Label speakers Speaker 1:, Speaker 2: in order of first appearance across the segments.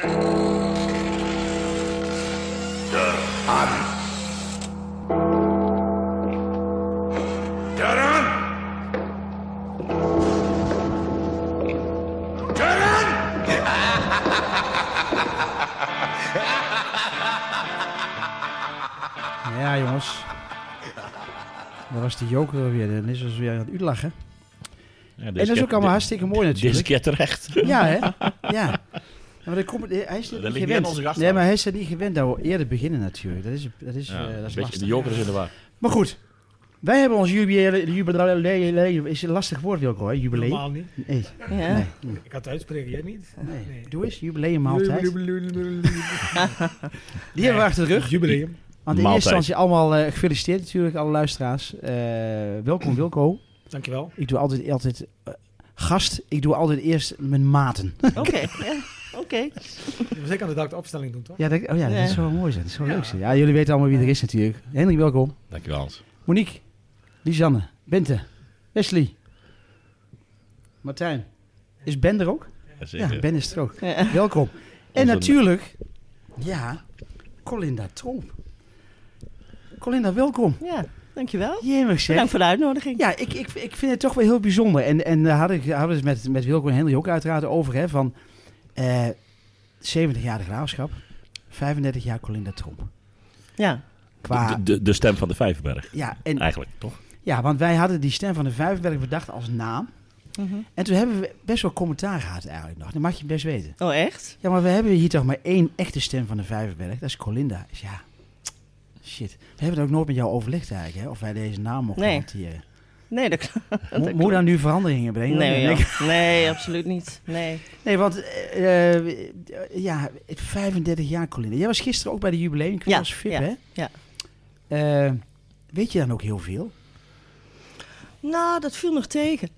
Speaker 1: Attenzione! Taran! Taran!
Speaker 2: Ja, jongens. Daar was die joker er weer. En is als weer aan het uitlachen.
Speaker 3: Ja,
Speaker 2: En dat is ook allemaal hartstikke mooi
Speaker 3: Dit is
Speaker 2: natuurlijk.
Speaker 3: keer terecht.
Speaker 2: Ja, hè? Ja. Ja, maar dat komt, hij is
Speaker 3: Dat
Speaker 2: dat niet
Speaker 3: ligt niet
Speaker 2: gewend.
Speaker 3: aan onze gasten.
Speaker 2: nee, maar hij is er niet gewend dat we eerder beginnen natuurlijk. Dat is, dat is,
Speaker 3: Ja,
Speaker 2: eh,
Speaker 3: een
Speaker 2: dat is
Speaker 3: beetje
Speaker 2: lastig.
Speaker 3: de joker is in de war.
Speaker 2: Maar goed, wij hebben ons jubileum... jubileum is een lastig woord, Wilco, hè? Jubileum.
Speaker 4: Normaal niet.
Speaker 2: Nee,
Speaker 5: Ja.
Speaker 2: nee,
Speaker 4: Ik had het uitspreken, jij niet?
Speaker 2: nee. Doe eens, jubileummaaltijd.
Speaker 4: Jubileum.
Speaker 2: Die hebben we achter de rug.
Speaker 4: Jubileum.
Speaker 2: Want in
Speaker 3: Maaltijd.
Speaker 2: eerste instantie allemaal eh, gefeliciteerd natuurlijk, alle luisteraars. Eh, welkom Wilco.
Speaker 4: Dankjewel.
Speaker 2: Ik doe altijd, altijd eh, gast, ik doe altijd eerst mijn maten.
Speaker 5: Oké. ja, Oké.
Speaker 4: Je moet zeker aan de dag de opstelling doen, toch?
Speaker 2: Ja, dat, oh ja,
Speaker 5: Ja.
Speaker 2: dat zou wel mooi zijn. Dat zou leuk zijn. Ja, jullie weten allemaal wie er is natuurlijk. Hendrik, welkom.
Speaker 3: Dankjewel Hans.
Speaker 2: Monique, Lisanne, Bente, Wesley, Martijn. Is Ben er ook?
Speaker 3: Jazeker.
Speaker 2: Ja, Ben is er ook.
Speaker 5: Ja.
Speaker 2: Welkom. En
Speaker 3: Onze-
Speaker 2: natuurlijk, ja, Colinda Troop. Colinda, welkom.
Speaker 5: Ja, dankjewel.
Speaker 2: Jemig zeg.
Speaker 5: Bedankt voor de uitnodiging.
Speaker 2: Ja, ik, ik, ik vind het toch wel heel bijzonder. En, en daar had ik- hadden we het met, met Wilco en Henry ook uiteraard over. Hè, van eh 70 jaar de graafschap, 35 jaar Colinda Tromp.
Speaker 5: Ja.
Speaker 2: Qua,
Speaker 3: De, de, de stem van de Vijverberg,
Speaker 2: ja, en,
Speaker 3: eigenlijk, toch?
Speaker 2: ja, want wij hadden die stem van de Vijfberg bedacht als naam.
Speaker 5: Mhm.
Speaker 2: En toen hebben we best wel commentaar gehad eigenlijk nog. Dat mag je best weten.
Speaker 5: Oh, echt?
Speaker 2: Ja, maar we hebben hier toch maar één echte stem van de Vijverberg. Dat is Colinda. Dus ja, shit. We hebben het ook nooit met jou overlegd eigenlijk, hè? Of wij deze naam mochten
Speaker 5: Nee.
Speaker 2: hanteren.
Speaker 5: Nee, dat klopt. Dat
Speaker 2: Mo- Moet
Speaker 5: klopt.
Speaker 2: daar nu veranderingen brengen?
Speaker 5: Nee,
Speaker 2: Dan
Speaker 5: joh. nee, absoluut niet. Nee.
Speaker 2: Nee, want eh, eh, ja, 35 jaar, Colinda. Jij was gisteren ook bij de jubileum.
Speaker 5: Ja,
Speaker 2: als VIP,
Speaker 5: ja,
Speaker 2: hè?
Speaker 5: ja.
Speaker 2: Eh, weet je dan ook heel veel?
Speaker 5: Nou, dat viel nog tegen.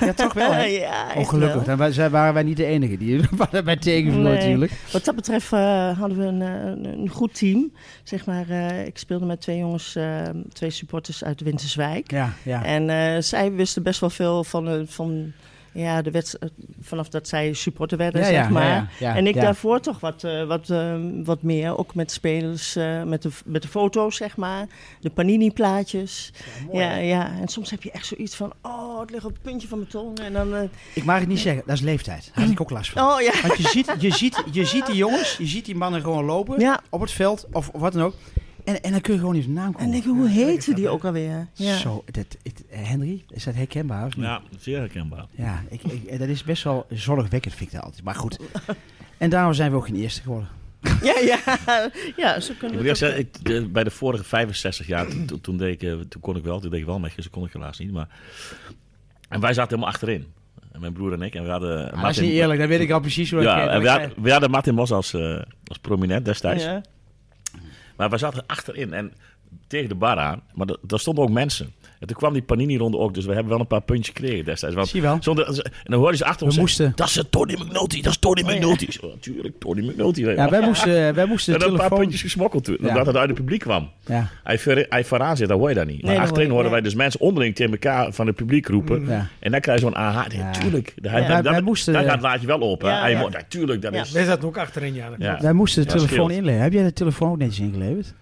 Speaker 2: Ja, toch wel, hè?
Speaker 5: ja, echt
Speaker 2: Oh, gelukkig.
Speaker 5: wel.
Speaker 2: Dan wa- zij- waren wij niet de enige die daarbij tegenviel,
Speaker 5: Nee.
Speaker 2: natuurlijk.
Speaker 5: Wat dat betreft eh, hadden we een, eh, een, een goed team. Zeg maar, eh, ik speelde met twee jongens, eh, twee supporters uit Winterswijk.
Speaker 2: Ja, ja.
Speaker 5: En eh, zij wisten best wel veel van, eh, van ja, de wedst- eh, vanaf dat zij supporter werden,
Speaker 2: ja,
Speaker 5: zeg
Speaker 2: ja,
Speaker 5: maar.
Speaker 2: ja, ja,
Speaker 5: en ik
Speaker 2: ja.
Speaker 5: daarvoor toch wat, eh, wat, eh, wat meer, ook met spelers, eh, met, de, met de foto's, zeg maar. De panini-plaatjes. Ja, ja, en soms heb je echt zoiets van, oh, het ligt op het puntje van mijn tong. En dan, eh,
Speaker 2: Ik mag het niet zeggen, dat is leeftijd. Daar had ik ook last van.
Speaker 5: oh ja,
Speaker 2: Want je ziet, je, ziet, je ziet die jongens, je ziet die mannen gewoon lopen
Speaker 5: ja.
Speaker 2: op het veld of, of wat dan ook. En, en dan kun je gewoon niet op de naam
Speaker 5: En
Speaker 2: komen.
Speaker 5: denk ik, hoe heette die ook alweer? Ja.
Speaker 2: Zo, dat, het, eh, Henry, is dat herkenbaar? Of niet?
Speaker 3: Ja, zeer herkenbaar.
Speaker 2: Ja, ik, ik, eh, dat is best wel zorgwekkend, vind ik dat altijd. Maar goed. En daarom zijn we ook geen eerste geworden.
Speaker 5: Ja, ja, ja, zo
Speaker 3: Ik
Speaker 5: kunnen
Speaker 3: moet
Speaker 5: we
Speaker 3: eerst
Speaker 5: het ook-
Speaker 3: zeggen, ik, de- bij de vorige 65 jaar, toen- toen, toen deed ik, eh, toen kon ik wel, toen deed ik wel mee, gisteren kon ik helaas niet. Maar, en wij zaten helemaal achterin, En mijn broer en ik. En we hadden
Speaker 2: Ah, dat is niet eerlijk, dan weet ik al precies hoe
Speaker 3: Ja,
Speaker 2: dat
Speaker 3: en
Speaker 2: gaat.
Speaker 3: we hadden, we hadden Martin Bos als, eh, als prominent destijds.
Speaker 5: Ja.
Speaker 3: Maar wij zaten achterin en tegen de bar aan. Maar da- daar stonden ook mensen. En toen kwam die Panini-ronde ook. Dus we hebben wel een paar puntjes gekregen destijds. Want
Speaker 2: Zie je wel.
Speaker 3: zonder- en dan hoorde ze achter
Speaker 2: We
Speaker 3: ons zeggen,
Speaker 2: moesten-
Speaker 3: Dat is eh, Tony McNulty, dat is Tony
Speaker 5: Oh,
Speaker 3: McNulty. Ik zo, Natuurlijk, Tony McNulty. Ja,
Speaker 2: Ja, wij moesten, eh, wij moesten
Speaker 3: en
Speaker 2: de
Speaker 3: dan een paar
Speaker 2: telefoon...
Speaker 3: puntjes gesmokkeld toen.
Speaker 2: Ja.
Speaker 3: Omdat het uit het publiek kwam.
Speaker 2: Ja,
Speaker 3: Hij ver- Hij vooraan zit, dat hoor je dat niet. Maar
Speaker 5: Nee, dat
Speaker 3: achterin
Speaker 5: hoor je-
Speaker 3: hoorden wij dus mensen onderling tegen elkaar van het publiek roepen.
Speaker 2: ja.
Speaker 3: En dan krijg je zo'n aha.
Speaker 2: Ja.
Speaker 3: Natuurlijk. Ja.
Speaker 2: Wij- wij moesten-
Speaker 3: dan gaat het laadje wel open. hè.
Speaker 5: Ja,
Speaker 3: En je
Speaker 5: ja.
Speaker 3: moet- Natuurlijk, dat
Speaker 5: Ja.
Speaker 3: is...
Speaker 4: Wij zaten ook achterin, ja.
Speaker 3: Ja.
Speaker 2: Wij moesten de
Speaker 3: Ja,
Speaker 2: telefoon
Speaker 3: scheelt.
Speaker 2: inleveren. Heb jij de telefoon ook netjes ingeleverd?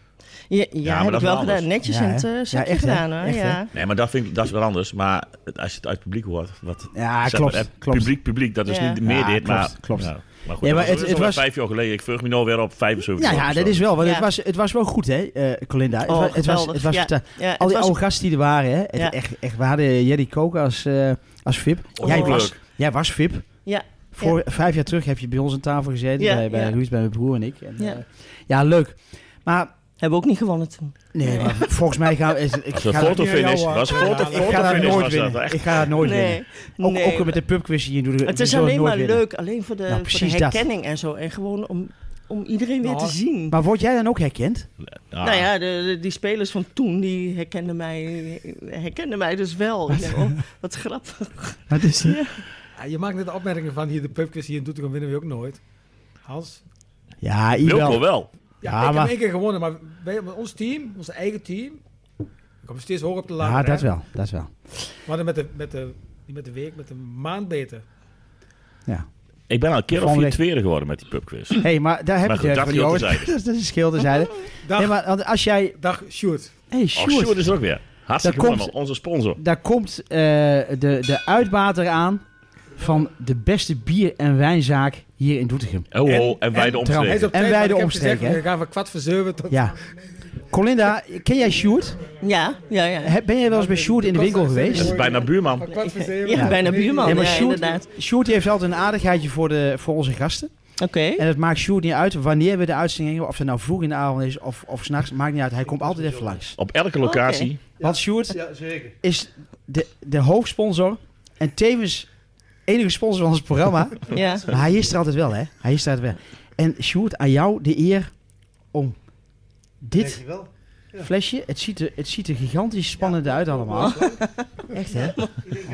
Speaker 5: Ja,
Speaker 3: maar
Speaker 5: heb
Speaker 3: dat is
Speaker 5: ik wel
Speaker 3: wel anders.
Speaker 5: gedaan. Netjes
Speaker 2: Ja,
Speaker 5: in het
Speaker 2: hè?
Speaker 5: eh, zakje
Speaker 2: Ja, echt, hè?
Speaker 5: gedaan hoor.
Speaker 2: Echt, hè?
Speaker 5: ja.
Speaker 3: Nee, maar dat, vind ik, dat is wel anders. Maar het- als je het uit het publiek hoort, wat,
Speaker 2: Ja,
Speaker 3: Zeg
Speaker 2: Ah, klopt.
Speaker 3: maar, eh,
Speaker 2: klopt.
Speaker 3: Publiek, publiek, dat is
Speaker 5: Ja.
Speaker 3: niet meer
Speaker 2: Ja,
Speaker 3: dit,
Speaker 2: klopt,
Speaker 3: maar...
Speaker 2: klopt.
Speaker 3: Ja, maar goed,
Speaker 2: Ja, maar
Speaker 3: dat
Speaker 2: het-
Speaker 3: was
Speaker 2: het was-
Speaker 3: vijf jaar geleden. Ik verg me nou weer op 75
Speaker 2: Ja,
Speaker 3: of
Speaker 2: ja,
Speaker 3: zo.
Speaker 2: dat is wel. Want het,
Speaker 5: Ja.
Speaker 2: was, het was wel goed, hè, eh, Colinda.
Speaker 5: Oh,
Speaker 2: het was, het was,
Speaker 5: geweldig.
Speaker 2: het was
Speaker 5: Ja.
Speaker 2: vertel-
Speaker 5: Ja, het
Speaker 2: Al die
Speaker 5: was-
Speaker 2: oude gasten die er waren, hè. Het-
Speaker 5: Ja. Oh,
Speaker 2: echt, echt, we hadden Jerry Kook als, eh, als VIP. Jij
Speaker 3: Ongelooflijk.
Speaker 2: was, jij was VIP.
Speaker 5: ja,
Speaker 2: Voor, Vijf jaar terug heb je bij ons aan tafel gezeten.
Speaker 5: Ja,
Speaker 2: bij bij
Speaker 5: ja.
Speaker 2: Ruud, bij mijn broer en ik. En,
Speaker 5: Ja.
Speaker 2: eh, ja, leuk. Maar
Speaker 5: hebben we ook niet gewonnen toen.
Speaker 2: Nee, maar volgens mij gaan we... Ik, ik
Speaker 3: was een
Speaker 2: ga dat-
Speaker 3: fotofinish.
Speaker 4: Ja, ja,
Speaker 3: was een
Speaker 4: ja, ja,
Speaker 3: foto-
Speaker 4: ja.
Speaker 2: ik ga dat
Speaker 3: fotofinish
Speaker 2: nooit
Speaker 3: was dat.
Speaker 2: winnen.
Speaker 3: Echt.
Speaker 2: Ik ga dat nooit winnen.
Speaker 5: Nee.
Speaker 2: Ook,
Speaker 5: nee.
Speaker 2: ook met de pubquiz hier. doe-
Speaker 5: het
Speaker 2: doe
Speaker 5: is
Speaker 2: zo nooit
Speaker 5: alleen maar
Speaker 2: winnen.
Speaker 5: leuk. Alleen voor de,
Speaker 2: Nou,
Speaker 5: voor
Speaker 2: precies
Speaker 5: de
Speaker 2: dat.
Speaker 5: herkenning en zo. En gewoon om, om iedereen weer
Speaker 4: Nou,
Speaker 5: te zien.
Speaker 2: Maar word jij dan ook herkend?
Speaker 3: Ja.
Speaker 5: Nou
Speaker 2: Ah.
Speaker 5: ja, de, de- die spelers van toen, die herkenden mij, herkenden mij dus wel. Ik denk, oh, wat grappig.
Speaker 2: Wat is die?
Speaker 4: Ja, Ah, Je maakt net de opmerkingen van hier de pubquiz hier in Doetinchem winnen we ook nooit. Hans?
Speaker 2: Ja,
Speaker 3: Wilco
Speaker 2: Iwel.
Speaker 3: wel.
Speaker 4: Ja,
Speaker 2: Ja,
Speaker 4: ik
Speaker 2: maar-
Speaker 4: heb één keer gewonnen, maar wij, met ons team, ons eigen team, komen steeds hoger op de ladder.
Speaker 2: Ja, dat
Speaker 4: hè.
Speaker 2: wel. Dat wel.
Speaker 4: We hadden met de, met de, niet met de week, met de maand beter.
Speaker 2: Ja.
Speaker 3: Ik ben al een keer of
Speaker 2: Volgende
Speaker 3: vier
Speaker 2: week.
Speaker 3: tweede geworden met die pubquiz.
Speaker 2: Hé, hey, maar daar heb
Speaker 3: Maar
Speaker 2: je
Speaker 3: goed,
Speaker 2: het
Speaker 3: dat
Speaker 2: van,
Speaker 3: scheelt
Speaker 2: Johan.
Speaker 3: terzijde.
Speaker 2: dat is een schil terzijde.
Speaker 4: Dag,
Speaker 2: Nee, maar want als jij...
Speaker 4: dag Sjoerd.
Speaker 2: Hé, hey,
Speaker 3: Oh,
Speaker 2: Sjoerd.
Speaker 3: Sjoerd is er ook weer. Hartstikke
Speaker 2: Daar
Speaker 3: mooi,
Speaker 2: komt-
Speaker 3: man. Onze sponsor.
Speaker 2: Daar komt eh, de, de uitbater aan van de beste bier- en wijnzaak hier in Doetinchem.
Speaker 3: Oh, oh, en,
Speaker 4: en-
Speaker 3: wij de
Speaker 4: Hij is
Speaker 3: omstreken.
Speaker 4: op tijd,
Speaker 2: En wij
Speaker 4: want
Speaker 2: de
Speaker 4: ik heb
Speaker 2: omstreken,
Speaker 4: gezegd,
Speaker 2: hè?
Speaker 4: We gaan van kwart voor zeven tot...
Speaker 2: Ja. Colinda, ken jij Sjoerd?
Speaker 5: Ja, ja, ja.
Speaker 2: Heb- Ben jij wel eens bij Sjoerd in de winkel
Speaker 3: Dat
Speaker 2: geweest?
Speaker 3: is bijna buurman.
Speaker 4: Van kwart voor zeven...
Speaker 5: Ja,
Speaker 4: tot
Speaker 5: bijna
Speaker 4: negen.
Speaker 5: buurman.
Speaker 2: Nee, maar
Speaker 5: Ja,
Speaker 2: Sjoerd,
Speaker 5: inderdaad.
Speaker 2: Sjoerd heeft altijd een aardigheidje voor, de, voor onze gasten.
Speaker 5: Oké.
Speaker 2: En het maakt Sjoerd niet uit wanneer we de uitzending hebben. Of het nou vroeg in de avond is of, of s'nachts. Maakt niet uit. Hij komt altijd even langs.
Speaker 3: Op elke locatie.
Speaker 2: Want Sjoerd is de, de hoofdsponsor. En tevens enige sponsor van ons programma.
Speaker 5: Ja.
Speaker 2: Maar hij is er altijd wel, hè? Hij is er altijd wel. En Sjoerd, aan jou de eer om dit
Speaker 1: Dankjewel. Ja.
Speaker 2: flesje. Het ziet er, het ziet er gigantisch spannend uit allemaal. Echt, hè?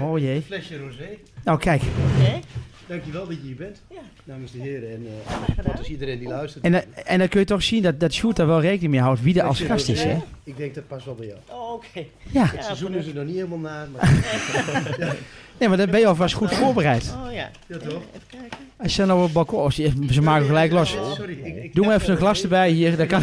Speaker 2: Oh jee.
Speaker 1: Flesje rosé.
Speaker 2: Nou, kijk.
Speaker 5: Oké.
Speaker 1: Dankjewel dat je hier bent.
Speaker 5: Ja.
Speaker 1: Namens de heren en eh supporters, iedereen die luistert.
Speaker 2: En, dan- en dan kun je toch zien dat, dat Sjoerd daar wel rekening mee houdt wie er als gast is, hè?
Speaker 1: Ik denk dat past wel bij jou.
Speaker 5: Oh, Oké.
Speaker 2: Ja.
Speaker 5: Ja,
Speaker 1: Het seizoen
Speaker 5: voor de-
Speaker 1: is er nog niet helemaal naar, maar
Speaker 2: Nee, maar dan ben je alvast goed voorbereid.
Speaker 5: Oh ja.
Speaker 1: ja toch?
Speaker 5: Even kijken.
Speaker 2: Als je nou op het balkon... oh, ze ze maken gelijk los.
Speaker 1: Sorry, ik, ik
Speaker 2: Doe maar even een glas erbij hier. Dan kan,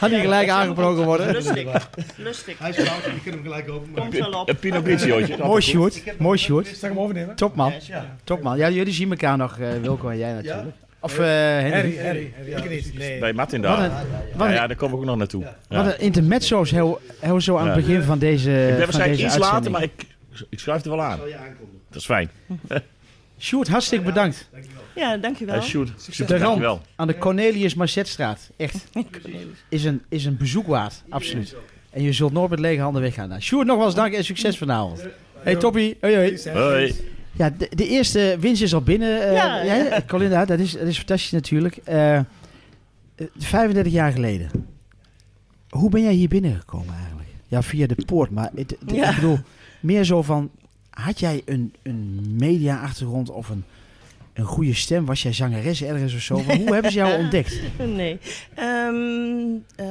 Speaker 2: kan hij gelijk aangebroken worden.
Speaker 5: Lustig. Lustig.
Speaker 1: Hij is koud, ik kan hem gelijk openmaken.
Speaker 5: Komt wel op.
Speaker 3: Een Pinot Grigiootje.
Speaker 2: Mooi Sjoerd. Mooi Sjoerd.
Speaker 4: Zal ik hem overnemen?
Speaker 2: Topman.
Speaker 1: Ja.
Speaker 2: Topman. Ja, jullie zien elkaar nog, eh, Wilco en jij natuurlijk. Of eh Henry.
Speaker 4: Harry, Harry. Harry, Ik niet. Nee.
Speaker 3: Bij Martin
Speaker 2: Wat
Speaker 3: daar.
Speaker 2: een,
Speaker 3: Ja,
Speaker 2: wat een,
Speaker 3: ja, daar kom ik ook nog naartoe. Ja.
Speaker 2: wat een intermezzo's heel, heel zo aan het
Speaker 3: Ja.
Speaker 2: begin van deze
Speaker 3: Ik ben
Speaker 2: van
Speaker 3: waarschijnlijk
Speaker 2: deze
Speaker 3: iets later,
Speaker 2: uitzending.
Speaker 3: maar ik, ik schuif er wel aan.
Speaker 1: Zal je aankondigen.
Speaker 3: Dat is fijn.
Speaker 2: Sjoerd, hartstikke bedankt.
Speaker 5: Ja,
Speaker 3: Hey,
Speaker 5: dankjewel.
Speaker 3: shoot. Super,
Speaker 2: De ramp.
Speaker 3: dankjewel.
Speaker 2: Aan de Cornelius Marcetstraat. Echt. Is een, is een bezoek waard. Absoluut. En je zult nooit met lege handen weggaan. Nou, Sjoerd, nogmaals dank en succes vanavond. Hey Toppie. Hoi hoi.
Speaker 3: Hoi.
Speaker 2: Ja, de, de eerste winst is al binnen. eh,
Speaker 5: Ja.
Speaker 2: hè, Colinda, dat is, dat is fantastisch natuurlijk. Eh, eh, 35 jaar geleden. Hoe ben jij hier binnengekomen eigenlijk? Ja, via de poort. Maar het, het-
Speaker 5: Ja.
Speaker 2: ik bedoel, meer zo van... Had jij een, een media-achtergrond of een, een goede stem? Was jij zangeres ergens of zo? Van, hoe hebben ze jou ontdekt?
Speaker 5: Nee. Ehm, eh,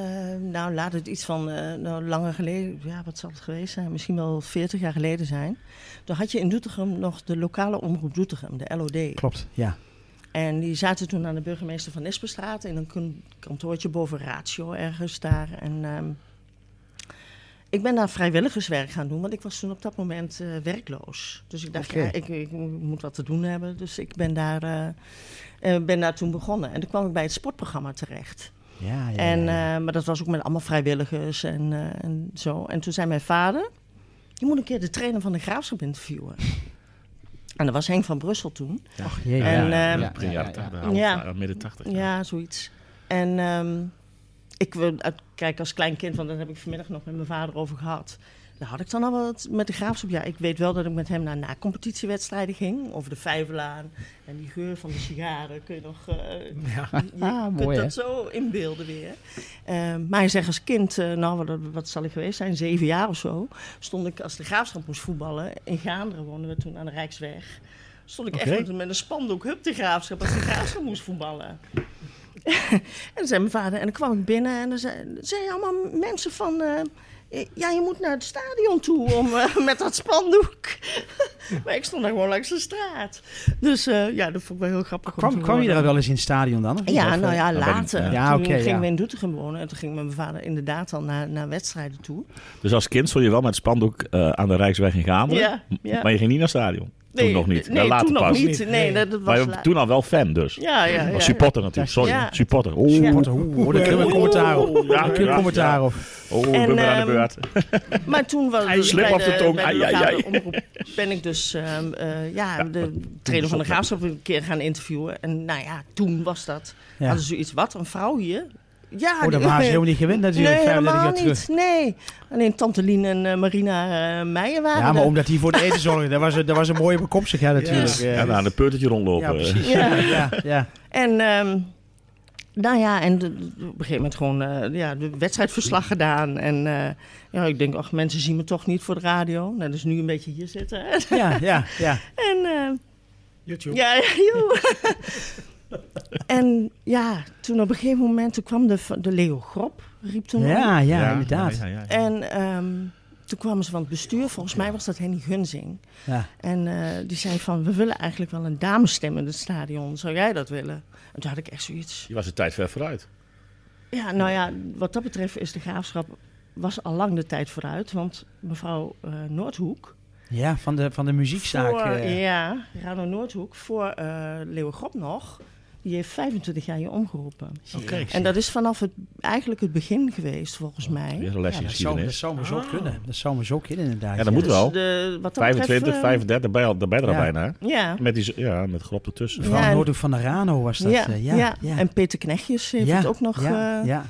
Speaker 5: nou, laat het iets van eh, nou, langer geleden, ja, wat zal het geweest zijn? Misschien wel 40 jaar geleden zijn. Toen had je in Doetinchem nog de lokale omroep Doetinchem, de LOD.
Speaker 2: Klopt, ja.
Speaker 5: En die zaten toen aan de burgemeester van Nispenstraat in een kun- kantoortje boven Ratio ergens daar. En ehm, ik ben daar vrijwilligerswerk gaan doen, want ik was toen op dat moment eh, werkloos. Dus ik dacht,
Speaker 2: Oké.
Speaker 5: ja, ik, ik moet wat te doen hebben. Dus ik ben daar, eh, eh, ben daar toen begonnen. En toen kwam ik bij het sportprogramma terecht.
Speaker 2: ja, ja, ja,
Speaker 5: En,
Speaker 2: ja.
Speaker 5: eh, maar dat was ook met allemaal vrijwilligers en, eh, en zo. En toen zei mijn vader, je moet een keer de trainer van de Graafschap interviewen. En dat was Henk van Brussel toen.
Speaker 2: Ach, jee,
Speaker 5: en,
Speaker 2: ja, ja,
Speaker 5: ehm,
Speaker 2: ja, ja, ja.
Speaker 5: Ja.
Speaker 3: Ja, midden 80. ja.
Speaker 5: Ja, zoiets. En ehm, ik wil, uit- kijk, als klein kind, want daar heb ik vanmiddag nog met mijn vader over gehad. Daar had ik dan al wat met de graafschap. Ja, ik weet wel dat ik met hem naar na-competitiewedstrijden ging. Over de Vijverlaan. En die geur van de sigaren kun je nog... eh, je- je
Speaker 2: Ah,
Speaker 5: kunt
Speaker 2: mooi, hè?
Speaker 5: dat zo inbeelden weer. Eh, maar hij zegt als kind, eh, nou wat, wat zal ik geweest zijn, zeven jaar of zo. Stond ik als de graafschap moest voetballen. In Gaanderen woonden we toen aan de Rijksweg. Stond ik
Speaker 3: Oké.
Speaker 5: echt met, met een spandoek, hup de graafschap, als de graafschap moest voetballen. En dan zei mijn vader, en dan kwam ik binnen en dan zei- zeiden allemaal mensen van... eh, ja, je moet naar het stadion toe om, eh, met dat spandoek. maar ik stond daar gewoon langs de straat. Dus eh, ja, dat vond ik wel heel grappig. om te
Speaker 2: Kwam, kwam je
Speaker 5: horen.
Speaker 2: daar wel eens in het stadion dan? of niet?
Speaker 5: Ja,
Speaker 2: Of,
Speaker 5: nou
Speaker 2: eh,
Speaker 5: ja,
Speaker 3: dat weet ik niet.
Speaker 5: later.
Speaker 2: Ja,
Speaker 5: toen
Speaker 2: oké,
Speaker 5: gingen
Speaker 2: ja.
Speaker 5: we in Doetinchem wonen en toen ging mijn vader inderdaad al naar, naar wedstrijden toe.
Speaker 3: Dus als kind stond je wel met het spandoek eh, aan de Rijksweg in Gaanderen.
Speaker 5: Ja, ja.
Speaker 3: Maar je ging niet naar het stadion.
Speaker 5: Nee,
Speaker 3: toen nog niet.
Speaker 5: Nee,
Speaker 3: Ja, later
Speaker 5: toen nog
Speaker 3: pas.
Speaker 5: niet. Nee, dat, dat
Speaker 3: Maar
Speaker 5: was
Speaker 3: je
Speaker 5: later.
Speaker 3: was toen al wel fan dus.
Speaker 5: Ja, ja, ja.
Speaker 3: Maar supporter natuurlijk, sorry.
Speaker 5: Ja.
Speaker 3: Supporter. Oeh.
Speaker 2: eh, Supporter, oeh, daar kunnen we commentaar op.
Speaker 3: Ja,
Speaker 2: Daar kunnen we
Speaker 3: ja,
Speaker 2: commentaar op.
Speaker 3: Oh, ik
Speaker 5: En,
Speaker 3: ben weer aan
Speaker 5: ehm,
Speaker 3: de beurt.
Speaker 5: Maar toen was
Speaker 3: Ai, slip
Speaker 5: bij
Speaker 3: op de tong.
Speaker 5: bij
Speaker 3: Ai, ai,
Speaker 5: lokale
Speaker 3: ai.
Speaker 5: omroep ben ik dus ehm, eh, ja, de
Speaker 3: is
Speaker 5: trainer van de
Speaker 3: op-
Speaker 5: graafschap een keer gaan interviewen. En nou ja, toen was dat.
Speaker 2: Ja.
Speaker 5: Hadden ze iets wat? Een vrouw hier? Ja,
Speaker 2: Oh,
Speaker 5: Ah, die-
Speaker 2: dat waren ze helemaal niet gewend natuurlijk.
Speaker 5: Nee,
Speaker 2: 35
Speaker 5: helemaal
Speaker 2: jaar
Speaker 5: niet.
Speaker 2: terug.
Speaker 5: Nee. Alleen Tante Lien en eh, Marina eh, Meijer waren
Speaker 2: Ja, maar
Speaker 5: er.
Speaker 2: omdat hij voor het eten zorgde, dat was, een- dat was een mooie bekomstigheid natuurlijk. eh.
Speaker 4: Yes.
Speaker 2: Ja,
Speaker 3: Ja, nou, aan de peutertje
Speaker 2: ja,
Speaker 3: rondlopen.
Speaker 2: precies. Ja,
Speaker 5: Ja.
Speaker 2: ja, ja.
Speaker 5: En ehm, nou ja, en de- de- op een gegeven moment gewoon eh, ja, de wedstrijdverslag gedaan. En eh, ja, ik denk, ach, mensen zien me toch niet voor de radio. Nou, dus nu een beetje hier zitten.
Speaker 2: ja, ja, ja.
Speaker 5: en ehm,
Speaker 4: YouTube.
Speaker 5: Ja, ja, joh. en ja, toen op een gegeven moment toen kwam de, de Leo Grop, riep toen op.
Speaker 2: Ja, ja,
Speaker 3: Ja,
Speaker 2: inderdaad.
Speaker 3: ja, ja, ja.
Speaker 5: En ehm, Toen kwamen ze van het bestuur, volgens mij was dat Henny Gunzing.
Speaker 2: Ja.
Speaker 5: En eh, die zei van, we willen eigenlijk wel een damesstem in het stadion. Zou jij dat willen? En toen had ik echt zoiets.
Speaker 3: Je was de tijd ver vooruit.
Speaker 5: Ja, nou ja, wat dat betreft is de graafschap was al lang de tijd vooruit. Want mevrouw eh, Noordhoek...
Speaker 2: ja, van de, van de muziekzaak.
Speaker 5: voor,
Speaker 2: eh,
Speaker 5: Ja, Rano Noordhoek, voor eh Leeuwen Grop nog... Die heeft 25 jaar je omgeroepen.
Speaker 2: kijk.
Speaker 5: En dat is vanaf het, eigenlijk het begin geweest, volgens mij.
Speaker 3: Weer een lesje
Speaker 2: ja, dat zou, dat
Speaker 3: geschiedenis.
Speaker 2: zou maar zo
Speaker 5: Ah.
Speaker 2: kunnen. Dat zou maar zo kunnen, inderdaad.
Speaker 3: Ja, dat moet
Speaker 5: Dus
Speaker 3: wel.
Speaker 5: de- wat dat betreft,
Speaker 3: 25,
Speaker 5: eh,
Speaker 3: 35, daarbij al- daarbij er al
Speaker 2: Ja.
Speaker 3: bijna.
Speaker 5: Ja.
Speaker 3: Met, die, ja, met grop ertussen.
Speaker 5: Ja.
Speaker 2: Van Noordhoek van de Rano was dat.
Speaker 5: ja,
Speaker 2: eh,
Speaker 5: ja, en Peter Knechtjes heeft
Speaker 2: Ja,
Speaker 5: het ook nog
Speaker 2: ja,
Speaker 5: eh,
Speaker 2: ja.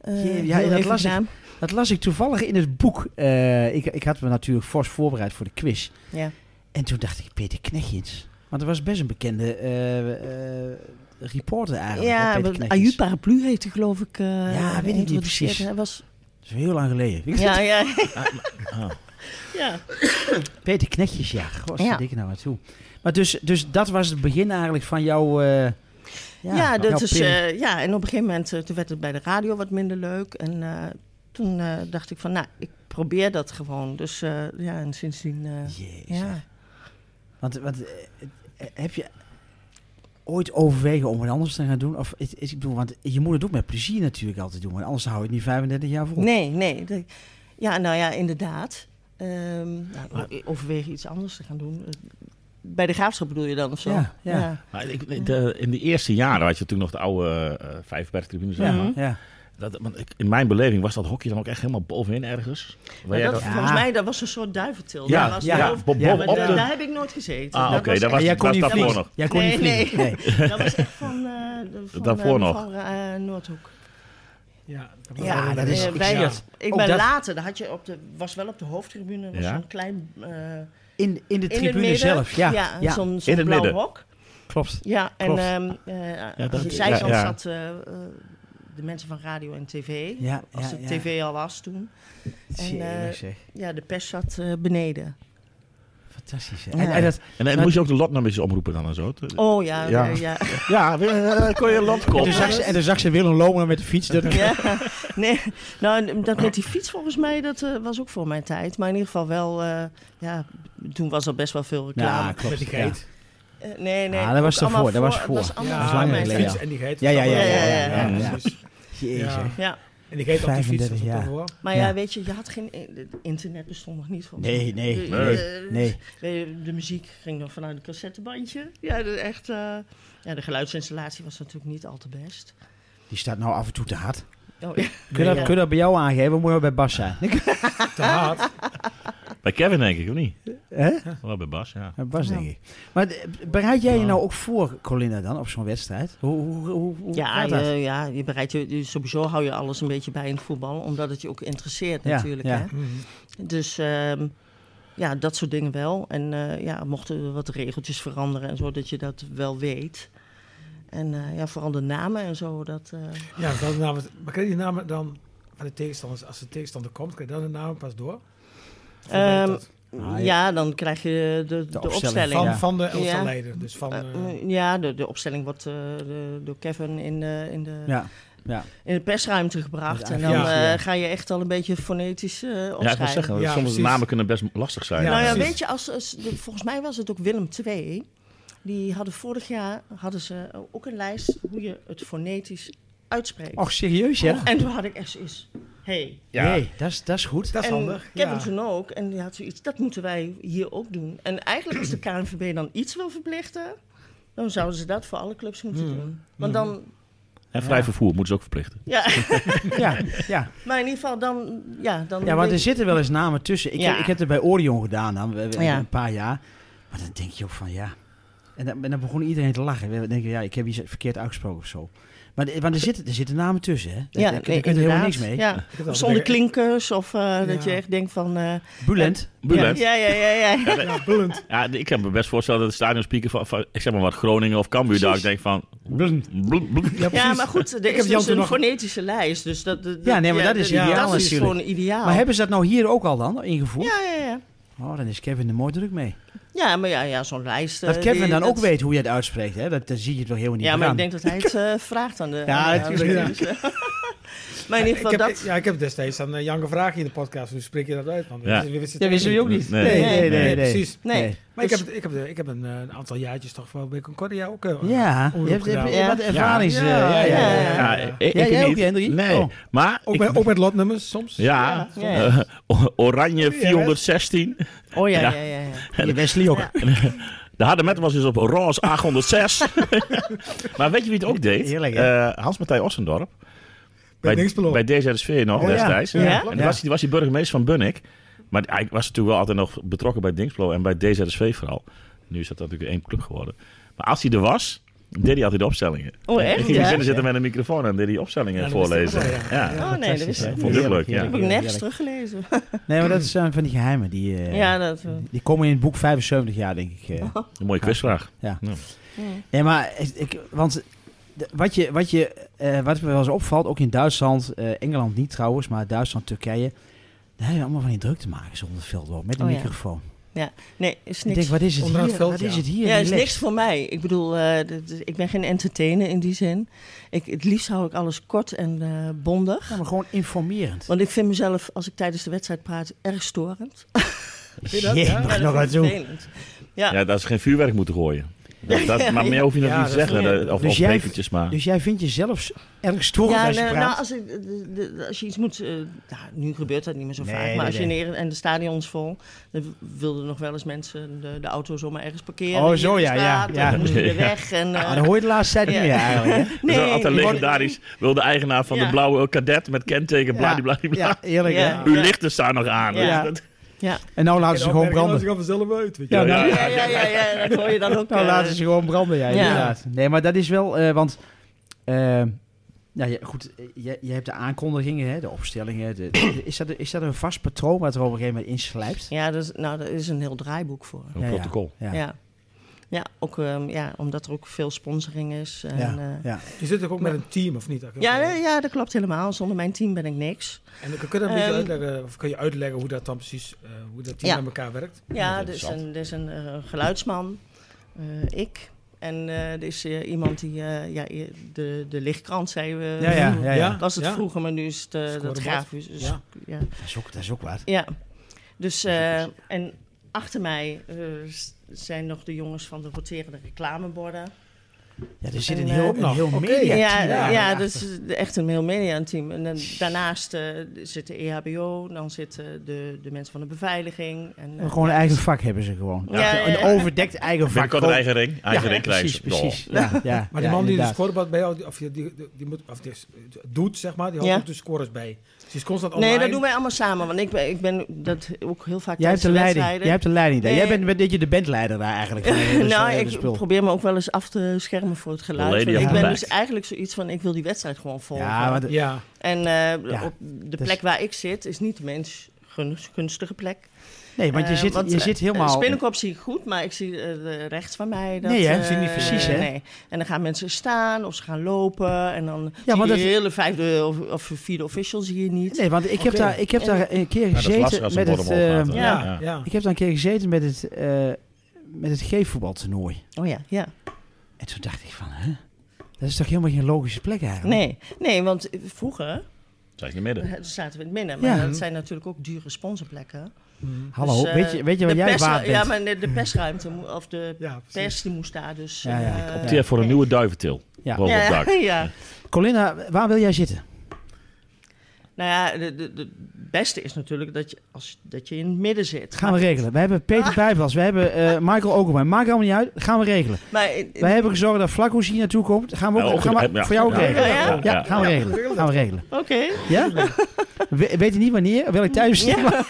Speaker 5: eh,
Speaker 2: Jee, ja,
Speaker 5: heel
Speaker 2: dat
Speaker 5: even
Speaker 2: las ik.
Speaker 5: gedaan.
Speaker 2: Dat las ik toevallig in het boek. Eh, ik, ik had me natuurlijk fors voorbereid voor de quiz.
Speaker 5: Ja.
Speaker 2: En toen dacht ik, Peter Knechtjes. Want dat was best een bekende eh, eh, reporter eigenlijk. hè,
Speaker 5: Ja,
Speaker 2: Peter
Speaker 5: want
Speaker 2: Knechtjes.
Speaker 5: Aju Paraplu heette geloof ik. eh,
Speaker 2: Ja, weet ik niet
Speaker 5: geïntroduceerd.
Speaker 2: precies.
Speaker 5: Hij was,
Speaker 2: Dat is heel lang geleden.
Speaker 5: ja, ja.
Speaker 3: ah.
Speaker 5: ja.
Speaker 2: Peter Knechtjes, ja. God,
Speaker 5: Ja.
Speaker 2: dikke nou maar toe. Maar dus, dus dat was het begin eigenlijk van jouw... eh,
Speaker 5: Ja,
Speaker 2: jouw
Speaker 5: dat is,
Speaker 2: pin.
Speaker 5: eh, ja, en op een gegeven moment eh, toen werd het bij de radio wat minder leuk. En eh, toen eh, dacht ik van, nou, ik probeer dat gewoon. Dus eh, ja, en sindsdien... eh,
Speaker 2: Jezus.
Speaker 5: ja.
Speaker 2: Want, want eh, eh, heb je ooit overwegen om wat anders te gaan doen? Of, is- is- ik bedoel, want je moet het ook met plezier natuurlijk altijd doen. Want anders hou je het niet 35 jaar vol.
Speaker 5: Nee, nee. dat- ja, nou ja, inderdaad. Ehm nou, o- overweeg iets anders te gaan doen. Eh, Bij de graafschap bedoel je dan of zo?
Speaker 2: Ja, ja.
Speaker 3: Maar ik, de, in de eerste jaren had je natuurlijk nog de oude eh vijfbergtribune, zeg
Speaker 5: Ja.
Speaker 3: maar.
Speaker 2: Ja.
Speaker 3: Dat, want ik- in mijn beleving was dat hokje dan ook echt helemaal bovenin ergens. Waar
Speaker 5: Maar
Speaker 3: jij
Speaker 5: dat,
Speaker 3: dat-
Speaker 2: Ja.
Speaker 5: Volgens mij, dat was een soort duiventil.
Speaker 3: Ja,
Speaker 5: dat was
Speaker 2: Ah. ja,
Speaker 5: boven-
Speaker 3: bo-
Speaker 2: Ja,
Speaker 5: maar
Speaker 3: bovenop
Speaker 5: daar,
Speaker 3: de-
Speaker 5: daar heb ik nooit gezeten.
Speaker 3: Ah, oké, daar
Speaker 5: echt-
Speaker 3: was-
Speaker 2: En jij kon
Speaker 3: was
Speaker 2: niet
Speaker 3: daarvoor
Speaker 2: vliegen.
Speaker 3: nog.
Speaker 2: Jij kon niet
Speaker 5: Nee,
Speaker 2: vliegen.
Speaker 5: nee.
Speaker 2: Nee.
Speaker 5: dat was echt van, eh de, van
Speaker 3: Daarvoor
Speaker 5: eh,
Speaker 3: nog.
Speaker 5: mevrouw, eh, Noordhoek.
Speaker 4: Ja, dat was-
Speaker 5: Ja,
Speaker 2: dat
Speaker 5: dat
Speaker 2: is-
Speaker 5: is...
Speaker 2: ik
Speaker 5: wij,
Speaker 2: zie
Speaker 5: dat- Ik
Speaker 2: Ook
Speaker 5: ben
Speaker 2: dat-
Speaker 5: later, daar had je op de, was wel op de hoofdtribune, was
Speaker 3: Ja.
Speaker 5: zo'n klein... eh,
Speaker 2: In, in de
Speaker 5: in het
Speaker 2: tribune
Speaker 5: midden.
Speaker 2: zelf. Ja, ja,
Speaker 5: ja, zo'n
Speaker 3: In
Speaker 5: zo'n
Speaker 3: het
Speaker 5: blauw
Speaker 3: midden.
Speaker 5: hok.
Speaker 2: klopt.
Speaker 5: Ja, en
Speaker 2: Klopt.
Speaker 5: ehm eh,
Speaker 3: dat-
Speaker 5: aan de
Speaker 3: ja,
Speaker 5: zijkant
Speaker 3: ja.
Speaker 5: zat eh, eh, de mensen van radio en tv.
Speaker 2: Ja,
Speaker 5: als
Speaker 2: ja,
Speaker 5: de
Speaker 2: ja.
Speaker 5: tv al was toen. En, eh,
Speaker 2: Jezus, zeg.
Speaker 5: Ja, de pers zat eh, beneden.
Speaker 2: Fantastisch. hè.
Speaker 5: Ja.
Speaker 2: En, en dat,
Speaker 3: En dan moest je ook de lotnummers omroepen dan en zo.
Speaker 5: Oh ja,
Speaker 3: Ja.
Speaker 5: ja. ja.
Speaker 3: Ja, dan kon je lot
Speaker 2: en, toen zag ze, en toen zag ze Willem Lomer met de fiets. Dat,
Speaker 5: ja. Nee, nou, dat met die fiets volgens mij, dat eh, was ook voor mijn tijd. Maar in ieder geval wel, eh, ja, toen was er best wel veel reclame.
Speaker 2: Ja, klopt.
Speaker 4: Met die
Speaker 2: ja.
Speaker 4: geit.
Speaker 5: Eh, nee, nee.
Speaker 2: Ah, dat was
Speaker 5: ook allemaal
Speaker 2: ervoor, dat was voor.
Speaker 5: het was allemaal
Speaker 2: dat is
Speaker 5: voor
Speaker 2: langer
Speaker 5: mijn
Speaker 2: geleden,
Speaker 4: fiets
Speaker 5: tijd.
Speaker 2: ja.
Speaker 4: en die geit.
Speaker 2: Ja, ja, ja,
Speaker 5: ja, ja,
Speaker 4: Ja,
Speaker 2: ja.
Speaker 4: precies.
Speaker 2: Jezus.
Speaker 4: Ja.
Speaker 5: Ja,
Speaker 4: En die geit op die fiets.
Speaker 2: 35
Speaker 4: Dat is
Speaker 2: jaar.
Speaker 4: toch wel.
Speaker 5: maar ja,
Speaker 2: Ja.
Speaker 5: weet je, je had geen... eh, Internet bestond nog niet. volgens
Speaker 2: Nee, nee,
Speaker 5: De-
Speaker 3: nee,
Speaker 5: de-
Speaker 2: nee.
Speaker 5: weet je, eh, De muziek ging dan vanuit een cassettebandje. Ja, de, echt, eh, ja, de geluidsinstallatie was natuurlijk niet al te best.
Speaker 2: Die staat nou af en toe te hard.
Speaker 5: Oh, ja.
Speaker 2: Kun je dat,
Speaker 5: Ja.
Speaker 2: kun je dat bij jou aangeven? Moet je dat bij Bas zijn?
Speaker 4: Te hard.
Speaker 3: Bij Kevin denk ik, of niet?
Speaker 2: Hè?
Speaker 3: Wel bij Bas, ja.
Speaker 2: Dat was denk ik. Maar eh, bereid jij je nou ook voor, Colinda, dan op zo'n wedstrijd? Hoe, hoe, hoe, hoe
Speaker 5: Ja,
Speaker 2: gaat dat?
Speaker 5: je, ja je bereidt je, je- sowieso hou je alles een beetje bij in het voetbal, omdat het je ook interesseert
Speaker 2: Ja,
Speaker 5: natuurlijk.
Speaker 2: ja.
Speaker 5: Hè?
Speaker 4: Mhm.
Speaker 5: Dus ehm, ja, dat soort dingen wel. En eh, ja, mochten er wat regeltjes veranderen en zo, dat je dat wel weet. En eh, ja, vooral de namen en zo. Dat, eh,
Speaker 4: Ja, dat is namens, maar krijg je die namen dan van de tegenstanders, als de tegenstander komt, krijg je dan de namen pas door? Of
Speaker 5: Ehm,
Speaker 4: weet dat?
Speaker 2: Ah, ja.
Speaker 5: ja, dan krijg je de, de,
Speaker 2: opstelling.
Speaker 5: opstelling.
Speaker 4: van,
Speaker 2: ja.
Speaker 4: van de elftal
Speaker 5: Ja.
Speaker 4: leider, dus van...
Speaker 5: Eh,
Speaker 4: eh,
Speaker 5: eh, ja, de, de opstelling wordt eh, de- door Kevin in de, in de,
Speaker 2: Ja,
Speaker 5: in de persruimte gebracht.
Speaker 2: Met
Speaker 5: En dan
Speaker 4: agenda,
Speaker 5: eh,
Speaker 2: ja.
Speaker 5: ga je echt al een beetje fonetisch eh opschrijven.
Speaker 3: Ja, ik wil zeggen,
Speaker 4: Ja,
Speaker 3: sommige
Speaker 4: precies.
Speaker 3: namen kunnen best lastig zijn.
Speaker 4: Ja,
Speaker 5: nou ja,
Speaker 4: precies.
Speaker 5: weet je, als, als de- volgens mij was het ook Willem II. Die hadden vorig jaar hadden ze eh, ook een lijst hoe je het fonetisch uitspreekt.
Speaker 2: Och, serieus, ja?
Speaker 5: En toen had ik echt zoiets. Hey.
Speaker 3: Ja.
Speaker 2: Nee, dat is, dat is goed.
Speaker 4: dat is
Speaker 5: en
Speaker 4: handig.
Speaker 5: Kevin
Speaker 4: ja.
Speaker 5: toen ook. En die had zoiets, dat moeten wij hier ook doen. En eigenlijk als de KNVB dan iets wil verplichten, dan zouden ze dat voor alle clubs moeten
Speaker 2: Hmm.
Speaker 4: Mhm.
Speaker 5: doen. Want dan,
Speaker 3: En vrij vervoer moeten ze ook verplichten.
Speaker 5: ja,
Speaker 2: Ja, ja.
Speaker 5: maar in ieder geval dan, ja. Dan
Speaker 2: ja, want er
Speaker 5: weet-
Speaker 2: zitten wel eens namen tussen. Ik,
Speaker 5: Ja.
Speaker 2: ik heb het bij Orion gedaan dan, we- we-
Speaker 5: Ja.
Speaker 2: een paar jaar. Maar dan denk je ook van, ja... En dan, en dan begon iedereen te lachen. We denken, ja, ik heb iets verkeerd uitgesproken of zo. Maar de- want er zitten, er zitten namen tussen, hè? Daar,
Speaker 5: ja,
Speaker 2: daar kun-
Speaker 5: nee,
Speaker 2: daar kun je helemaal niks
Speaker 5: inderdaad.
Speaker 2: mee.
Speaker 5: Ja.
Speaker 4: Ik heb
Speaker 5: Of
Speaker 4: dat
Speaker 5: zonder
Speaker 4: altijd-
Speaker 5: klinkers of eh, dat je
Speaker 4: Ja.
Speaker 5: echt denkt van... eh,
Speaker 2: Bulent.
Speaker 3: Bulent.
Speaker 5: Ja, ja, ja, ja. ja.
Speaker 4: Ja, bullend.
Speaker 3: Ja, ik kan me best voorstellen dat de stadionspeaker van, van ik zeg maar wat, Groningen of Cambuur, daar ik denk van...
Speaker 2: Bulent.
Speaker 3: bloem, bloem.
Speaker 4: Ja, precies.
Speaker 5: Ja, maar goed, er
Speaker 4: heb
Speaker 5: is
Speaker 4: Jan
Speaker 5: dus
Speaker 4: toen
Speaker 5: een
Speaker 4: nog-
Speaker 5: fonetische lijst. Dus dat, dat-
Speaker 2: Ja, nee, maar dat is
Speaker 5: dat-
Speaker 2: ideaal
Speaker 5: Dat is
Speaker 2: natuurlijk.
Speaker 5: gewoon ideaal.
Speaker 2: Maar hebben ze dat nou hier ook al dan ingevoerd?
Speaker 5: Ja, ja, ja.
Speaker 2: Oh, dan is Kevin er mooi druk mee.
Speaker 5: Ja, maar ja, ja zo'n lijst. eh,
Speaker 2: Dat Kevin
Speaker 5: die-
Speaker 2: dan ook
Speaker 5: dat-
Speaker 2: weet hoe je het uitspreekt, hè? Dat, dan zie je het wel helemaal niet
Speaker 5: Ja, maar
Speaker 2: aan.
Speaker 5: ik denk dat hij het eh, vraagt aan de...
Speaker 2: Ja,
Speaker 5: aan de-
Speaker 2: natuurlijk.
Speaker 5: aan de- Maar in ieder
Speaker 4: Ik
Speaker 5: geval
Speaker 4: heb,
Speaker 5: dat.
Speaker 4: ja, ik heb destijds aan eh, Jan gevraagd hier in de podcast. Hoe spreek je dat uit? Want
Speaker 3: Ja.
Speaker 4: we wisten het
Speaker 2: Dat wisten we ook niet.
Speaker 3: Nee,
Speaker 2: Nee, nee, nee.
Speaker 4: precies.
Speaker 5: Nee.
Speaker 2: Nee.
Speaker 4: Maar ik
Speaker 5: Dus-
Speaker 4: heb, het- ik heb, de- ik heb een, eh, een aantal jaartjes toch wel bij Concordia ook. eh,
Speaker 2: Ja, je
Speaker 4: omroep
Speaker 2: hebt, je hebt- je
Speaker 4: gedaan.
Speaker 2: hebt wat ervaring.
Speaker 4: Ja.
Speaker 2: eh, Ja, ja, ja,
Speaker 5: Ja,
Speaker 3: Ja,
Speaker 4: ja.
Speaker 3: ik, ik
Speaker 2: Ja, jij ook,
Speaker 3: niet.
Speaker 2: Henry?
Speaker 3: Nee,
Speaker 2: Oh.
Speaker 3: maar...
Speaker 4: Ook,
Speaker 3: ik-
Speaker 4: met, ook met lotnummers soms.
Speaker 3: ja,
Speaker 5: Ja.
Speaker 3: eh, o- Oranje 416.
Speaker 5: Oh ja,
Speaker 3: Ja.
Speaker 5: ja, ja. ja.
Speaker 2: Die Wesley ook.
Speaker 3: De harde metal was dus op Roos 806. maar weet je wie het ook deed?
Speaker 2: Heerlijk, hè?
Speaker 3: Eh, Hans-Matthij Ossendorp.
Speaker 4: Bij Dinxperlo.
Speaker 3: Bij DZSV nog
Speaker 2: Oh, ja.
Speaker 3: destijds.
Speaker 5: Ja?
Speaker 3: En
Speaker 2: Ja.
Speaker 3: dan was, hij- was hij burgemeester van Bunnik. Maar hij was natuurlijk wel altijd nog betrokken bij Dingsblo en bij DZSV vooral. Nu is dat natuurlijk één club geworden. Maar als hij er was, deed hij altijd de opstellingen.
Speaker 5: Oh,
Speaker 3: Hij
Speaker 5: echt?
Speaker 3: ging hij
Speaker 5: Ja?
Speaker 3: binnen zitten met een microfoon en deed hij opstellingen
Speaker 4: Ja, dat
Speaker 3: voorlezen.
Speaker 4: wist ik ook wel,
Speaker 3: Ja.
Speaker 4: ja.
Speaker 5: Oh nee, dat wist ik.
Speaker 3: hè? Vond ik leuk, ja.
Speaker 5: Heb ik nergens teruggelezen.
Speaker 2: Nee, maar dat zijn van die geheimen. Die, eh,
Speaker 5: Ja, Oh. dat. eh,
Speaker 2: die komen in het boek 75 jaar, denk ik. eh.
Speaker 3: Een mooie quizvraag.
Speaker 2: Nee, maar ik- ik, want de- wat, je, wat, je, eh, wat me wel eens opvalt, ook in Duitsland, eh, Engeland niet trouwens, maar Duitsland, Turkije. Daar hebben we allemaal van die druk te maken zonder het veld wel, met een
Speaker 5: Oh ja.
Speaker 2: microfoon.
Speaker 5: Nee, is
Speaker 2: Ik
Speaker 5: niks.
Speaker 2: denk, wat is het
Speaker 4: Onderaan
Speaker 2: hier?
Speaker 4: het veld,
Speaker 2: wat
Speaker 4: ja.
Speaker 2: is het hier?
Speaker 5: Ja, is
Speaker 2: Relaxed.
Speaker 5: niks voor mij. Ik bedoel, eh, dit- dit- ik ben geen entertainer in die zin. Ik, het liefst hou ik alles kort en eh, bondig.
Speaker 2: Ja, maar gewoon informerend.
Speaker 5: Want ik vind mezelf, als ik tijdens de wedstrijd praat, erg storend.
Speaker 4: Zie je dat?
Speaker 2: Jee,
Speaker 4: Ja.
Speaker 2: mag
Speaker 5: Ja,
Speaker 2: nog
Speaker 5: dat
Speaker 2: wat
Speaker 5: vind ik
Speaker 2: doen.
Speaker 5: vervelend.
Speaker 3: Ja, dat is geen vuurwerk moeten gooien. Dat, dat, maar meer hoef je nog
Speaker 4: Ja,
Speaker 3: niet te
Speaker 4: dat is
Speaker 3: zeggen.
Speaker 5: goed.
Speaker 3: eh, Of,
Speaker 2: Dus
Speaker 3: of
Speaker 2: jij-
Speaker 3: bekertjes maar.
Speaker 2: Dus jij vindt jezelf erg storend
Speaker 5: Ja,
Speaker 2: als je
Speaker 5: nou,
Speaker 2: praat?
Speaker 5: nou, als, ik, de- de- de- als je iets moet... eh, nou, nu gebeurt dat niet meer zo
Speaker 2: Nee,
Speaker 5: vaak. Maar
Speaker 2: nee,
Speaker 5: als je
Speaker 2: nee.
Speaker 5: neer en de stadion is vol... dan wilden nog wel eens mensen de, de auto zomaar ergens parkeren.
Speaker 2: Oh,
Speaker 5: hier
Speaker 2: zo,
Speaker 5: in de
Speaker 2: ja, ja,
Speaker 5: straat,
Speaker 2: ja.
Speaker 5: en dan moest je weer weg. En, eh,
Speaker 2: Ah, dat hoor dus je de laatste tijd
Speaker 5: Ja.
Speaker 2: niet meer eigenlijk. hè?
Speaker 3: Dat is
Speaker 5: nee,
Speaker 3: altijd
Speaker 5: je wordt-
Speaker 3: legendarisch. Wil de eigenaar van
Speaker 5: Ja.
Speaker 3: de blauwe kadet met kenteken bladibladibla.
Speaker 2: Ja, eerlijk
Speaker 5: Ja.
Speaker 2: hè?
Speaker 3: Uw lichten staan nog aan.
Speaker 5: Ja.
Speaker 3: Dat-
Speaker 2: En nou laten
Speaker 4: En
Speaker 2: ze gewoon
Speaker 4: opmerkingen
Speaker 2: branden.
Speaker 4: gaan vanzelf uit. Weet je.
Speaker 2: Ja,
Speaker 4: wel.
Speaker 2: nou,
Speaker 5: Ja, ja, ja, ja, dat hoor je dan ook.
Speaker 2: Nou,
Speaker 5: eh,
Speaker 2: laten ze gewoon branden, ja,
Speaker 5: ja.
Speaker 2: inderdaad. Nee, maar dat is wel, eh, want... eh, ja, je- goed, eh, je, je hebt de aankondigingen, hè, de opstellingen. De, de- is, dat, is dat een vast patroon wat er op een gegeven moment inslijpt?
Speaker 5: Ja, dat is, nou, daar is een heel draaiboek voor.
Speaker 3: Een protocol.
Speaker 2: Ja,
Speaker 5: Ja.
Speaker 2: ja,
Speaker 5: Ja. ook ehm, ja, omdat er ook veel sponsoring is. En, eh,
Speaker 2: ja,
Speaker 5: ja.
Speaker 2: ja.
Speaker 4: Je zit toch ook met een team, of niet?
Speaker 5: Ja, nee, ja, dat klopt helemaal. Zonder mijn team ben ik niks.
Speaker 4: En kun je, dat een beetje
Speaker 5: Ehm,
Speaker 4: uitleggen, of kun je uitleggen hoe dat dan precies, eh, hoe dat team
Speaker 5: Ja.
Speaker 4: aan elkaar werkt?
Speaker 5: Ja,
Speaker 3: dat
Speaker 5: er
Speaker 3: is
Speaker 5: is een, er is een eh, geluidsman, eh, ik. En eh, er is eh, iemand die, eh, ja, eh, de, de lichtkrant, zei we.
Speaker 2: ja, ja, ja,
Speaker 4: Ja.
Speaker 5: Dat was het
Speaker 4: Ja.
Speaker 5: vroeger, maar nu is het eh, dat
Speaker 4: Scorebord.
Speaker 5: grafisch. dus-
Speaker 4: Ja.
Speaker 5: ja.
Speaker 2: Dat, is ook, dat is ook wat.
Speaker 5: Ja, dus eh, en achter mij eh, s- zijn nog de jongens van de roterende reclameborden.
Speaker 2: Ja, er zit een
Speaker 5: En,
Speaker 2: heel,
Speaker 5: eh,
Speaker 2: een heel
Speaker 4: Oké.
Speaker 2: media.
Speaker 5: ja,
Speaker 4: team,
Speaker 5: ja,
Speaker 4: ja.
Speaker 5: dus echt een heel mediateam. En dan, daarnaast eh, zit de EHBO, dan zitten de, de mensen van de beveiliging. En, eh,
Speaker 2: Gewoon een eigen vak hebben ze gewoon.
Speaker 5: Ja, ja, ja.
Speaker 2: Een overdekt eigen vak.
Speaker 3: Binnenkort een eigen ring. Eigen
Speaker 2: ja,
Speaker 3: ring krijgen
Speaker 2: precies,
Speaker 3: ze.
Speaker 2: precies. Ja, ja,
Speaker 4: Maar
Speaker 2: ja,
Speaker 4: die man die dus de
Speaker 2: inderdaad.
Speaker 4: scorebord bij jou, die- of die, die, die, moet, of die doet, zeg maar, die houdt
Speaker 5: Ja.
Speaker 4: ook de scores bij. Dus die is constant online.
Speaker 5: nee, dat doen wij allemaal samen, want ik ben, ik ben dat ook heel vaak
Speaker 2: Jij hebt,
Speaker 5: tijdens
Speaker 2: de
Speaker 5: de
Speaker 2: leiding, jij
Speaker 5: wedstrijden.
Speaker 2: hebt de leiding daar. Jij
Speaker 5: Nee.
Speaker 2: bent een beetje de bandleider daar eigenlijk. van het hele-
Speaker 5: nou,
Speaker 2: hele
Speaker 5: ik
Speaker 2: spul.
Speaker 5: probeer me ook wel eens af te schermen voor het geluid.
Speaker 3: Lady
Speaker 5: want
Speaker 3: of
Speaker 5: ik
Speaker 2: the
Speaker 5: ben
Speaker 3: Black.
Speaker 5: dus eigenlijk zoiets van, ik wil die wedstrijd gewoon volgen.
Speaker 2: Ja, maar de-
Speaker 4: Ja,
Speaker 5: En eh,
Speaker 2: Ja,
Speaker 5: op de
Speaker 2: dus-
Speaker 5: plek waar ik zit is niet de mens gun- gunstige plek.
Speaker 2: nee, want je,
Speaker 5: Eh,
Speaker 2: zit,
Speaker 5: want,
Speaker 2: je
Speaker 5: eh,
Speaker 2: zit
Speaker 5: eh,
Speaker 2: helemaal...
Speaker 5: Spinnenkop zie ik goed, maar ik zie eh, de- rechts van mij. Dat,
Speaker 2: Nee, hè?
Speaker 5: eh,
Speaker 2: Zie je niet precies, hè?
Speaker 5: Nee. En dan gaan mensen staan of ze gaan lopen. En dan
Speaker 2: maar
Speaker 5: ja, zie je
Speaker 2: dat-
Speaker 5: de hele vijfde of, of vierde official zie je niet.
Speaker 2: Nee, want ik heb,
Speaker 4: Oké.
Speaker 2: daar, ik heb
Speaker 5: En-
Speaker 2: daar een keer
Speaker 3: Ja, dat is
Speaker 2: gezeten
Speaker 3: lastig als een
Speaker 2: met
Speaker 3: bord
Speaker 2: het...
Speaker 3: omhoog gaat.
Speaker 2: eh,
Speaker 3: hè.
Speaker 5: ja.
Speaker 3: Ja.
Speaker 4: ja.
Speaker 2: ik heb daar een keer gezeten met het, eh met het G-voetbaltoernooi.
Speaker 5: Oh ja, ja.
Speaker 2: En toen dacht ik van, hè? Dat is toch helemaal geen logische plek eigenlijk?
Speaker 5: Nee, nee want vroeger
Speaker 3: Zijn ze in het midden.
Speaker 5: eh, zaten we in het midden. Maar
Speaker 2: Ja.
Speaker 5: dat zijn natuurlijk ook dure sponsorplekken.
Speaker 2: Hallo,
Speaker 5: Dus, eh,
Speaker 2: weet, je, weet je wat
Speaker 5: de
Speaker 2: jij
Speaker 5: pers-
Speaker 2: waard bent?
Speaker 5: Ja, maar de, de persruimte mo- of de
Speaker 4: Ja, precies.
Speaker 5: pers die moest daar dus...
Speaker 2: Ja, ja,
Speaker 5: eh,
Speaker 2: klopt.
Speaker 3: Opteer voor een nieuwe duiventil.
Speaker 2: Ja.
Speaker 3: Boven op het
Speaker 5: ja,
Speaker 3: dak.
Speaker 5: ja.
Speaker 2: Colinda, waar wil jij zitten?
Speaker 5: Nou ja, de- de- de- het beste is natuurlijk dat je, als, dat je in het midden zit.
Speaker 2: Gaan we regelen. We hebben Peter
Speaker 5: Ah.
Speaker 2: Bijbels, we hebben eh, Michael Ogenbaar. Maakt allemaal niet uit, gaan we regelen.
Speaker 5: Maar, eh,
Speaker 2: Wij hebben gezorgd dat Flacco hier naartoe komt. Gaan we ook,
Speaker 3: Ja, ook-
Speaker 2: gaan we,
Speaker 3: Nou, ja.
Speaker 2: voor jou ook
Speaker 3: Ja,
Speaker 2: regelen.
Speaker 5: ja,
Speaker 2: Ja,
Speaker 5: ja.
Speaker 2: gaan we regelen. Gaan we regelen.
Speaker 5: Oké.
Speaker 2: Ja? We, weet je niet wanneer? Welk tijdstip?
Speaker 5: Ja.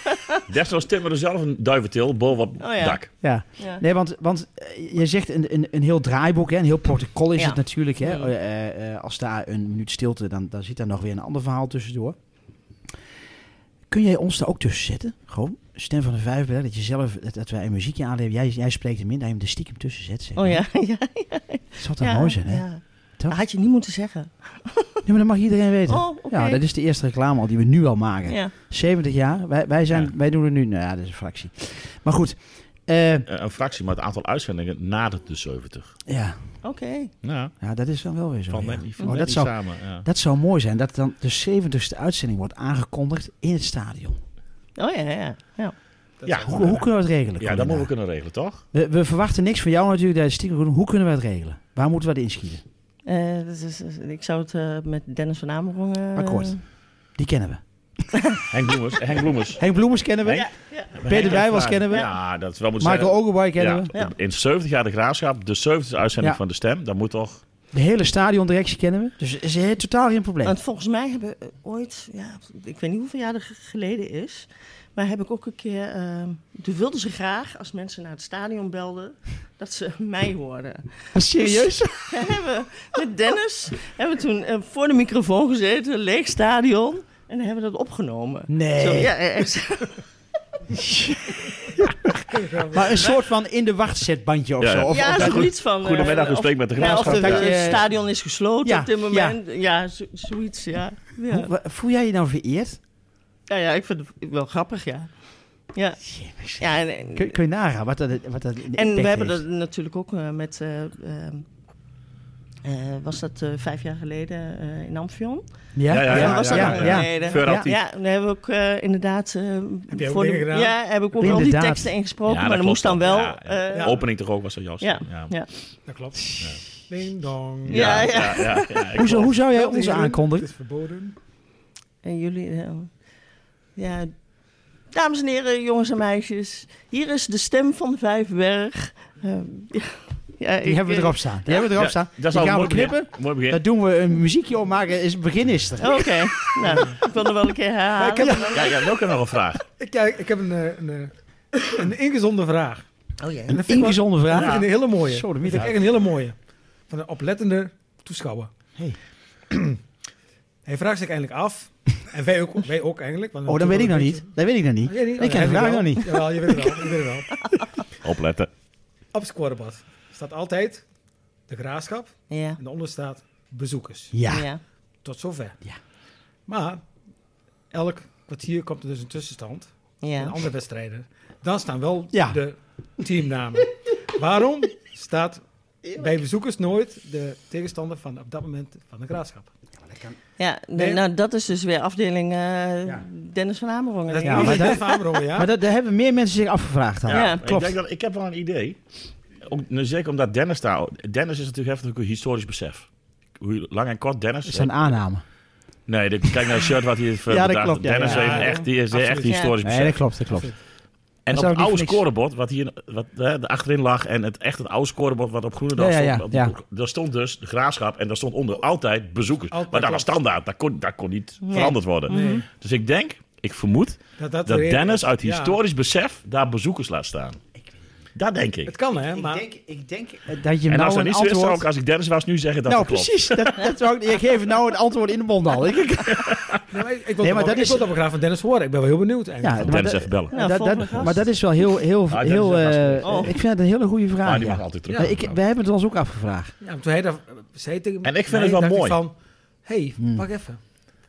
Speaker 3: Desnoods timmeren we zelf een duiventil boven op het
Speaker 5: Oh ja.
Speaker 3: dak.
Speaker 2: Ja.
Speaker 5: Ja.
Speaker 2: Nee, want, want eh, je zegt een, een, een heel draaiboek, hè? een heel protocol is
Speaker 5: Ja.
Speaker 2: het natuurlijk. Hè?
Speaker 5: Mm.
Speaker 2: Eh, eh, eh, als daar een minuut stilte, dan, dan zit daar nog weer een ander verhaal tussendoor. Kun jij ons daar ook tussen zetten? Gewoon, Stem van de Vijfberg, dat je zelf, dat, dat wij een muziekje aanleveren. Jij, jij spreekt hem in, dat je hem er stiekem tussen zet. Zeg.
Speaker 5: Oh ja, ja.
Speaker 2: Dat zou toch
Speaker 5: ja,
Speaker 2: mooi zijn, hè?
Speaker 5: ja.
Speaker 2: Toch?
Speaker 5: Had je niet moeten zeggen.
Speaker 2: Nee, maar dat mag iedereen weten.
Speaker 5: Oh, oké.
Speaker 2: Ja, dat is de eerste reclame al die we nu al maken.
Speaker 5: Ja.
Speaker 2: 70 jaar, wij, wij, zijn,
Speaker 3: Ja.
Speaker 2: wij doen het nu. Nou ja, dat is een fractie. Maar goed, eh, Eh,
Speaker 3: Eh, een fractie, maar het aantal uitzendingen nadert de 70.
Speaker 2: ja.
Speaker 5: Oké.
Speaker 3: Ja,
Speaker 2: ja, dat is dan wel weer zo.
Speaker 3: van
Speaker 2: ja.
Speaker 3: net niet, van
Speaker 2: Oh,
Speaker 3: net
Speaker 2: dat,
Speaker 3: niet
Speaker 2: zou,
Speaker 3: samen. Ja.
Speaker 2: dat zou mooi zijn, dat dan de 70ste uitzending wordt aangekondigd in het stadion.
Speaker 5: Oh ja, ja. ja.
Speaker 3: Ja,
Speaker 2: Hoe, hoe kunnen we het regelen?
Speaker 3: ja, dat moeten we kunnen regelen, toch?
Speaker 2: we, we verwachten niks van jou natuurlijk, dat je stiekem goed doet. Hoe kunnen we het regelen? Waar moeten we het inschieten?
Speaker 5: Eh, dus, dus- dus ik zou het eh, met Dennis van Amerongen... eh,
Speaker 2: Akkoord. Die kennen we.
Speaker 3: Henk Bloemers. Henk Bloemers.
Speaker 2: Henk Bloemers kennen we.
Speaker 3: Henk?
Speaker 2: Peter Bijbels kennen we.
Speaker 3: Ja, dat is wel moeten
Speaker 2: Michael
Speaker 3: zeggen.
Speaker 2: Ogewai kennen
Speaker 3: Ja,
Speaker 2: we.
Speaker 5: Ja.
Speaker 3: In 70 jaar de graafschap, de 70 uitzending
Speaker 2: Ja.
Speaker 3: van de stem, dat moet toch.
Speaker 2: De hele stadiondirectie kennen we. Dus is het totaal geen probleem.
Speaker 5: Want volgens mij hebben we eh, ooit, ja, ik weet niet hoeveel jaar er ge- geleden is, maar heb ik ook een keer, eh, toen wilden ze graag, als mensen naar het stadion belden, dat ze mij hoorden.
Speaker 2: Serieus?
Speaker 5: We hebben met Dennis hebben we toen eh, voor de microfoon gezeten, leeg stadion, en dan hebben we dat opgenomen.
Speaker 2: Nee.
Speaker 5: Zo, ja, eh, echt.
Speaker 2: Maar een soort van in de wacht bandje of
Speaker 3: Ja,
Speaker 2: zo.
Speaker 3: ja.
Speaker 2: Of,
Speaker 5: ja,
Speaker 2: of dat-
Speaker 5: zoiets van. eh,
Speaker 3: Goedemiddag, u
Speaker 5: of-
Speaker 3: spreekt met de
Speaker 5: Ja, of
Speaker 3: graafschap.
Speaker 5: de-
Speaker 2: Dat je-
Speaker 5: het stadion is gesloten
Speaker 2: Ja,
Speaker 5: op dit
Speaker 2: ja.
Speaker 5: moment. Ja, zo- zoiets, ja. Ja.
Speaker 2: Hoe- wa- voel jij je nou vereerd?
Speaker 5: ja. ja, ik vind het wel grappig, ja. Ja, ja en- en-
Speaker 2: Kun, kun je nagaan wat dat, wat dat
Speaker 5: En we hebben dat natuurlijk ook eh, met. eh, ehm, eh, was dat eh, vijf jaar geleden eh, in Amphion?
Speaker 2: Ja,
Speaker 3: Ja, ja, ja,
Speaker 5: was
Speaker 3: ja,
Speaker 5: dat
Speaker 3: ja,
Speaker 5: al
Speaker 3: ja.
Speaker 5: geleden?
Speaker 3: Veuraltief.
Speaker 5: Ja, daar hebben we ook eh, inderdaad. eh,
Speaker 4: je ook
Speaker 5: voor de-
Speaker 4: dingen gedaan?
Speaker 5: Ja, heb ik ook al die
Speaker 2: Inderdaad.
Speaker 5: teksten ingesproken,
Speaker 3: Ja,
Speaker 5: maar
Speaker 3: dat
Speaker 5: dat moest dan
Speaker 3: klopt.
Speaker 5: wel.
Speaker 3: Ja, ja.
Speaker 5: eh,
Speaker 4: Ja.
Speaker 3: Opening toch ook was dat Jas.
Speaker 5: Ja,
Speaker 3: ja.
Speaker 5: ja.
Speaker 4: Dat klopt. Ding dong.
Speaker 5: Ja.
Speaker 3: ja, ja, ja. Ik
Speaker 2: Hoezo, hoe zou jij
Speaker 4: Dat is
Speaker 2: onze
Speaker 4: hier-
Speaker 2: aankondigen?
Speaker 4: Het is verboden.
Speaker 5: En jullie. eh, ja. Dames en heren, jongens en meisjes. Hier is de stem van de Vijfberg. Eh, ja,
Speaker 2: Die
Speaker 5: ik,
Speaker 2: hebben we
Speaker 5: eh,
Speaker 2: erop staan. Die hebben we erop
Speaker 3: Ja,
Speaker 2: staan.
Speaker 3: Dat
Speaker 2: Die
Speaker 3: zou
Speaker 2: gaan we
Speaker 3: mooi
Speaker 2: knippen.
Speaker 3: begin. Mooi begin.
Speaker 2: Daar doen we een muziekje op maken. Is het begin is er.
Speaker 5: Oké, nou, ik wil er wel een keer herhalen.
Speaker 3: Ja, ja, welke nog een vraag?
Speaker 4: Ik, ja, ik heb een, eh, een, eh, een ingezonde vraag.
Speaker 5: Oh ja.
Speaker 4: dat
Speaker 2: Een
Speaker 4: vind ik wel-
Speaker 2: ingezonde
Speaker 4: Dat vind
Speaker 2: vraag.
Speaker 4: ik een hele mooie.
Speaker 2: Zo, de
Speaker 4: Dat vind ik echt een hele mooie. Van een oplettende toeschouwer.
Speaker 2: Hey.
Speaker 4: Hij vraagt zich eigenlijk af. En wij ook, wij ook eigenlijk. want
Speaker 2: Oh, dat weet ik nog
Speaker 4: natuurlijk
Speaker 2: niet. Dat weet ik nog niet.
Speaker 4: wel een beetje- Jij
Speaker 2: Ik ken
Speaker 4: Ja,
Speaker 2: de
Speaker 4: jij
Speaker 2: vraag nog
Speaker 4: wel.
Speaker 2: niet.
Speaker 4: Jawel, je weet het wel. Je weet het wel.
Speaker 3: Opletten.
Speaker 4: Op het scorebord staat altijd de graafschap.
Speaker 5: Ja.
Speaker 4: En daaronder staat bezoekers.
Speaker 2: Ja.
Speaker 5: ja.
Speaker 4: Tot zover.
Speaker 2: Ja.
Speaker 4: Maar elk kwartier komt er dus een tussenstand.
Speaker 5: ja.
Speaker 4: en andere wedstrijden. Dan staan wel
Speaker 2: Ja.
Speaker 4: de teamnamen. Waarom staat bij bezoekers nooit de tegenstander van op dat moment van de graafschap?
Speaker 5: Ja, nee,
Speaker 4: Nee.
Speaker 5: nou dat is dus weer afdeling eh,
Speaker 4: Ja.
Speaker 5: Dennis van Amerongen.
Speaker 4: Dat
Speaker 5: denk
Speaker 2: maar
Speaker 4: is
Speaker 2: dat-
Speaker 4: dat van Amerongen, ja.
Speaker 2: Maar dat, daar hebben meer mensen zich afgevraagd dan.
Speaker 5: Ja.
Speaker 3: Ik,
Speaker 2: klopt.
Speaker 3: denk dat, ik heb wel een idee. Ook, nou, zeker omdat Dennis daar... Dennis is natuurlijk heeft natuurlijk een historisch besef. Hoe lang en kort Dennis...
Speaker 2: Dat zijn aannamen.
Speaker 3: Nee, de- kijk naar het shirt wat hij heeft eh,
Speaker 2: Ja, dat
Speaker 3: bedacht.
Speaker 2: klopt, ja,
Speaker 3: Dennis
Speaker 4: ja.
Speaker 3: heeft
Speaker 4: Ja,
Speaker 3: echt, die is
Speaker 4: absoluut.
Speaker 3: echt een historisch
Speaker 2: Nee, dat
Speaker 3: besef.
Speaker 2: klopt, dat klopt.
Speaker 3: en op
Speaker 2: zou
Speaker 3: het
Speaker 2: ik niet
Speaker 3: oude
Speaker 2: voor niks-
Speaker 3: scorebord, wat hier wat, hè, achterin lag... en het, echt het oude scorebord wat op Groenendaal
Speaker 2: Ja, ja,
Speaker 3: stond...
Speaker 2: ja,
Speaker 3: op- daar stond dus de graafschap en daar stond onder altijd bezoekers.
Speaker 4: Altijd,
Speaker 3: maar dat was
Speaker 4: klopt.
Speaker 3: standaard, dat kon, dat kon niet
Speaker 5: Nee.
Speaker 3: veranderd worden.
Speaker 2: Mhm.
Speaker 4: Nee,
Speaker 3: Dus ik denk, ik vermoed...
Speaker 4: dat
Speaker 3: dat
Speaker 4: de reden
Speaker 3: Dennis
Speaker 4: is.
Speaker 3: uit
Speaker 4: Ja.
Speaker 3: historisch besef daar bezoekers laat staan. Dat denk ik.
Speaker 4: Het kan hè, maar
Speaker 2: ik denk eh, dat je
Speaker 3: en als
Speaker 2: nou
Speaker 3: dat
Speaker 2: een
Speaker 3: niet zo is, zou ik
Speaker 2: antwoord...
Speaker 3: als ik Dennis was nu zeggen dat
Speaker 2: Nou,
Speaker 3: dat klopt.
Speaker 2: precies. Dat, dat zou ik, ik geef nou een antwoord in de mond al. Ik- ik-
Speaker 4: Nee, maar ik, ik wil
Speaker 2: Nee, maar
Speaker 4: dat
Speaker 2: dat
Speaker 4: ik
Speaker 2: is-
Speaker 4: wil dat wel graag van Dennis horen. Ik ben wel heel benieuwd
Speaker 2: Ja,
Speaker 4: eigenlijk.
Speaker 2: maar
Speaker 3: Dennis
Speaker 2: dat-
Speaker 3: even bellen.
Speaker 5: Ja,
Speaker 2: dat-
Speaker 5: volgende
Speaker 2: dat,
Speaker 5: gast.
Speaker 2: maar dat is wel heel... heel,
Speaker 3: Ah, dat
Speaker 2: heel
Speaker 3: is een
Speaker 2: eh,
Speaker 5: gast. Oh.
Speaker 2: Ik vind dat een hele goede
Speaker 3: Maar
Speaker 2: vraag.
Speaker 3: die
Speaker 2: ja.
Speaker 3: mag altijd terug.
Speaker 4: Ja.
Speaker 2: Maar ik, wij hebben het ons ook afgevraagd.
Speaker 4: Ja, want toen hij dat zei tegen
Speaker 3: En ik vind
Speaker 4: mij,
Speaker 3: het wel
Speaker 4: dacht ik
Speaker 3: mooi.
Speaker 4: van, hey,
Speaker 2: Hmm.
Speaker 4: wacht even.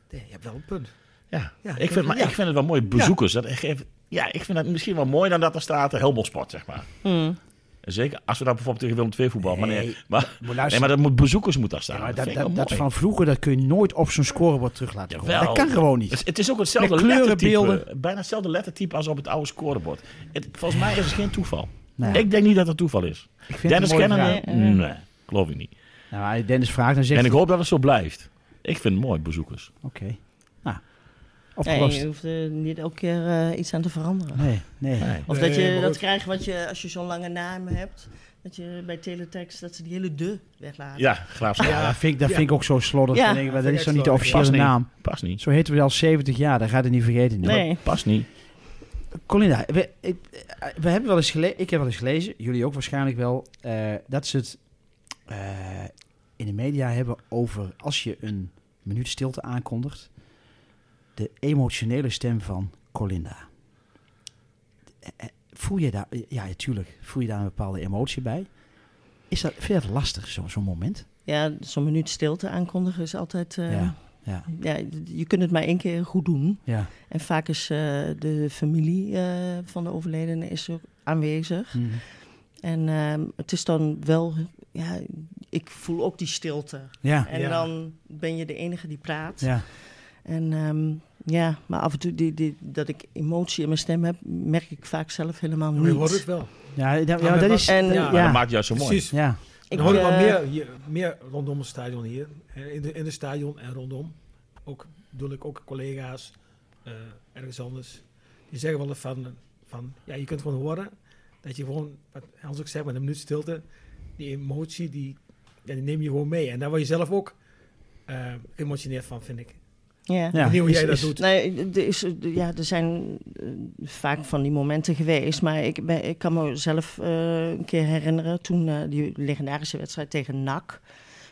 Speaker 4: Nee, je hebt wel een punt.
Speaker 3: Ja.
Speaker 4: Ja,
Speaker 3: ik, vind, maar
Speaker 4: ja.
Speaker 3: ik vind het wel mooi, bezoekers. Dat geeft, ja, ik vind dat misschien wel mooi dan dat er staat helemaal sport, zeg maar.
Speaker 5: Hmm.
Speaker 3: En Zeker als we daar bijvoorbeeld tegen Willem II voetbal. Maar nee,
Speaker 2: Nee.
Speaker 3: maar,
Speaker 2: Maar
Speaker 3: nee,
Speaker 2: luister,
Speaker 3: maar dat moet, bezoekers moet daar staan.
Speaker 2: maar
Speaker 3: dat
Speaker 2: dat,
Speaker 3: vind
Speaker 2: dat,
Speaker 3: ik wel
Speaker 2: dat
Speaker 3: mooi.
Speaker 2: van vroeger, dat kun je nooit op zo'n scorebord terug laten komen.
Speaker 3: Jawel.
Speaker 2: Dat kan gewoon niet.
Speaker 3: Het, het is ook hetzelfde
Speaker 2: Met kleurenbeelden.
Speaker 3: lettertype. Bijna hetzelfde lettertype als op het oude scorebord. Het, volgens mij is het geen toeval.
Speaker 2: Nee.
Speaker 3: Ik denk niet dat het toeval is.
Speaker 2: Ik vind
Speaker 3: Dennis
Speaker 2: het een mooie
Speaker 3: kennen?
Speaker 2: vraag.
Speaker 3: we?
Speaker 5: vraag.
Speaker 3: Nee, geloof ik niet.
Speaker 2: Nou, als je Dennis vraagt, dan zegt
Speaker 3: En ik
Speaker 2: hij-
Speaker 3: hoop dat het zo blijft. Ik vind het mooi, bezoekers.
Speaker 2: Oké. Nou,
Speaker 5: Nee,
Speaker 2: opgelost.
Speaker 5: je hoeft er niet elke keer eh, iets aan te veranderen.
Speaker 2: Nee, nee.
Speaker 3: Nee.
Speaker 5: Of
Speaker 4: Nee,
Speaker 5: dat je
Speaker 4: maar
Speaker 5: dat
Speaker 4: goed.
Speaker 5: krijgt wat je, als je zo'n lange naam hebt. Dat je bij teletext dat ze die hele de weglaten.
Speaker 3: Ja, graafschap.
Speaker 2: Ja, dat vind, ik- dat vind ik ook zo slordig.
Speaker 5: Ja.
Speaker 2: Dan denk ik, maar dat
Speaker 4: Vind
Speaker 2: is
Speaker 4: ik
Speaker 2: toch niet de
Speaker 4: slordig.
Speaker 2: officiële
Speaker 3: Past niet.
Speaker 2: naam.
Speaker 3: Past niet.
Speaker 2: Zo heten we al 70 jaar, dat gaat het niet vergeten. nu.
Speaker 5: Nee.
Speaker 3: Past niet.
Speaker 2: Colinda, we, ik, eh, we hebben wel eens gelezen, ik heb wel eens gelezen, jullie ook waarschijnlijk wel, eh, dat ze het eh, in de media hebben over als je een minuut stilte aankondigt, de emotionele stem van Colinda. Eh, eh, Voel je daar, ja, natuurlijk, voel je daar een bepaalde emotie bij? Is dat, vind je dat lastig, zo- zo'n moment?
Speaker 5: Ja, zo'n minuut stilte aankondigen is altijd... eh,
Speaker 2: Ja. Ja,
Speaker 5: ja, je kunt het maar één keer goed doen.
Speaker 2: ja.
Speaker 5: En vaak is eh, de familie eh, van de overledene is ook aanwezig.
Speaker 2: Mhm.
Speaker 5: En ehm, het is dan wel, ja, ik voel ook die stilte.
Speaker 2: Ja,
Speaker 5: En
Speaker 4: Ja.
Speaker 5: dan ben je de enige die praat.
Speaker 2: ja.
Speaker 5: En ehm, ja, maar af en toe die, die, dat ik emotie in mijn stem heb, merk ik vaak zelf helemaal
Speaker 4: Maar
Speaker 5: niet.
Speaker 4: je hoort het wel.
Speaker 2: Ja, dat, ja,
Speaker 4: maar
Speaker 2: dat
Speaker 4: wat-
Speaker 2: is...
Speaker 5: En
Speaker 4: Ja.
Speaker 5: ja,
Speaker 3: dat maakt het juist zo mooi.
Speaker 4: Precies.
Speaker 2: Ja,
Speaker 5: ik,
Speaker 4: dan hoor ik
Speaker 5: eh,
Speaker 4: wel meer, hier, meer rondom het stadion hier. Hè, In, de, in het stadion en rondom. Ook bedoel ik ook collega's eh, ergens anders. Die zeggen wel eens van, van, ja, je kunt gewoon horen dat je gewoon, wat Hans ook zegt, met een minuut stilte, die emotie, die, ja, die neem je gewoon mee. En daar word je zelf ook eh geëmotioneerd van, vind ik.
Speaker 5: Ja.
Speaker 2: ja.
Speaker 4: Benieuwd hoe jij
Speaker 2: Is-
Speaker 4: dat
Speaker 2: is-
Speaker 4: doet.
Speaker 5: Nee, er, is, ja, er zijn eh, vaak van die momenten geweest. Maar ik, ben, ik kan me zelf eh, een keer herinneren toen eh, die legendarische wedstrijd tegen NAC.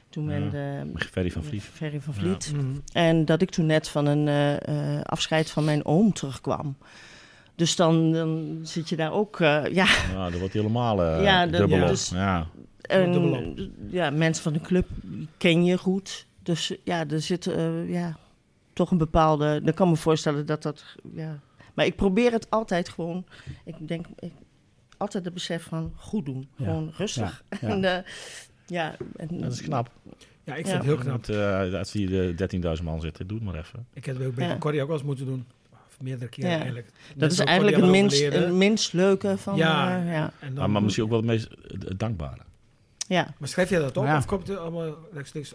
Speaker 5: Toen
Speaker 3: Ja.
Speaker 5: men de
Speaker 3: Ferry van Vliet.
Speaker 5: Ferry van
Speaker 3: Ja.
Speaker 5: Vliet.
Speaker 4: Mhm.
Speaker 5: En dat ik toen net van een eh, eh, afscheid van mijn oom terugkwam. Dus dan, dan zit je daar ook, eh, ja,
Speaker 3: Ja, dat wordt helemaal eh
Speaker 5: Ja, dat-
Speaker 3: dubbel
Speaker 4: ja.
Speaker 3: op.
Speaker 5: dus-
Speaker 3: ja.
Speaker 5: en,
Speaker 4: dubbel
Speaker 5: ja, mensen van de club ken je goed. Dus ja, er zit eh, ja, toch een bepaalde. Dan kan ik me voorstellen dat dat. Ja. Maar ik probeer het altijd gewoon. Ik denk ik, altijd het besef van goed doen.
Speaker 2: Ja.
Speaker 5: Gewoon rustig.
Speaker 2: Ja, ja.
Speaker 5: En, eh, ja, en,
Speaker 3: Dat is knap.
Speaker 4: Ja, ik
Speaker 5: Ja.
Speaker 4: vind het heel knap.
Speaker 3: Dat, eh als die de 13.000 man zitten, doe het maar even.
Speaker 4: Ik heb het ook bij
Speaker 5: Ja.
Speaker 4: Corrie ook wel eens moeten doen. Of meerdere keren
Speaker 5: Ja.
Speaker 4: eigenlijk.
Speaker 5: dat is
Speaker 4: Mensen ook
Speaker 5: eigenlijk het
Speaker 4: Corrie
Speaker 5: minst,
Speaker 4: hebben
Speaker 5: het
Speaker 4: overleden.
Speaker 5: minst leuke van.
Speaker 4: Ja.
Speaker 5: Ja, ja.
Speaker 4: En dan-
Speaker 3: Maar, maar misschien ook wel het meest eh, dankbare.
Speaker 5: ja.
Speaker 4: Maar schrijf jij dat op?
Speaker 2: Ja.
Speaker 4: Of komt het allemaal rechtstreeks?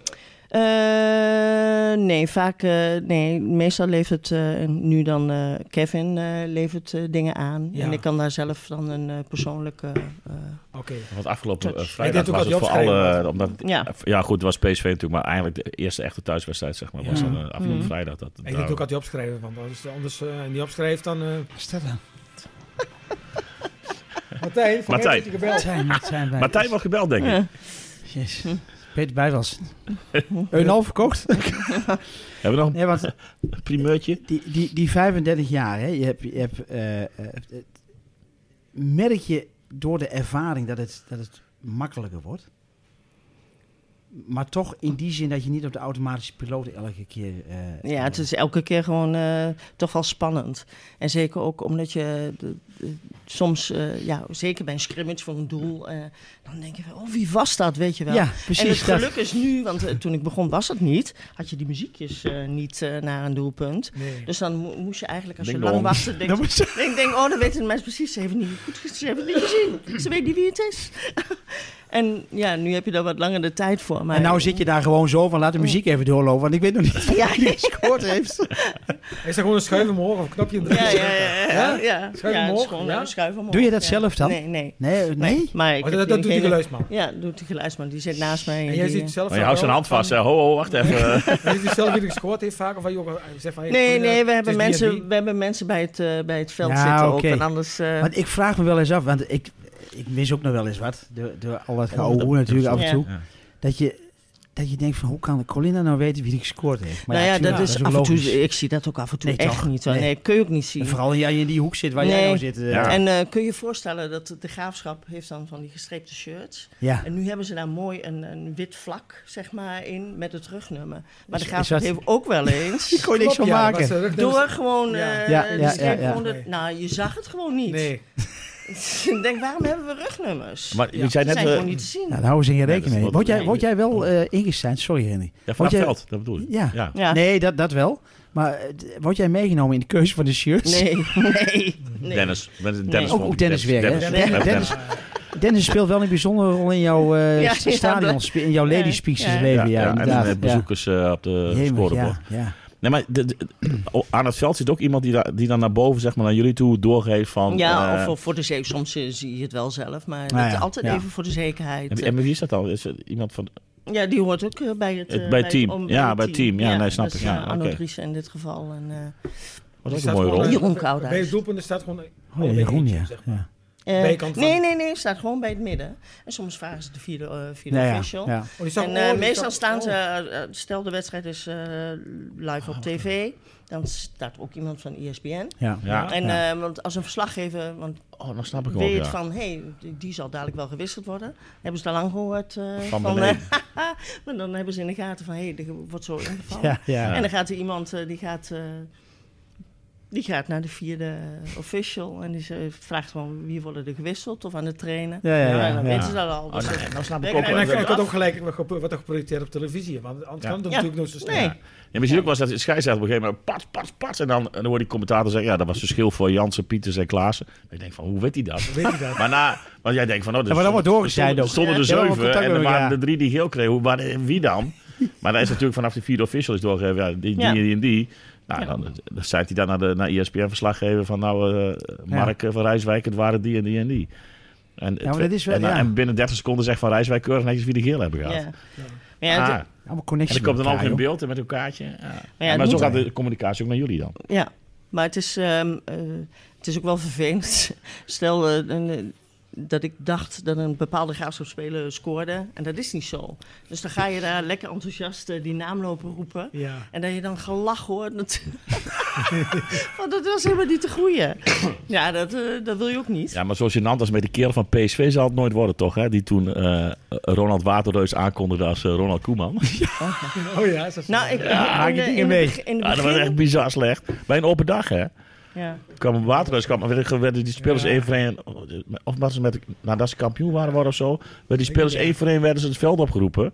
Speaker 5: Eh, nee, vaak. eh, nee, meestal levert eh, en nu dan eh, Kevin eh, levert eh, dingen aan.
Speaker 4: Ja.
Speaker 5: En ik kan daar zelf dan een eh, persoonlijke. eh,
Speaker 4: Oké.
Speaker 3: Want afgelopen eh,
Speaker 5: Touch.
Speaker 4: Ik
Speaker 3: vrijdag
Speaker 4: denk ook
Speaker 3: was
Speaker 4: dat
Speaker 3: het
Speaker 4: je
Speaker 3: voor alle...
Speaker 4: opschrijven
Speaker 3: eh, Omdat,
Speaker 5: ja.
Speaker 3: ja, goed, het was PSV natuurlijk, maar eigenlijk de eerste echte thuiswedstrijd, zeg maar, was
Speaker 4: Ja.
Speaker 3: dan eh, afgelopen
Speaker 5: Mhm.
Speaker 3: vrijdag. Dat,
Speaker 4: Ik
Speaker 3: daar-
Speaker 4: denk ook altijd opschrijven, want anders, anders eh, niet opschrijft dan... eh
Speaker 2: Stella.
Speaker 4: Martijn, van
Speaker 3: Martijn.
Speaker 4: Heeft je gebeld.
Speaker 2: Martijn, Martijn bij.
Speaker 3: Martijn wordt gebeld, denk ik.
Speaker 5: ja.
Speaker 2: Jezus. Peter bij was. Een half verkocht.
Speaker 3: Hebben we nog
Speaker 2: Nee, want
Speaker 3: een primeurtje?
Speaker 2: die, die, die 35 jaar, hè, je hebt, je hebt, eh, eh, het- merk je door de ervaring dat het, dat het makkelijker wordt. Maar toch in die zin dat je niet op de automatische piloot elke keer. eh,
Speaker 5: ja, het is elke keer gewoon eh, toch wel spannend. En zeker ook omdat je de- de- soms, eh, ja, zeker bij een scrimmage voor een doel, eh, dan denk je van, oh, wie was dat, weet je wel.
Speaker 2: Ja,
Speaker 5: en het
Speaker 2: precies. dat-
Speaker 5: geluk is nu, want eh, toen ik begon was het niet, had je die muziekjes eh, niet eh, naar een doelpunt.
Speaker 4: Nee.
Speaker 5: Dus dan mo- moest je eigenlijk, als
Speaker 3: Ding
Speaker 5: je lang
Speaker 3: dong.
Speaker 5: wachtte, denk
Speaker 2: Dan moet je-
Speaker 5: Ik denk, oh, dan weten de mensen precies. Ze hebben het niet, goed, ze hebben het niet gezien. Ze weten niet wie het is. en ja, nu heb je daar wat langer de tijd voor. Maar
Speaker 2: en nou zit je daar gewoon zo van, laat
Speaker 5: Mm.
Speaker 2: de muziek even doorlopen, want ik weet nog niet.
Speaker 5: Ja, ja, gescoord heeft.
Speaker 4: Is dat gewoon een schuif omhoog of een knopje in de
Speaker 5: Ja, ja, ja. ja, ja.
Speaker 4: Schuif
Speaker 5: Ja, het is
Speaker 4: omhoog,
Speaker 5: gewoon,
Speaker 4: ja?
Speaker 5: eh, schuif omhoog,
Speaker 2: Doe je dat
Speaker 5: ja.
Speaker 2: zelf dan?
Speaker 5: Nee, nee.
Speaker 2: Nee, nee.
Speaker 5: Maar ik
Speaker 4: Oh,
Speaker 5: heb
Speaker 4: dat, dat doet die
Speaker 5: diegene-
Speaker 4: geluidsman.
Speaker 5: Ja, dat doet de geluidsman. Die zit naast mij.
Speaker 4: En jij
Speaker 5: die,
Speaker 4: ziet
Speaker 5: eh,
Speaker 4: zelf...
Speaker 3: Maar je houdt zijn hand vast, hè? Ho, ho, wacht even.
Speaker 4: Is die zelf die er gescoord heeft vaak? Of waar je ook eh, zegt van... hey,
Speaker 5: Nee,
Speaker 4: goeiedag,
Speaker 5: nee, we
Speaker 4: het
Speaker 5: hebben,
Speaker 4: is die
Speaker 5: mensen,
Speaker 4: en
Speaker 5: we hebben mensen bij het, eh, bij het veld
Speaker 2: Ja,
Speaker 5: zitten
Speaker 2: oké.
Speaker 5: ook. En anders... eh,
Speaker 2: Want ik vraag me wel eens af, want ik, ik mis ook nog wel eens wat. Door, door al dat
Speaker 3: Oh, dat-
Speaker 2: geouwe natuurlijk af en
Speaker 5: Ja.
Speaker 2: toe.
Speaker 3: Ja.
Speaker 2: Dat, je, dat je denkt van, hoe kan Colinda nou weten wie die gescoord heeft?
Speaker 5: nou ja, dat,
Speaker 2: tuurlijk,
Speaker 5: is
Speaker 2: ook
Speaker 5: af en toe...
Speaker 2: logisch.
Speaker 5: Ik zie dat ook af en toe
Speaker 2: Nee,
Speaker 5: echt
Speaker 2: toch?
Speaker 5: niet. hoor.
Speaker 2: Nee.
Speaker 5: Nee. kun je ook niet zien.
Speaker 2: En vooral als jij in die hoek zit waar jij
Speaker 5: Nee.
Speaker 2: nou zit. eh,
Speaker 3: Ja.
Speaker 2: ja.
Speaker 5: En eh, kun je je voorstellen dat de graafschap heeft dan van die gestreepte shirts.
Speaker 2: Ja.
Speaker 5: En nu hebben ze daar mooi een, een wit vlak, zeg maar, in met het rugnummer. Maar de
Speaker 2: Is-
Speaker 5: graafschap
Speaker 2: is dat-
Speaker 5: heeft ook wel
Speaker 2: Je
Speaker 5: eens.
Speaker 2: kon
Speaker 4: die.
Speaker 2: niks van
Speaker 4: Klopt, ja, was
Speaker 2: maken.
Speaker 4: eh, de rug-
Speaker 5: Door gewoon,
Speaker 4: Ja.
Speaker 5: eh,
Speaker 2: Ja,
Speaker 5: die
Speaker 2: ja,
Speaker 5: streep
Speaker 2: ja, ja.
Speaker 5: gewoon de- nou, je zag het gewoon niet.
Speaker 4: Nee.
Speaker 5: Ik denk, waarom hebben we rugnummers?
Speaker 3: Maar je
Speaker 4: Ja.
Speaker 3: zei
Speaker 5: Die
Speaker 3: net...
Speaker 5: zijn
Speaker 3: eh,
Speaker 5: gewoon niet te zien.
Speaker 2: Nou, daar houden ze geen
Speaker 3: Nee,
Speaker 2: rekening
Speaker 3: dat
Speaker 2: mee. Word
Speaker 3: is wat-
Speaker 2: jij, word jij wel eh ingestijnd? Sorry Henry.
Speaker 3: Ja, vanaf
Speaker 2: Word jij-
Speaker 3: veld, dat bedoel ik.
Speaker 2: Ja.
Speaker 3: ja.
Speaker 5: Ja. Nee.
Speaker 2: Nee, dat, dat wel. Maar eh, d- word jij meegenomen in de keuze van de shirts?
Speaker 5: Nee, nee.
Speaker 3: Dennis. Dennis,
Speaker 5: Nee.
Speaker 3: Dennis
Speaker 2: Ook-
Speaker 3: vond-
Speaker 2: ook Dennis weer, hè?
Speaker 3: We hebben
Speaker 2: Dennis.
Speaker 4: eh,
Speaker 2: Dennis speelt wel een bijzondere rol in jouw eh
Speaker 5: Ja,
Speaker 2: s-
Speaker 5: ja,
Speaker 2: stadion,
Speaker 5: dat-
Speaker 2: in jouw
Speaker 5: ja.
Speaker 2: ladies'
Speaker 5: Ja.
Speaker 2: leven. Ja,
Speaker 3: en
Speaker 2: inderdaad.
Speaker 3: eh, bezoekers eh, op de
Speaker 2: ja. Jemig,
Speaker 3: scorebord.
Speaker 2: ja, ja.
Speaker 3: Nee, maar de- de- oh, aan het veld zit ook iemand die, da- die dan naar boven, zeg maar, naar jullie toe doorgeeft van...
Speaker 5: Ja,
Speaker 3: eh,
Speaker 5: of, of voor de zekerheid. Soms eh, zie je het wel zelf, maar
Speaker 2: Nou
Speaker 5: dat-
Speaker 2: ja,
Speaker 5: altijd
Speaker 2: ja.
Speaker 5: even voor de
Speaker 3: En,
Speaker 5: zekerheid.
Speaker 3: en wie is dat dan? Is het iemand van...
Speaker 5: Ja, die hoort ook eh, bij het,
Speaker 3: Het-
Speaker 5: eh,
Speaker 3: bij het team.
Speaker 5: om-
Speaker 3: Ja, bij het team. Ja, nee, snap
Speaker 5: dat
Speaker 3: ik.
Speaker 5: is,
Speaker 3: Ja,
Speaker 5: eh, Arno
Speaker 3: oké.
Speaker 5: Driessen in dit geval. En, eh,
Speaker 3: Wat
Speaker 4: Die
Speaker 3: ook
Speaker 4: staat
Speaker 3: een mooie
Speaker 4: gewoon,
Speaker 3: rol.
Speaker 4: eh,
Speaker 5: Jeroen Koudijs.
Speaker 4: Bij het doelpunt staat gewoon... eh,
Speaker 2: Oh,
Speaker 4: allebei
Speaker 2: Jeroen,
Speaker 4: eentje,
Speaker 2: ja.
Speaker 4: zeg maar.
Speaker 2: ja.
Speaker 5: Eh,
Speaker 4: Bijkant van-
Speaker 5: nee, nee, nee, staat gewoon bij het midden. En soms vragen ze de vierde, eh vierde
Speaker 2: Nou ja,
Speaker 5: official.
Speaker 2: ja.
Speaker 4: Oh, die staat-
Speaker 5: En
Speaker 4: oh,
Speaker 5: eh,
Speaker 4: die
Speaker 5: meestal
Speaker 4: staat-
Speaker 5: staan ze,
Speaker 4: oh.
Speaker 5: eh, eh, stel de wedstrijd is eh, live op tv, dan staat ook iemand van E ESPN.
Speaker 2: ja.
Speaker 3: Ah, Ja.
Speaker 5: En
Speaker 2: Ja.
Speaker 5: eh, want als een verslaggever, want
Speaker 3: Oh, dan snap ik wel,
Speaker 5: weet
Speaker 3: ja.
Speaker 5: van, hé, die, die zal dadelijk wel gewisseld worden. Hebben ze daar lang gehoord eh,
Speaker 3: Van
Speaker 5: van,
Speaker 3: beneden.
Speaker 5: eh, maar dan hebben ze in de gaten van, hé, er wordt zo ingevallen.
Speaker 2: Ja, ja.
Speaker 5: En dan gaat er iemand, eh, die gaat... eh, Die gaat naar de vierde eh, official en die ze- vraagt gewoon wie worden er gewisseld of aan het trainen.
Speaker 2: Ja, ja, ja,
Speaker 5: en dan
Speaker 2: ja.
Speaker 5: weten ze dat al.
Speaker 3: Oh,
Speaker 5: Dus
Speaker 3: nee, dan snap ik
Speaker 5: Nee,
Speaker 3: ook
Speaker 5: nee,
Speaker 4: En dan
Speaker 5: nee,
Speaker 3: wel.
Speaker 5: nee.
Speaker 4: wordt ook gelijk wat gep- wordt er geprojecteerd op televisie. Want anders
Speaker 3: Ja.
Speaker 4: kan het
Speaker 5: Ja.
Speaker 4: natuurlijk nooit zo snel.
Speaker 5: Nee.
Speaker 3: Ja, maar je ziet ook wel eens dat de scheidsrechter op een gegeven moment pat, pat, pat. En dan, en dan hoor die commentator zeggen, ja, dat was verschil voor Jansen, Pieters en Klaassen. En ik denk van, hoe weet hij dat?
Speaker 4: Weet je dat?
Speaker 3: Maar na, want jij denkt van, oh, er
Speaker 2: Ja, maar dan wordt doorgezaaid
Speaker 3: stonden-
Speaker 2: ook.
Speaker 3: stonden er
Speaker 2: Ja, dan wordt
Speaker 3: zeven
Speaker 2: contact
Speaker 3: en er
Speaker 2: met
Speaker 3: waren
Speaker 2: elkaar.
Speaker 3: de drie die geel kregen. Hoe, waar, wie dan? Maar dan is natuurlijk vanaf de vierde official is doorgegeven, ja, die, die,
Speaker 5: Ja.
Speaker 3: en die en die. Nou,
Speaker 5: Ja.
Speaker 3: dan, dan zei hij dan naar, de, naar E ESPN-verslag geven van, nou, eh, Mark eh, van Rijswijk, het waren die en die en die. En,
Speaker 2: Ja, maar dat is wel-
Speaker 3: en,
Speaker 2: ja.
Speaker 3: en binnen 30 seconden zegt Van Rijswijk keurig netjes wie de geel hebben
Speaker 5: Ja.
Speaker 3: gehad.
Speaker 5: Maar ja, het-
Speaker 3: Ah.
Speaker 2: Allemaal connecties
Speaker 3: En dan komt
Speaker 2: met
Speaker 3: dan ook
Speaker 2: elkaar,
Speaker 3: in
Speaker 2: joh.
Speaker 3: beeld en met een kaartje. Ja.
Speaker 5: ja,
Speaker 3: Ja,
Speaker 5: het
Speaker 3: maar zo
Speaker 5: moet-
Speaker 3: gaat de communicatie ook naar jullie dan.
Speaker 5: Ja, maar het is, ehm, eh, het is ook wel vervelend. Stel eh, een, eh, dat ik dacht dat een bepaalde graafschapspeler scoorde. En dat is niet zo. Dus dan ga je daar lekker enthousiast eh, die naam lopen roepen.
Speaker 4: Ja.
Speaker 5: En dat je dan gelach hoort. Dat... Want dat was helemaal niet te groeien. Ja, dat, eh, dat wil je ook niet.
Speaker 3: Ja, maar zo gênant als met de kerel van PSV zal het nooit worden, toch? Hè? Die toen eh, Ronald Waterreus aankondigde als eh, Ronald Koeman.
Speaker 4: Oh ja, is dat zo?
Speaker 5: Nou, ik,
Speaker 2: maak je
Speaker 5: in, de-
Speaker 2: dingen
Speaker 5: in, de
Speaker 2: mee.
Speaker 5: beg- in de
Speaker 3: Ja, dat was
Speaker 5: begin-
Speaker 3: echt bizar slecht. Bij een open dag, hè?
Speaker 5: ja.
Speaker 3: Kwam Waterreus, kwam, werden werden die spelers
Speaker 4: Ja.
Speaker 3: één voor één... Of was het met, nadat ze kampioen waren, worden of zo... werden die spelers één voor één werden ze het veld opgeroepen.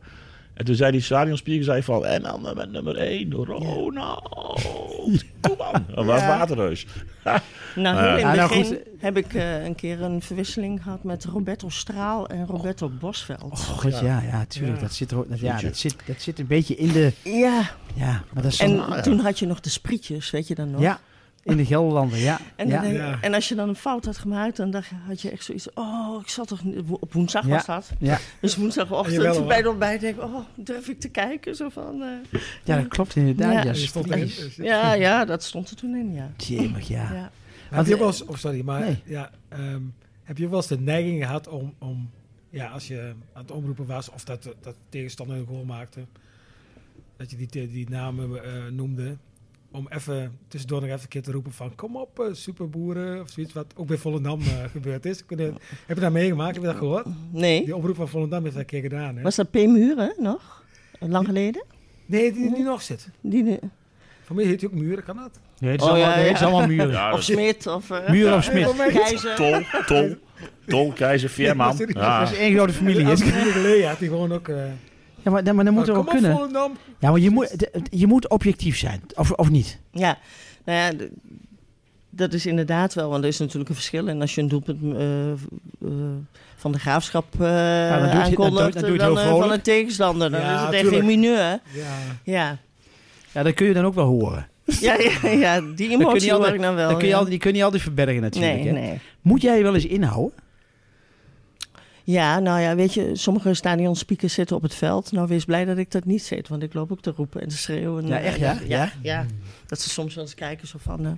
Speaker 3: En toen zei die stadionspeaker zei van... En dan eh, met nummer één, Ronald Koeman. Dat was Waterreus.
Speaker 5: Nou,
Speaker 3: Ja.
Speaker 5: heel in
Speaker 2: Ja,
Speaker 5: het
Speaker 2: nou
Speaker 5: begin
Speaker 2: goed.
Speaker 5: heb ik eh, een keer een verwisseling gehad met Roberto Straal en Roberto Bosveld.
Speaker 2: Oh, God, ja, ja, tuurlijk.
Speaker 4: Ja.
Speaker 2: Dat, zit er, ook- dat, ja, dat, zit, dat zit een beetje in de...
Speaker 5: Ja,
Speaker 2: Ja, maar dat is
Speaker 5: en
Speaker 2: dan-
Speaker 5: toen had je nog de sprietjes, weet je dan nog?
Speaker 2: Ja, in de Gelderlanden, ja.
Speaker 5: En,
Speaker 2: ja.
Speaker 5: dan denk-
Speaker 4: Ja.
Speaker 5: en als je dan een fout had gemaakt, dan dacht, je- had je echt zoiets. Oh, ik zat toch. niet- wo- Op woensdag
Speaker 2: Ja.
Speaker 5: was dat.
Speaker 2: Ja.
Speaker 5: Dus
Speaker 4: En jawel,
Speaker 5: woensdagochtend
Speaker 4: hoor.
Speaker 5: bij de ontbijt denk ik, oh, durf ik te kijken? Zo van. eh,
Speaker 2: ja, dat klopt inderdaad. Ja,
Speaker 5: Ja.
Speaker 2: ja,
Speaker 4: En je stond erin.
Speaker 2: spries.
Speaker 5: ja, ja, dat stond er toen in, ja.
Speaker 2: Jemig, ja.
Speaker 4: Heb
Speaker 5: ja.
Speaker 4: je
Speaker 2: Want-
Speaker 4: ook wel eens, oh sorry, maar
Speaker 2: Nee.
Speaker 4: ja, ehm, heb je ook wel eens de neiging gehad om, om ja, als je aan het omroepen was of dat, dat de tegenstander een goal maakte, dat je die, te- die namen eh, noemde, om even tussendoor nog even een keer te roepen van kom op eh, superboeren of zoiets wat ook bij Volendam eh, gebeurd is. Kun je- heb je dat meegemaakt? Heb je dat gehoord?
Speaker 5: Nee.
Speaker 4: Die oproep van Volendam heeft dat een keer gedaan. Hè?
Speaker 5: Was dat P. Muren nog? Lang geleden?
Speaker 4: Nee, die die nog zit.
Speaker 5: Die de-
Speaker 4: Voor mij heet hij ook Muren, kan dat?
Speaker 2: Nee, het is
Speaker 5: Oh,
Speaker 2: allemaal,
Speaker 5: ja,
Speaker 2: nee, het is
Speaker 5: ja.
Speaker 2: allemaal muren.
Speaker 3: Ja,
Speaker 5: of
Speaker 3: dat-
Speaker 5: Smit of eh,
Speaker 2: Muren of Smit.
Speaker 5: Keizer.
Speaker 3: Tol, Tol, Tol, Keizer, Veerman.
Speaker 4: Ja,
Speaker 3: Ja.
Speaker 2: Dat is één grote familie.
Speaker 4: Als
Speaker 2: hè?
Speaker 4: ik die geleden had, die gewoon ook... eh,
Speaker 2: Ja, maar, dan- maar dan moet er
Speaker 4: kom
Speaker 2: wel
Speaker 4: op
Speaker 2: kunnen.
Speaker 4: Volendam!
Speaker 2: Ja, maar je moet, de- je moet objectief zijn, of, of niet?
Speaker 5: Ja, nou ja, d- dat is inderdaad wel, want er is natuurlijk een verschil. En als je een doelpunt eh, eh, van de graafschap eh
Speaker 2: dan doe je het-
Speaker 5: aankondigt,
Speaker 2: dan
Speaker 5: dan,
Speaker 2: doe je het heel
Speaker 5: eh,
Speaker 2: vrolijk.
Speaker 5: van een tegenstander, dan
Speaker 4: Ja,
Speaker 5: is het echt
Speaker 4: tuurlijk.
Speaker 5: een mineur.
Speaker 4: Ja.
Speaker 5: Ja.
Speaker 2: Ja, dat kun je dan ook wel horen.
Speaker 5: Ja, ja, ja, die
Speaker 2: kun je
Speaker 5: emotie
Speaker 2: niet
Speaker 5: hoor
Speaker 2: altijd-
Speaker 5: ik dan wel.
Speaker 2: dat kun je
Speaker 5: ja.
Speaker 2: al, die kun je niet altijd verbergen natuurlijk.
Speaker 5: nee,
Speaker 2: hè?
Speaker 5: nee.
Speaker 2: Moet jij je wel eens inhouden?
Speaker 5: Ja, nou ja, weet je, sommige stadionspeakers zitten op het veld. Nou, wees blij dat ik dat niet zit, want ik loop ook te roepen en te schreeuwen.
Speaker 2: Ja, echt, ja?
Speaker 5: Ja,
Speaker 2: Ja?
Speaker 5: ja, Dat ze soms wel eens kijken zo van... eh,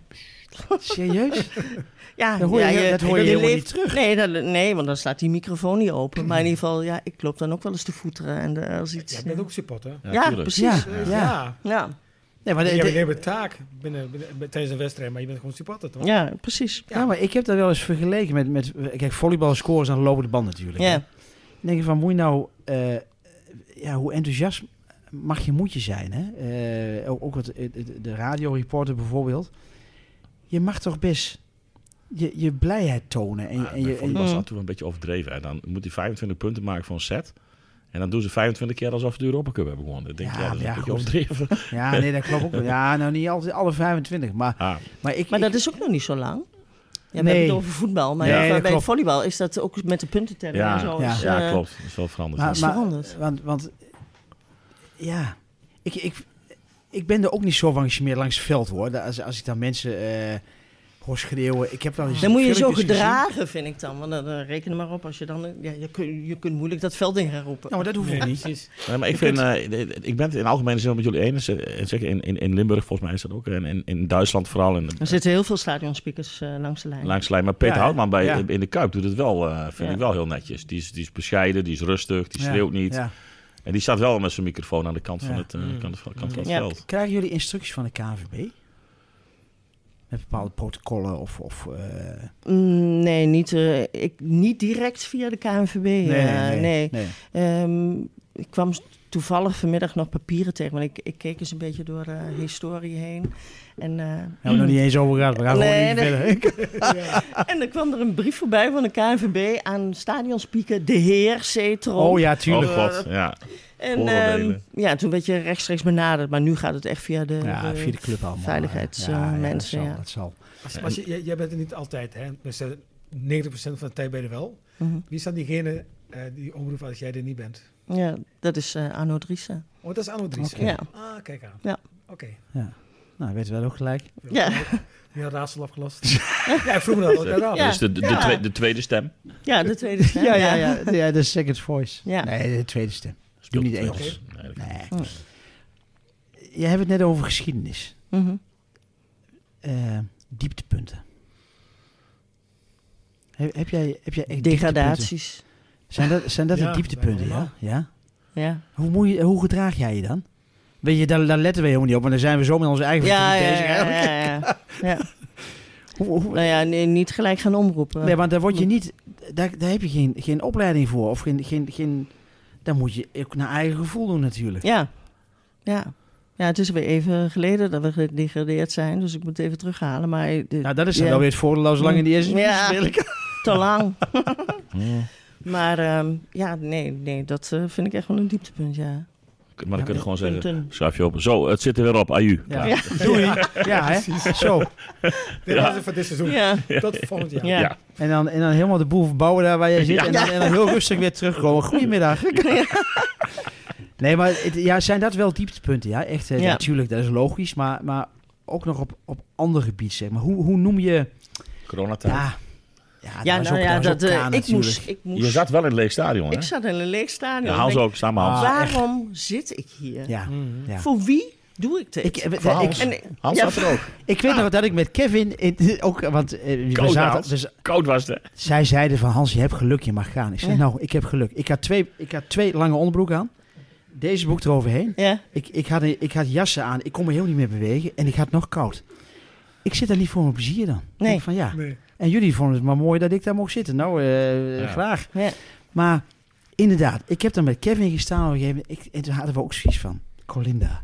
Speaker 2: Serieus?
Speaker 5: Ja,
Speaker 2: Dat hoor je
Speaker 5: ja,
Speaker 2: heel- dat hoor je helemaal niet
Speaker 5: terug. Nee, dat, nee, want dan staat die microfoon niet open. Maar in ieder geval, ja, ik loop dan ook wel eens te voeteren. En eh, als iets,
Speaker 4: Jij bent ook supporter.
Speaker 5: ja,
Speaker 3: tuurlijk.
Speaker 5: precies.
Speaker 2: Ja,
Speaker 5: Ja.
Speaker 2: ja.
Speaker 4: ja.
Speaker 2: Nee, maar, de-
Speaker 4: Je hebt
Speaker 2: de-
Speaker 4: een hele taak binnen, binnen, bij- tijdens een wedstrijd, maar je bent gewoon supporter toch?
Speaker 5: precies.
Speaker 2: ja, maar ik heb dat wel eens vergeleken met... met kijk, volleybal scoren aan de lopende band natuurlijk. hè?
Speaker 5: Ja,
Speaker 2: Dan denk je van, moet je nou... eh, ja, hoe enthousiast mag je moet je zijn, hè? Eh, ook ook het, het- het- de radioreporter bijvoorbeeld. Je mag toch best je, je blijheid tonen. En, je-
Speaker 3: Ja,
Speaker 2: en je,
Speaker 3: bij volleybal is
Speaker 5: Mm.
Speaker 3: dat toen een beetje overdreven. En dan moet hij 25 punten maken voor een set. En dan doen ze 25 keer alsof ze de Europa Cup hebben gewonnen. Dan denk je,
Speaker 2: Ja,
Speaker 3: ja, dat is
Speaker 2: maar
Speaker 3: een
Speaker 2: ja,
Speaker 3: beetje
Speaker 2: goed.
Speaker 3: overdreven.
Speaker 2: ja, nee, dat klopt ook. wel. Ja, nou niet altijd alle 25, maar...
Speaker 3: Ah,
Speaker 2: Maar, ik,
Speaker 5: maar
Speaker 2: ik-
Speaker 5: dat is ook nog niet zo lang. Ja, we
Speaker 2: Nee.
Speaker 5: hebben het over voetbal, maar
Speaker 2: Nee,
Speaker 5: ja,
Speaker 2: dat
Speaker 5: bij
Speaker 2: klopt.
Speaker 5: volleybal is dat ook met de puntentelling
Speaker 3: ja,
Speaker 5: en zo.
Speaker 3: ja,
Speaker 5: is,
Speaker 3: ja,
Speaker 5: eh,
Speaker 3: klopt. Dat is wel veranderd.
Speaker 2: Maar-
Speaker 5: is veranderd.
Speaker 2: Want, want ja, ik, ik, ik ben er ook niet zo van gesmeerd langs het veld hoor. Als, als ik dan mensen eh hoor schreeuwen. Ik heb wel eens
Speaker 5: Dan moet je zo
Speaker 2: filmpjes gezien.
Speaker 5: gedragen, vind ik dan. Want dan eh, reken er maar op als je dan... eh, Ja, je, kun, je kunt moeilijk dat veld in gaan roepen.
Speaker 2: Nou, maar dat hoeft ook niet.
Speaker 4: precies.
Speaker 3: Nee, maar ik, vind, eh, ik ben het in algemene zin wel met jullie eens. Eh, en Zeker in, in, in Limburg volgens mij is dat ook. En in, in Duitsland vooral. En,
Speaker 5: er zitten heel veel stadionspeakers eh, langs de lijn.
Speaker 3: langs de lijn. Maar Peter
Speaker 2: Ja, hè?
Speaker 3: Houtman bij,
Speaker 2: Ja.
Speaker 3: in de Kuip doet het wel, eh, vind
Speaker 5: Ja.
Speaker 3: ik wel heel netjes. Die is, die is bescheiden, die is rustig, die
Speaker 2: Ja,
Speaker 3: schreeuwt niet.
Speaker 2: ja.
Speaker 3: En die staat wel met zijn microfoon aan de kant van
Speaker 2: Ja.
Speaker 3: het, eh,
Speaker 4: Mm.
Speaker 3: kant, van- kant van het
Speaker 5: Ja.
Speaker 3: veld.
Speaker 2: Krijgen jullie instructies van de KNVB? Met bepaalde protocollen of... of eh,
Speaker 5: Mm, Nee, niet, eh, ik, niet direct via de KNVB. eh, nee.
Speaker 2: nee.
Speaker 5: Ehm, ik kwam s- toevallig vanmiddag nog papieren tegen, want ik, ik keek eens een beetje door de historie heen. En, eh,
Speaker 2: We hebben nog niet eens over gehad. We gaan
Speaker 5: Nee,
Speaker 2: gewoon even verder.
Speaker 5: en er kwam er een brief voorbij van de KNVB aan stadionspeaker De Heer Cetro.
Speaker 2: Oh ja,
Speaker 3: Oh
Speaker 2: tuurlijk.
Speaker 3: god, ja.
Speaker 5: En
Speaker 3: Vooroordelen.
Speaker 5: ehm, ja, toen werd je rechtstreeks benaderd, maar nu gaat het echt via de,
Speaker 2: ja,
Speaker 5: eh,
Speaker 2: via de club allemaal.
Speaker 5: veiligheidsmensen. Ja,
Speaker 2: dat zal,
Speaker 5: ja.
Speaker 2: dat zal.
Speaker 4: Als, als je, jij- jij bent er niet altijd, hè? Dus, Tenminste, 90% van de tijd ben je er wel.
Speaker 5: Mhm.
Speaker 4: Wie is dan diegene eh, die omroept als jij er niet bent?
Speaker 5: Ja, dat is eh Arno Driessen.
Speaker 4: Oh, dat is Anno Dries.
Speaker 2: Oké.
Speaker 5: Ja.
Speaker 4: Ah, kijk aan.
Speaker 5: Ja.
Speaker 4: Oké.
Speaker 2: Nou, weet je wel ook gelijk.
Speaker 5: Ja.
Speaker 4: Ja, raadsel afgelost. ja, ik vroeg me dat ook net af.
Speaker 5: Ja.
Speaker 3: Dus de, de, de
Speaker 5: Ja.
Speaker 3: twee- de tweede stem.
Speaker 5: ja, de tweede stem.
Speaker 2: Ja, ja, ja. ja de second voice.
Speaker 5: Ja.
Speaker 2: Nee, de tweede stem.
Speaker 3: Speelt
Speaker 2: niet
Speaker 3: de tweede
Speaker 2: Engels.
Speaker 3: stem. Nee, dat-
Speaker 2: Nee.
Speaker 5: Hm.
Speaker 2: Je hebt het net over geschiedenis.
Speaker 5: Mhm.
Speaker 2: Eh, dieptepunten. He- heb jij, heb jij echt dieptepunten?
Speaker 5: Degradaties.
Speaker 2: Zijn dat, zijn dat
Speaker 4: Ja,
Speaker 2: de dieptepunten,
Speaker 4: bijna
Speaker 2: ja? ja?
Speaker 5: Ja.
Speaker 2: Hoe, moet je, hoe gedraag jij je dan? Weet je, daar, daar letten we helemaal niet op, want dan zijn we zo met onze eigen
Speaker 5: Ja,
Speaker 2: verdriet
Speaker 5: ja,
Speaker 2: bezig.
Speaker 5: ja,
Speaker 2: eigenlijk.
Speaker 5: ja, ja. Ja.
Speaker 2: Hoe- hoe-
Speaker 5: Nou ja, nee, niet gelijk gaan omroepen.
Speaker 2: nee, want daar, word je niet, daar, daar heb je geen, geen opleiding voor. Of geen, geen, geen, daar moet je ook naar eigen gevoel doen natuurlijk.
Speaker 5: Ja. ja. Ja, het is weer even geleden dat we gedegradeerd zijn, dus ik moet even terughalen. Maar de-
Speaker 2: Nou, dat is dan
Speaker 5: Ja.
Speaker 2: wel weer het voordeel als lang in de eerste
Speaker 5: Ja.
Speaker 2: speel ik.
Speaker 5: te lang.
Speaker 3: Hmm.
Speaker 5: Maar ehm, ja, nee, nee, dat eh, vind ik echt wel een dieptepunt, ja.
Speaker 3: Maar dan kun je gewoon zeggen,
Speaker 5: Punten.
Speaker 3: schuif je op. Zo, het zit er weer op. Aju.
Speaker 2: Ja.
Speaker 5: Ja.
Speaker 2: Doei. Ja, hè? Zo.
Speaker 4: Dit was het voor dit seizoen.
Speaker 5: Ja,
Speaker 4: Tot volgend jaar.
Speaker 5: ja.
Speaker 3: Ja.
Speaker 2: En dan, en dan helemaal de boel verbouwen daar waar jij zit.
Speaker 3: Ja.
Speaker 2: En, dan, en dan heel rustig weer terugkomen. Goedemiddag. Nee, maar het- ja, zijn dat wel dieptepunten? Ja, echt. eh,
Speaker 5: Ja.
Speaker 2: Natuurlijk, dat is logisch. Maar, maar ook nog op, op ander gebied, zeg maar. Hoe, hoe noem je...
Speaker 3: Coronatijd.
Speaker 2: Ja, ja,
Speaker 5: Ja,
Speaker 2: is
Speaker 5: nou
Speaker 2: ook-
Speaker 5: ja,
Speaker 2: is ook
Speaker 5: dat, eh,
Speaker 2: K
Speaker 5: ik,
Speaker 2: natuurlijk.
Speaker 5: moest, ik moest...
Speaker 3: Je zat wel in het leeg stadion, hè?
Speaker 5: Ik zat in een leeg stadion.
Speaker 3: Ja, haal ze
Speaker 5: Ik
Speaker 3: ook samen, Hans.
Speaker 2: Ah,
Speaker 5: Waarom zit ik hier?
Speaker 2: Ja. ja.
Speaker 5: Voor wie doe ik dit?
Speaker 2: Ik, eh,
Speaker 3: Voor
Speaker 2: ik,
Speaker 3: Hans.
Speaker 2: ik,
Speaker 5: en,
Speaker 3: Hans
Speaker 5: ja,
Speaker 3: zat er ook.
Speaker 5: Ah.
Speaker 2: weet nog dat ik met Kevin... in- ook, want eh, we
Speaker 3: Koud,
Speaker 2: zaten,
Speaker 3: Hans.
Speaker 2: dus,
Speaker 3: Koud was het, hè?
Speaker 2: zij zeiden van Hans, je hebt geluk, je mag gaan. Ik zei,
Speaker 5: Ja.
Speaker 2: nou, ik heb geluk. Ik had twee, ik had twee lange onderbroeken aan. Deze broek eroverheen.
Speaker 5: ja,
Speaker 2: Ik, ik, had, een- ik had jassen aan, ik kon me heel niet meer bewegen en ik had nog koud. Ik zit daar niet voor mijn plezier dan. Ik
Speaker 5: Nee.
Speaker 2: denk van ja.
Speaker 4: Nee.
Speaker 2: En jullie vonden het maar mooi dat ik daar mocht zitten. Nou, eh,
Speaker 3: Ja.
Speaker 2: graag.
Speaker 5: ja.
Speaker 2: Maar inderdaad, ik heb daar met Kevin gestaan op een gegeven moment. Ik, en toen hadden we ook zoiets van, Colinda.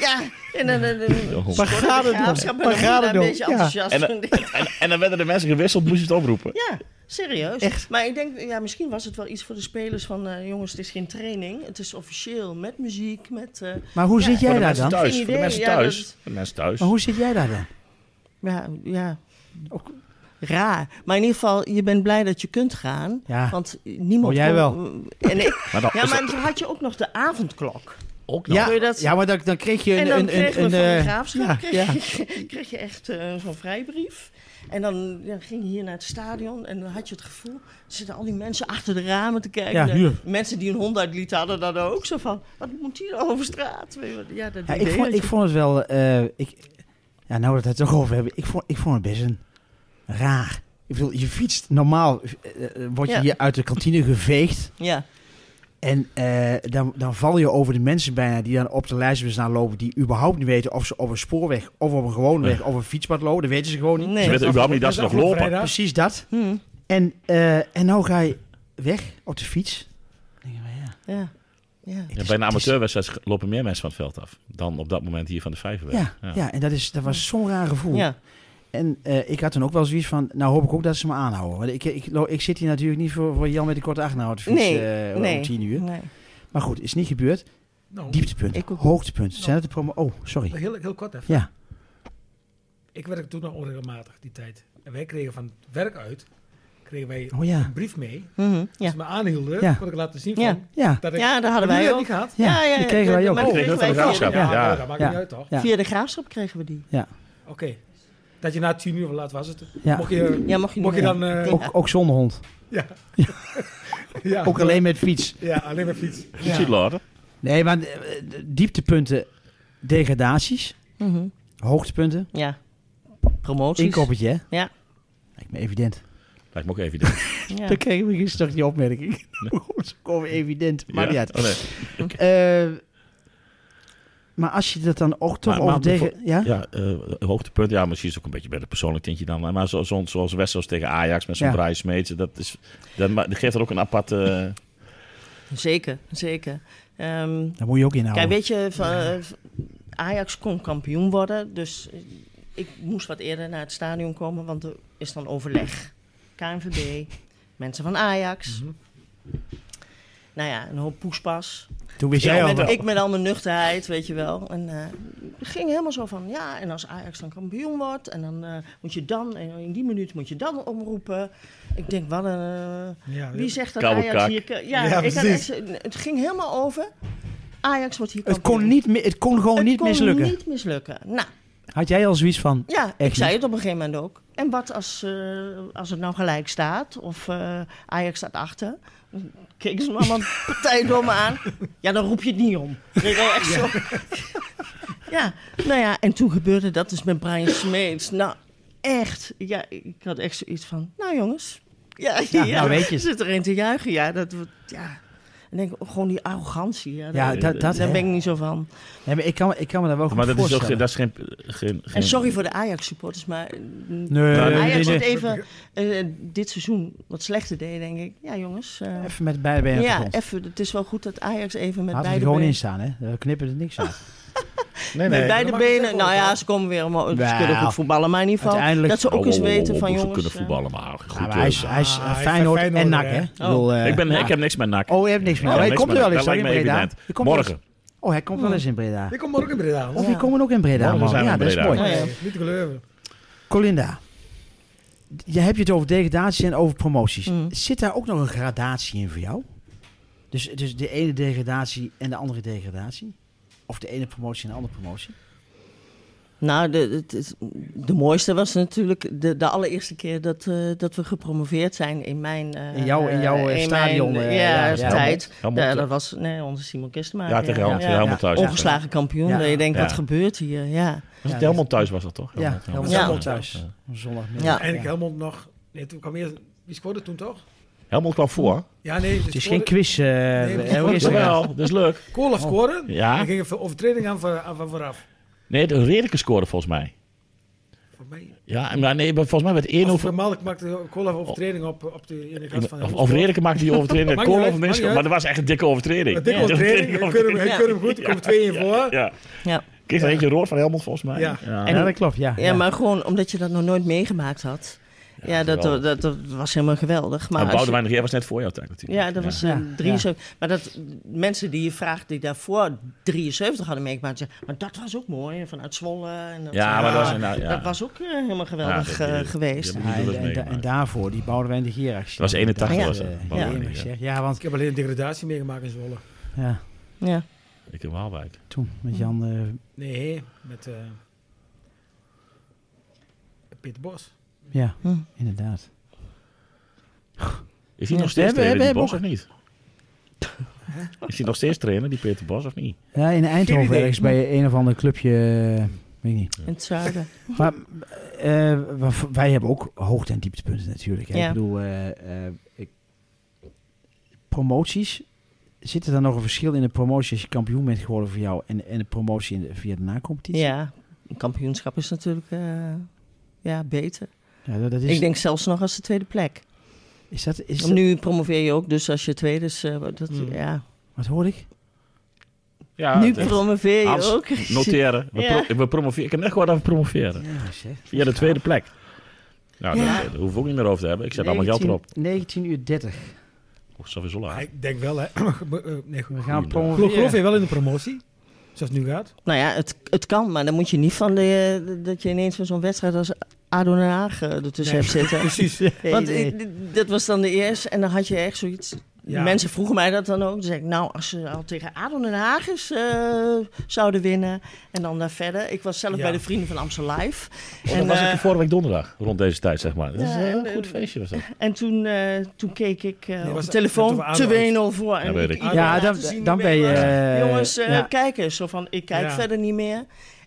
Speaker 5: Ja, en dan een, een,
Speaker 3: Waar
Speaker 5: schorre
Speaker 2: gaat het om?
Speaker 5: graafschap en
Speaker 2: Waar
Speaker 5: dan
Speaker 2: gaat het
Speaker 5: moet je daar
Speaker 2: om?
Speaker 5: een beetje
Speaker 2: Ja.
Speaker 5: enthousiast
Speaker 3: En dan-
Speaker 2: eh,
Speaker 5: van denken.
Speaker 3: En, en dan werden de mensen gewisseld, moest je het oproepen.
Speaker 5: Ja, serieus.
Speaker 2: Echt?
Speaker 5: Maar ik denk, ja, misschien was het wel iets voor de spelers van... eh, jongens, het is geen training. Het is officieel met muziek, met... eh,
Speaker 2: Maar hoe
Speaker 5: Ja,
Speaker 2: zit
Speaker 5: voor
Speaker 2: jij
Speaker 3: voor de
Speaker 2: daar
Speaker 3: mensen
Speaker 2: dan?
Speaker 5: Geen
Speaker 3: thuis. Voor de
Speaker 5: idee,
Speaker 3: mensen
Speaker 5: ja,
Speaker 3: thuis.
Speaker 5: dat-
Speaker 3: Voor de mensen thuis.
Speaker 2: Maar hoe zit jij daar dan?
Speaker 5: ja, ja,
Speaker 2: Ook-
Speaker 5: raar. Maar in ieder geval, je bent blij dat je kunt gaan.
Speaker 2: Ja.
Speaker 5: Want niemand... Mm,
Speaker 2: Oh, jij wel.
Speaker 5: En ik,
Speaker 3: Maar dan
Speaker 5: ja,
Speaker 3: is
Speaker 5: maar
Speaker 3: het
Speaker 5: toen had je ook nog de avondklok.
Speaker 3: ook nog.
Speaker 2: Ja,
Speaker 5: Doe je dat-
Speaker 2: ja, maar dan, dan kreeg je een...
Speaker 5: En dan
Speaker 2: een,
Speaker 5: kreeg
Speaker 2: een,
Speaker 5: we
Speaker 2: een,
Speaker 5: van de
Speaker 2: eh,
Speaker 5: graafschap
Speaker 2: ja,
Speaker 5: kreeg,
Speaker 2: ja.
Speaker 5: kreeg je echt eh, zo'n vrijbrief. En dan, dan ging je hier naar het stadion en dan had je het gevoel... er zitten al die mensen achter de ramen te kijken.
Speaker 2: Ja,
Speaker 5: De
Speaker 2: hier.
Speaker 5: mensen die een hond uitlieten hadden dat ook. Zo van, wat moet hier over straat? Weet je wat, Ja, dat
Speaker 2: Ja, ik,
Speaker 5: idee
Speaker 2: vond,
Speaker 5: dat
Speaker 2: ik
Speaker 5: je-
Speaker 2: vond het wel... eh, ik, ja, nou dat we het er toch over hebben. Ik vond, ik vond het best een raar. Ik bedoel, je fietst normaal... eh, eh, word je
Speaker 5: Ja.
Speaker 2: hier uit de kantine geveegd.
Speaker 5: Ja,
Speaker 2: En eh, dan, dan val je over de mensen bijna die dan op de lijstbus staan lopen... die überhaupt niet weten of ze op een spoorweg of op een gewone weg... of een fietspad lopen. Dat weten ze gewoon niet.
Speaker 5: Nee.
Speaker 3: Ze weten überhaupt niet dat ze nog
Speaker 4: Afgelopen
Speaker 3: lopen.
Speaker 4: vrijdag.
Speaker 2: Precies dat.
Speaker 5: Hm,
Speaker 2: En, eh, en nou ga je weg op de fiets. Dan denk ik, maar ja,
Speaker 5: ja, ja.
Speaker 2: het
Speaker 3: Ja,
Speaker 2: is-
Speaker 3: bij een
Speaker 2: het is-
Speaker 3: amateurwedstrijd lopen meer mensen van het veld af dan op dat moment hier van de Vijverweg.
Speaker 2: Ja, ja. en dat, is, dat was zo'n raar gevoel.
Speaker 5: ja.
Speaker 2: En eh, ik had toen ook wel zoiets van, nou hoop ik ook dat ze me aanhouden. Want ik, ik, lo- ik zit hier natuurlijk niet voor, voor Jan met de korte achterhoud fiets
Speaker 5: Nee,
Speaker 2: eh,
Speaker 5: nee.
Speaker 2: om tien uur.
Speaker 5: Nee.
Speaker 2: Maar goed, is niet gebeurd.
Speaker 4: Nou,
Speaker 2: Dieptepunten,
Speaker 5: Ik ook niet.
Speaker 2: hoogtepunten. Zijn dat de promo... Oh, sorry.
Speaker 4: heel, heel kort even.
Speaker 2: Ja.
Speaker 4: Ik werkte toen nog onregelmatig, die tijd. En wij kregen van het werk uit, kregen wij
Speaker 2: Oh ja.
Speaker 4: een brief mee.
Speaker 5: Mhm,
Speaker 4: Als
Speaker 5: ja.
Speaker 4: ze me aanhielden,
Speaker 2: Ja.
Speaker 4: kon ik laten zien van,
Speaker 5: Ja.
Speaker 2: Ja.
Speaker 4: dat ik...
Speaker 5: ja, daar hadden
Speaker 4: Hebben
Speaker 5: wij
Speaker 4: jullie dat
Speaker 5: ook.
Speaker 4: niet gehad?
Speaker 2: Ja, die
Speaker 5: dat-
Speaker 2: kregen wij
Speaker 5: dat-
Speaker 2: ook.
Speaker 5: maar
Speaker 2: Oh,
Speaker 5: die
Speaker 3: die
Speaker 5: kregen
Speaker 3: kregen
Speaker 5: wij
Speaker 3: we van de
Speaker 5: via
Speaker 3: graafschap, ja.
Speaker 4: oh, dat maakt
Speaker 2: Ja.
Speaker 4: niet uit toch?
Speaker 2: Ja.
Speaker 5: Via de graafschap kregen we die.
Speaker 4: Oké. Dat je na tien uur, of laat was het,
Speaker 2: Ja.
Speaker 4: mocht je...
Speaker 5: Ja, mocht je,
Speaker 4: Mocht je
Speaker 5: niet
Speaker 4: dan...
Speaker 5: meer.
Speaker 4: eh,
Speaker 2: Ook, ook zonder hond.
Speaker 4: ja. ja.
Speaker 2: Ook alleen met fiets.
Speaker 4: Ja, alleen maar fiets.
Speaker 3: Goed ziet, Lorde.
Speaker 2: Nee, maar eh, dieptepunten, degradaties,
Speaker 5: Mhm,
Speaker 2: hoogtepunten,
Speaker 5: Ja. Promoties.
Speaker 2: inkoppertje. hè?
Speaker 5: Ja.
Speaker 2: Lijkt me evident.
Speaker 3: Lijkt me ook even idee.
Speaker 5: Ja.
Speaker 2: Dan kregen we gisteren nog die opmerking. Dat is gewoon evident. Maar niet uit.
Speaker 3: Oh, nee.
Speaker 2: Eh, maar als je dat dan ook toch
Speaker 3: Maar-
Speaker 2: over
Speaker 3: maar
Speaker 2: tegen...
Speaker 3: bevo-
Speaker 2: Ja?
Speaker 3: Ja, eh, hoogtepunt. Ja, misschien is het ook een beetje bij de persoonlijk tintje dan. Maar zo, zo, zoals Wessels tegen Ajax met zo'n
Speaker 2: Ja.
Speaker 3: Brian Smeets. Dat, is, dat, ma- dat geeft er ook een aparte... eh,
Speaker 5: Zeker, zeker. Ehm,
Speaker 2: Daar moet je ook in houden.
Speaker 5: Kijk, weet je, van, eh, Ajax kon kampioen worden, dus eh, ik moest wat eerder naar het stadion komen, want er is dan overleg. KNVB, mensen van Ajax.
Speaker 2: Mhm.
Speaker 5: Nou ja, een hoop poespas.
Speaker 2: Toen wist jij
Speaker 5: ik,
Speaker 2: al
Speaker 5: met,
Speaker 2: wel.
Speaker 5: ik met al mijn nuchterheid, weet je wel. En eh, het ging helemaal zo van, ja, en als Ajax dan kampioen wordt, en dan eh, moet je dan, en in die minuut moet je dan omroepen. Ik denk, wat een... eh,
Speaker 4: Ja,
Speaker 5: wie zegt dat
Speaker 3: Koude
Speaker 5: Ajax
Speaker 3: kak.
Speaker 5: hier... ka- Ja,
Speaker 4: Ja,
Speaker 5: ik had
Speaker 4: precies.
Speaker 5: echt- het ging helemaal over. Ajax wordt hier
Speaker 2: Het
Speaker 5: kampioen.
Speaker 2: kon, niet, mi- het kon gewoon
Speaker 5: Het
Speaker 2: niet
Speaker 5: kon
Speaker 2: mislukken.
Speaker 5: niet mislukken. Nou,
Speaker 2: Had jij al zoiets van...
Speaker 5: ja, ik
Speaker 2: Echt
Speaker 5: zei
Speaker 2: niet?
Speaker 5: het op een gegeven moment ook. En wat als, eh, als het nou gelijk staat of eh, Ajax staat achter? Dan Keken ze me allemaal partijdom aan. Ja, dan roep je het niet om. Ik denk, oh, echt zo. ja, nou ja, en toen gebeurde dat dus met Brian Smeets. Nou, echt. Ja, ik had echt zoiets van, nou jongens. Ja,
Speaker 2: Ja, nou weet je het.
Speaker 5: Zit er een te juichen, ja. Dat, wordt- ja. En denk ik, oh, gewoon die arrogantie. Ja,
Speaker 2: Ja,
Speaker 5: daar-
Speaker 2: dat, dat,
Speaker 5: daar ben ik niet zo van.
Speaker 2: nee, maar ik, kan, ik kan me daar wel goed
Speaker 3: Maar dat is, ook,
Speaker 2: voorstellen.
Speaker 3: geen- dat is geen... geen, geen
Speaker 5: En sorry voor de Ajax-supporters, maar eh,
Speaker 2: Nee, nee,
Speaker 3: Maar
Speaker 2: nee,
Speaker 5: Ajax
Speaker 2: nee.
Speaker 5: het even eh, dit seizoen wat slechter deed, denk ik. Ja, jongens. eh,
Speaker 2: Even met beide benen op de
Speaker 5: ja,
Speaker 2: grond.
Speaker 5: even. Het is wel goed dat Ajax even met
Speaker 2: Laten we
Speaker 5: beide
Speaker 2: er gewoon
Speaker 5: benen...
Speaker 2: in staan, hè. Daar knippen er niks
Speaker 3: Ah,
Speaker 2: uit.
Speaker 3: nee,
Speaker 5: Met
Speaker 3: nee.
Speaker 5: beide
Speaker 4: Dan mag je het
Speaker 5: benen.
Speaker 4: ook
Speaker 5: Nou ja,
Speaker 4: wel.
Speaker 5: ze komen weer omhoog. Ze
Speaker 2: Nou,
Speaker 5: kunnen goed voetballen, maar in ieder geval...
Speaker 2: uiteindelijk-
Speaker 5: Dat ze ook
Speaker 3: Oh,
Speaker 5: eens
Speaker 3: oh, oh,
Speaker 5: weten
Speaker 3: oh,
Speaker 5: van
Speaker 3: ze
Speaker 5: jongens...
Speaker 3: kunnen
Speaker 5: eh,
Speaker 3: voetballen, maar goed.
Speaker 2: Ja, maar
Speaker 3: eh,
Speaker 2: hij is, hij is eh,
Speaker 1: Ah, hij is
Speaker 2: Feyenoord,
Speaker 1: Feyenoord,
Speaker 2: en NAC,
Speaker 1: hè.
Speaker 2: hè.
Speaker 1: Oh.
Speaker 2: Ik, bedoel, eh,
Speaker 3: ik, ben,
Speaker 2: ja.
Speaker 3: ik heb niks met NAC.
Speaker 2: Oh, je hebt niks meer.
Speaker 3: Ik heb
Speaker 2: hij
Speaker 3: niks
Speaker 2: komt er
Speaker 3: met
Speaker 2: wel eens
Speaker 3: NAC. Dat
Speaker 2: hoor, in
Speaker 3: lijkt me
Speaker 2: Breda.
Speaker 3: evident.
Speaker 2: Je komt wel eens-
Speaker 3: Morgen.
Speaker 2: Oh, hij komt wel eens in Breda.
Speaker 4: Ik kom morgen in Breda.
Speaker 2: Of
Speaker 4: hoor.
Speaker 5: Ja.
Speaker 2: je komt ook in Breda,
Speaker 3: Morgen
Speaker 2: man.
Speaker 3: zijn we
Speaker 2: Oh, ja,
Speaker 3: in
Speaker 2: dat is
Speaker 3: Breda.
Speaker 2: mooi.
Speaker 5: Ja, ja.
Speaker 4: Niet te geloven.
Speaker 2: Colinda, je hebt het over degradatie en over promoties.
Speaker 5: Mm.
Speaker 2: Zit daar ook nog een gradatie in voor jou? Dus, dus de ene degradatie en de andere degradatie? Of de ene promotie en de andere promotie?
Speaker 5: Nou, de, het- het- de mooiste was natuurlijk de, de allereerste keer dat, eh, dat we gepromoveerd zijn in mijn... eh,
Speaker 2: In jouw- in jouw, eh,
Speaker 5: mijn,
Speaker 2: stadion, eh, ja,
Speaker 5: ja,
Speaker 2: ja.
Speaker 5: tijd.
Speaker 3: Helmond,
Speaker 5: Ja,
Speaker 3: eh,
Speaker 5: dat was nee, onze Simon Kistema.
Speaker 3: Ja, tegen Helmond,
Speaker 2: ja,
Speaker 3: tegen Helmond
Speaker 2: ja.
Speaker 3: thuis.
Speaker 5: Ongeslagen kampioen.
Speaker 2: Ja.
Speaker 5: Dat je denkt,
Speaker 3: Ja.
Speaker 5: wat gebeurt hier? Ja.
Speaker 3: Was
Speaker 2: Ja, dus-
Speaker 3: het Helmond thuis was dat toch?
Speaker 2: Ja, helemaal
Speaker 5: Ja.
Speaker 2: zondag thuis. Zondagmiddag.
Speaker 5: Ja.
Speaker 4: En ik helemaal nog... Nee, toen kwam eerst... Wie scoorde toen toch?
Speaker 3: Helmond kwam voor.
Speaker 4: Ja, nee.
Speaker 2: Het is geen quiz. eh
Speaker 4: Nee,
Speaker 2: hoe is het?
Speaker 3: Jawel, dat is leuk.
Speaker 4: Koolhof scoren.
Speaker 3: Ja.
Speaker 4: En ging een overtreding aan van, aan van vooraf.
Speaker 3: Nee, de Redeke scoorde volgens mij.
Speaker 4: Voor mij.
Speaker 3: Ja, maar nee, maar volgens mij werd één
Speaker 4: Of
Speaker 3: over...
Speaker 4: Vermalk maakte Koolhof overtreding op, op de ene kant van...
Speaker 3: Of, of Redeke maakte die overtreding.
Speaker 4: Maakt niet
Speaker 3: Kool of
Speaker 4: uit, maakt
Speaker 3: Minsk.
Speaker 4: niet
Speaker 3: Maar dat was echt een dikke overtreding.
Speaker 4: Een dikke
Speaker 3: Ja.
Speaker 4: overtreding. Ik keur hem, ik keur hem goed. Er komen twee in voor.
Speaker 3: Ja.
Speaker 5: Ja.
Speaker 3: Kreeg er eentje rood van Helmond volgens mij.
Speaker 4: Ja.
Speaker 5: En-
Speaker 2: Ja, dat klopt, ja.
Speaker 5: Ja, maar gewoon omdat je dat nog nooit meegemaakt had. Ja, dat,
Speaker 3: geweldig.
Speaker 5: dat, dat was helemaal geweldig. Maar
Speaker 3: Maar en
Speaker 5: als je-
Speaker 3: Boudewijn de Geer was net voor jouw tijd natuurlijk.
Speaker 5: ja, dat was eh,
Speaker 2: Ja,
Speaker 5: 73. Maar dat mensen die je vraagt die daarvoor 73 hadden meegemaakt, zeggen, maar dat was ook mooi hè, vanuit Zwolle. En dat,
Speaker 3: Ja, maar dat was, nou, ja.
Speaker 5: dat was ook eh, helemaal geweldig
Speaker 3: Ja, dat-
Speaker 5: eh,
Speaker 3: die-
Speaker 5: geweest.
Speaker 3: die-
Speaker 2: Ja, en,
Speaker 3: Dat
Speaker 2: eh, en-
Speaker 3: meegemaakt.
Speaker 2: en daarvoor, die Boudewijn de Geeractie.
Speaker 3: Dat was 81 was het.
Speaker 2: ja,
Speaker 3: Boudewijn
Speaker 2: ja,
Speaker 3: de
Speaker 2: eerlijk
Speaker 3: Geer.
Speaker 2: gezegd. ja, want
Speaker 4: Ik heb alleen een degradatie meegemaakt in Zwolle.
Speaker 2: ja,
Speaker 5: Ja.
Speaker 3: Ik heb Waalwijk.
Speaker 2: toen
Speaker 5: Hm.
Speaker 2: met Jan... eh,
Speaker 4: Nee, met eh Peter Bos.
Speaker 2: ja,
Speaker 5: Hm.
Speaker 2: inderdaad.
Speaker 3: Is hij
Speaker 5: Ja.
Speaker 3: nog steeds
Speaker 2: We hebben-
Speaker 3: trainer, die
Speaker 2: we
Speaker 3: Bos, of niet? Is hij nog steeds trainer, die Peter Bos, of niet?
Speaker 2: Ja, in Eindhoven
Speaker 4: idee.
Speaker 2: ergens
Speaker 5: Hm.
Speaker 2: bij een of ander clubje, eh, weet ik niet.
Speaker 5: in het zuiden.
Speaker 2: Maar eh, wa- wij hebben ook hoogte- en dieptepunten natuurlijk. Hè.
Speaker 5: Ja.
Speaker 2: Ik bedoel, eh, eh, ik- promoties. Zit er dan nog een verschil in de promotie als je kampioen bent geworden voor jou en, en de promotie in de, via de nacompetitie?
Speaker 5: Ja, een kampioenschap is natuurlijk eh, ja, beter.
Speaker 2: Ja, dat, dat is,
Speaker 5: Ik denk zelfs nog als de tweede plek.
Speaker 2: is dat, is dat-
Speaker 5: Nu promoveer je ook, dus als je tweede is, eh, dat,
Speaker 4: Mm.
Speaker 5: ja.
Speaker 2: wat hoor ik?
Speaker 3: Hmm. Ja,
Speaker 5: nu
Speaker 3: het-
Speaker 5: promoveer je
Speaker 3: Hans,
Speaker 5: ook.
Speaker 3: Noteren. We
Speaker 5: Ja.
Speaker 3: pro- we promoveren. Ik heb net gehoord dat we promoveren.
Speaker 2: Ja, zeg.
Speaker 3: Via de tweede plek. Nou,
Speaker 5: Ja.
Speaker 3: daar, daar hoef ik ook niet meer over te hebben. Ik zet allemaal geld erop.
Speaker 2: 19 uur 30.
Speaker 3: Of sowieso
Speaker 4: Maar
Speaker 3: laag.
Speaker 4: ik denk wel, hè. Eh, nee,
Speaker 2: We gaan
Speaker 3: Goeiedag.
Speaker 4: goed. Geloof, geloof
Speaker 2: promoveren.
Speaker 4: je wel in de promotie? Zoals het nu gaat?
Speaker 5: Nou ja, het, het kan, maar dan moet je niet van de, eh, dat je ineens van zo'n wedstrijd als ADO Den Haag eh, ertussen
Speaker 4: Nee,
Speaker 5: hebt zitten.
Speaker 4: Precies.
Speaker 2: Nee,
Speaker 5: Want
Speaker 2: nee.
Speaker 5: eh, d- dat was dan de eerste en dan had je echt zoiets.
Speaker 4: Ja.
Speaker 5: Mensen vroegen mij dat dan ook. Dan zei ik, nou, als ze al tegen ADO Den Haag is, eh, zouden winnen en dan daar verder. Ik was zelf
Speaker 4: Ja.
Speaker 5: bij de Vrienden van Amstel Live.
Speaker 3: dat was
Speaker 5: eh,
Speaker 3: ik er vorige week donderdag, rond deze tijd zeg maar. Dat is
Speaker 5: Ja,
Speaker 3: een heel
Speaker 5: en,
Speaker 3: goed
Speaker 5: eh,
Speaker 3: feestje was dat.
Speaker 5: en toen, eh, toen keek ik eh,
Speaker 4: was
Speaker 5: op
Speaker 4: dat-
Speaker 5: de
Speaker 4: toen
Speaker 5: telefoon
Speaker 4: we ADO
Speaker 5: te 1-0 voor. En
Speaker 3: Ja, weet ik.
Speaker 5: iedereen
Speaker 2: Ja,
Speaker 5: laten
Speaker 2: dan,
Speaker 5: zien
Speaker 2: dan
Speaker 5: wie
Speaker 2: ben je...
Speaker 5: was.
Speaker 2: eh,
Speaker 5: Jongens, eh,
Speaker 2: ja.
Speaker 5: kijk eens. Zo van, ik kijk
Speaker 4: Ja.
Speaker 5: verder niet meer.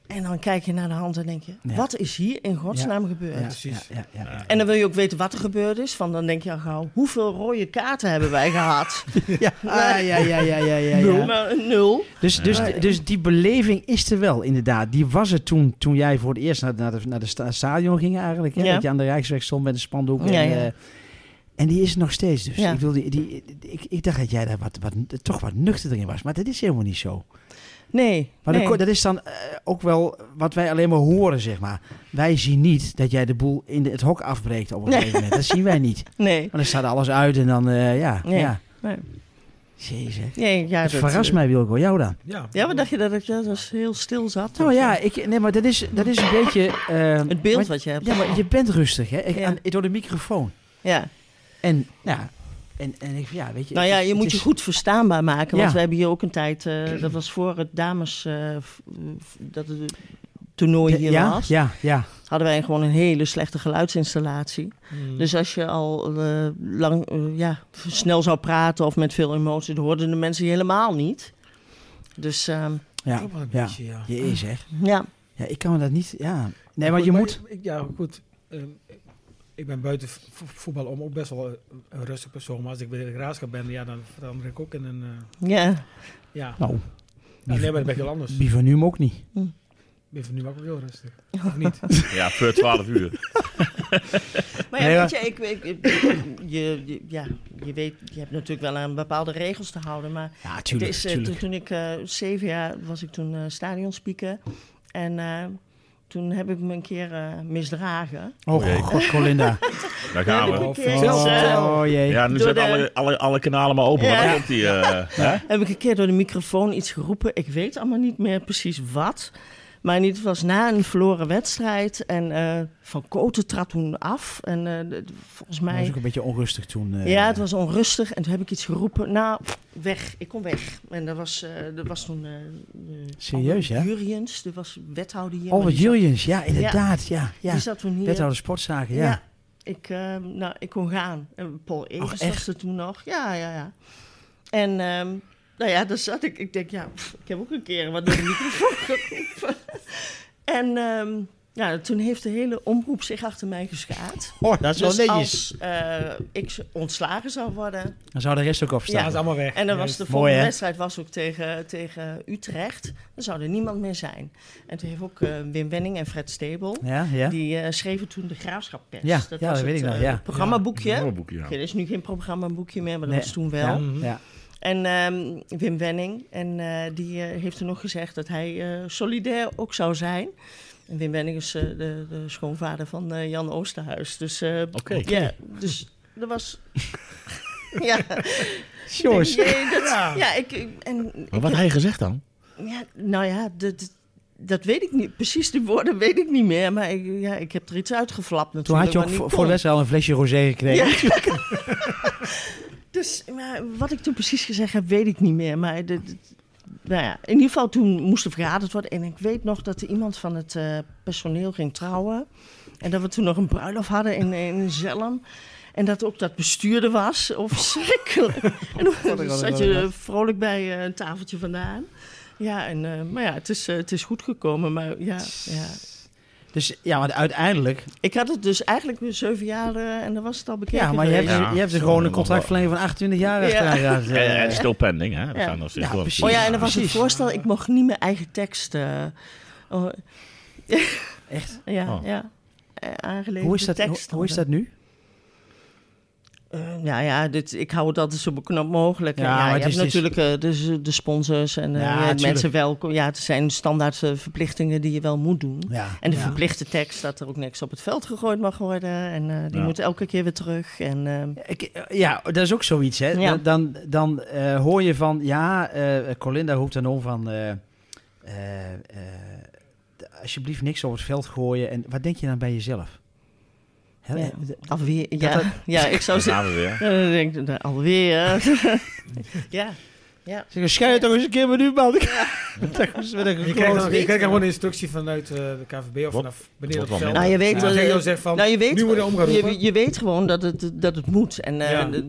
Speaker 5: En dan kijk je naar de hand en denk je,
Speaker 2: Ja.
Speaker 5: wat is hier in godsnaam gebeurd?
Speaker 2: Ja,
Speaker 4: precies.
Speaker 2: ja, ja, ja, ja.
Speaker 5: En dan wil je ook weten wat er gebeurd is. Van dan denk je al gauw, hoeveel rode kaarten hebben wij gehad?
Speaker 2: Ja, ah, ja, ja, ja, ja, ja, ja.
Speaker 5: Maar een nul.
Speaker 2: Dus, dus, dus die beleving is er wel, inderdaad. Die was er toen, toen jij voor het eerst naar, naar, de, naar de sta- stadion ging eigenlijk. Hè?
Speaker 5: Ja.
Speaker 2: Dat je aan de Rijksweg stond met een spandoek.
Speaker 5: Ja,
Speaker 2: en,
Speaker 5: ja.
Speaker 2: eh, En die is er nog steeds dus.
Speaker 5: Ja.
Speaker 2: Ik, wil die, die, ik, ik dacht dat jij daar wat, wat, toch wat nuchter in was. Maar dat is helemaal niet zo.
Speaker 5: Nee.
Speaker 2: Maar
Speaker 5: nee.
Speaker 2: dan ko- dat is dan eh, ook wel wat wij alleen maar horen, zeg maar. Wij zien niet dat jij de boel in de- het hok afbreekt op een
Speaker 5: Nee.
Speaker 2: gegeven moment. Dat zien wij niet.
Speaker 5: nee.
Speaker 2: Want dan staat alles uit en dan, eh, ja.
Speaker 5: Nee.
Speaker 2: ja.
Speaker 5: Nee.
Speaker 2: Jezus. hè.
Speaker 5: nee ja,
Speaker 2: het
Speaker 5: dat- eh,
Speaker 2: verrast mij, Wilco. Jou dan?
Speaker 4: Ja.
Speaker 5: Ja, wat dacht je dat ik dat was heel stil zat?
Speaker 2: Nou
Speaker 5: of
Speaker 2: ja,
Speaker 5: zo?
Speaker 2: ik, nee, maar dat is, dat is een beetje... eh,
Speaker 5: Het beeld
Speaker 2: wat-
Speaker 5: wat je hebt.
Speaker 2: ja, maar je bent rustig, hè? Ik,
Speaker 5: Ja.
Speaker 2: aan, door de microfoon.
Speaker 5: Ja.
Speaker 2: En, ja, en, en ik, ja, weet je...
Speaker 5: Nou ja,
Speaker 2: het-
Speaker 5: je
Speaker 2: het
Speaker 5: moet
Speaker 2: is-
Speaker 5: je goed verstaanbaar maken.
Speaker 2: Ja.
Speaker 5: Want we hebben hier ook een tijd, eh, dat was voor het dames, eh, f- f- dat het toernooi hier
Speaker 2: Ja,
Speaker 5: was.
Speaker 2: ja, ja.
Speaker 5: Hadden wij gewoon een hele slechte geluidsinstallatie.
Speaker 2: Mm.
Speaker 4: Mm.
Speaker 5: Dus als je al eh, lang, eh, ja, snel zou praten of met veel emotie, dan hoorden de mensen je helemaal niet. Dus ehm,
Speaker 2: Ja,
Speaker 4: Toch wel Oh, een
Speaker 2: ja.
Speaker 4: beetje, ja.
Speaker 2: Je is, hè?
Speaker 5: ja,
Speaker 2: Ja, ik kan me dat niet... Ja. Nee, want
Speaker 4: Goed,
Speaker 2: je moet...
Speaker 4: ik- ja, goed. Ehm, ik ben buiten vo- voetbal om ook best wel een, een rustig persoon. Maar als ik weer de graafschap ben, ja, dan verander ik ook in een... eh,
Speaker 5: ja,
Speaker 4: ja.
Speaker 2: Nou,
Speaker 4: Ja, nee, maar dat ben ik heel anders. Ik
Speaker 2: die van nu hem ook niet.
Speaker 4: ben van nu ook heel rustig. Of niet?
Speaker 3: Ja, per 12 uur.
Speaker 5: Maar ja,
Speaker 2: Nee,
Speaker 5: weet je, ik, ik- ik- je, je- ja, je weet, je hebt natuurlijk wel aan bepaalde regels te houden, maar
Speaker 2: Ja,
Speaker 5: het
Speaker 2: tuurlijk,
Speaker 5: is, eh,
Speaker 2: tuurlijk.
Speaker 5: toen, toen ik eh, zeven jaar was, ik toen eh stadionspeaker en eh, toen heb ik me een keer eh, misdragen.
Speaker 2: Oh,
Speaker 3: Oké.
Speaker 2: god, Colinda.
Speaker 3: Daar
Speaker 5: Toen
Speaker 3: gaan
Speaker 5: heb ik
Speaker 3: we.
Speaker 5: een keer,
Speaker 4: Zelfs,
Speaker 5: eh,
Speaker 4: eh,
Speaker 2: Oh, jee.
Speaker 3: Ja, nu
Speaker 5: Door
Speaker 3: zijn
Speaker 5: de-
Speaker 3: alle, alle, alle kanalen maar open.
Speaker 5: Ja.
Speaker 3: Wat komt die? eh, hè?
Speaker 5: heb ik een keer door de microfoon iets geroepen. Ik weet allemaal niet meer precies wat. Maar in ieder geval was na een verloren wedstrijd. En eh, Van Koten trad toen af. En eh, de- de- volgens
Speaker 2: Dat was
Speaker 5: mij...
Speaker 2: ook een beetje onrustig toen. eh,
Speaker 5: Ja, het was onrustig. En toen heb ik iets geroepen. Nou, weg. Ik kom weg. En dat was, eh dat was toen... eh, eh,
Speaker 2: Serieus,
Speaker 5: Albert
Speaker 2: ja?
Speaker 5: Jurjens, dat was wethouder hier. maar
Speaker 2: Albert
Speaker 5: die zat-
Speaker 2: Julians, Oh, ja, inderdaad. Ja, ja.
Speaker 5: Die zat toen hier.
Speaker 2: Wethouder sportzaken, ja.
Speaker 5: Ja. Ik, eh, nou, ik kon gaan. En Paul Evers
Speaker 2: echt?
Speaker 5: was er toen nog. Ja, ja, ja. En ehm, nou ja, daar zat ik. Ik denk, ja, pff, ik heb ook een keer wat door de microfoon geroepen. En ehm, nou, toen heeft de hele omroep zich achter mij geschaard.
Speaker 2: Oh, dat
Speaker 5: dus als eh, ik z- ontslagen zou worden...
Speaker 2: Dan zou de rest ook
Speaker 4: Ja,
Speaker 2: opstaan.
Speaker 4: is allemaal weg.
Speaker 5: en dan was
Speaker 4: Juist.
Speaker 5: de
Speaker 2: Mooi,
Speaker 5: volgende
Speaker 2: hè?
Speaker 5: wedstrijd was ook tegen, tegen Utrecht... dan zou er niemand meer zijn. En toen heeft ook eh, Wim Wenning en Fred Stebel...
Speaker 2: Ja, ja.
Speaker 5: Die eh, schreven toen de Graafschappers.
Speaker 2: Ja, ja, dat
Speaker 5: het,
Speaker 2: weet ik nog,
Speaker 5: eh,
Speaker 2: ja.
Speaker 5: het programmaboekje.
Speaker 3: Een boekje, ja.
Speaker 5: Oké, er is nu geen programmaboekje meer, maar dat
Speaker 2: Nee.
Speaker 5: was toen wel.
Speaker 2: Ja, ja.
Speaker 5: En ehm, Wim Wenning, en eh, die eh, heeft toen nog gezegd dat hij eh, solidair ook zou zijn. En Wim Wenning is eh, de, de schoonvader van eh, Jan Oosterhuis. Dus, eh,
Speaker 3: Oké.
Speaker 5: ja, dus er was... ja,
Speaker 2: Jongens.
Speaker 5: nee, dat,
Speaker 4: Ja.
Speaker 5: ja. ik, ik- en,
Speaker 3: Maar wat had hij gezegd dan?
Speaker 5: ja, nou ja, dat, dat weet ik niet. Precies die woorden weet ik niet meer. Maar ik, ja, ik heb er iets uitgeflapt natuurlijk.
Speaker 2: Toen had je ook
Speaker 5: wat
Speaker 2: voor
Speaker 5: niet
Speaker 2: voor de
Speaker 5: kon.
Speaker 2: wedstrijd al een flesje rosé gekregen.
Speaker 5: Dus maar wat ik toen precies gezegd heb, weet ik niet meer. Maar de, de- nou ja, in ieder geval toen moest er vergaderd worden. En ik weet nog dat er iemand van het eh, personeel ging trouwen. En dat we toen nog een bruiloft hadden in, in Zelm. En dat ook dat bestuurder was.
Speaker 2: Oh.
Speaker 5: Of schrikkelijk. En dan zat je eh, vrolijk bij eh, een tafeltje vandaan. Ja, en, eh, maar ja, het is, eh, het is goed gekomen. Maar ja, ja,
Speaker 2: Dus ja, want uiteindelijk...
Speaker 5: ik had het dus eigenlijk weer zeven jaar eh, en dan was het al bekeken.
Speaker 2: Ja, maar je hebt,
Speaker 5: geweest.
Speaker 3: Ja,
Speaker 2: je hebt er
Speaker 3: zo
Speaker 2: gewoon een
Speaker 3: nog wel.
Speaker 2: contractverlening van 28 jaar
Speaker 5: Ja.
Speaker 2: achteraan gehad, eh.
Speaker 3: En, en still pending, hè? Dat
Speaker 5: Ja.
Speaker 3: gaan nog steeds
Speaker 2: Ja,
Speaker 3: door.
Speaker 2: precies.
Speaker 5: Oh ja, en er was
Speaker 2: Precies.
Speaker 5: een voorstel, ik mocht niet mijn eigen tekst. eh, oh,
Speaker 2: Echt?
Speaker 5: ja,
Speaker 3: Oh.
Speaker 5: ja. Eh, aangeleverde
Speaker 2: Hoe is dat, hoe,
Speaker 5: tekst
Speaker 2: hoe is dat nu?
Speaker 5: hadden. Eh, nou ja, dit, ik hou het altijd zo beknopt mogelijk.
Speaker 2: Ja,
Speaker 5: Ja,
Speaker 2: maar
Speaker 5: ja,
Speaker 2: het
Speaker 5: je
Speaker 2: is- het
Speaker 5: hebt
Speaker 2: is-
Speaker 5: natuurlijk eh, dus, eh, de sponsors en eh,
Speaker 2: Ja,
Speaker 5: je hebt
Speaker 2: tuurlijk.
Speaker 5: mensen welkom. Ja, het zijn standaard eh, verplichtingen die je wel moet doen.
Speaker 2: Ja.
Speaker 5: En de
Speaker 2: ja.
Speaker 5: verplichte tekst dat er ook niks op het veld gegooid mag worden. En eh, die
Speaker 3: Ja.
Speaker 5: moet elke keer weer terug. En, eh,
Speaker 2: Ik- ja, dat is ook zoiets, hè?
Speaker 5: Ja.
Speaker 2: Dan, dan eh, hoor je van, ja, eh, Colinda roept dan om van... eh, eh, eh, d- alsjeblieft niks over het veld gooien. En wat denk je dan bij jezelf? Hè,
Speaker 5: Ja.
Speaker 2: eh, d-
Speaker 5: alweer, ja,
Speaker 2: dat-
Speaker 5: ja, ik zou
Speaker 3: Daar
Speaker 5: zeggen.
Speaker 3: gaan we weer.
Speaker 5: Ja, dan denk ik, nou, alweer. ja, ja.
Speaker 2: Zeg, schijn je toch eens een keer met u, man. Dat is met een
Speaker 4: Je krijgt, dan,
Speaker 2: grote-
Speaker 4: je krijgt dan gewoon een instructie vanuit eh, de KVB
Speaker 3: Wat-
Speaker 4: of vanaf beneden
Speaker 3: wat
Speaker 4: op het
Speaker 3: wel
Speaker 4: veld.
Speaker 5: Nou, je weet,
Speaker 4: Ja.
Speaker 5: wel,
Speaker 4: Dat
Speaker 5: eh,
Speaker 4: je zegt van,
Speaker 5: nou, je weet,
Speaker 4: nu worden omgeroepen.
Speaker 5: je, je weet gewoon dat het, dat het moet. En eh,
Speaker 4: Ja.
Speaker 5: de-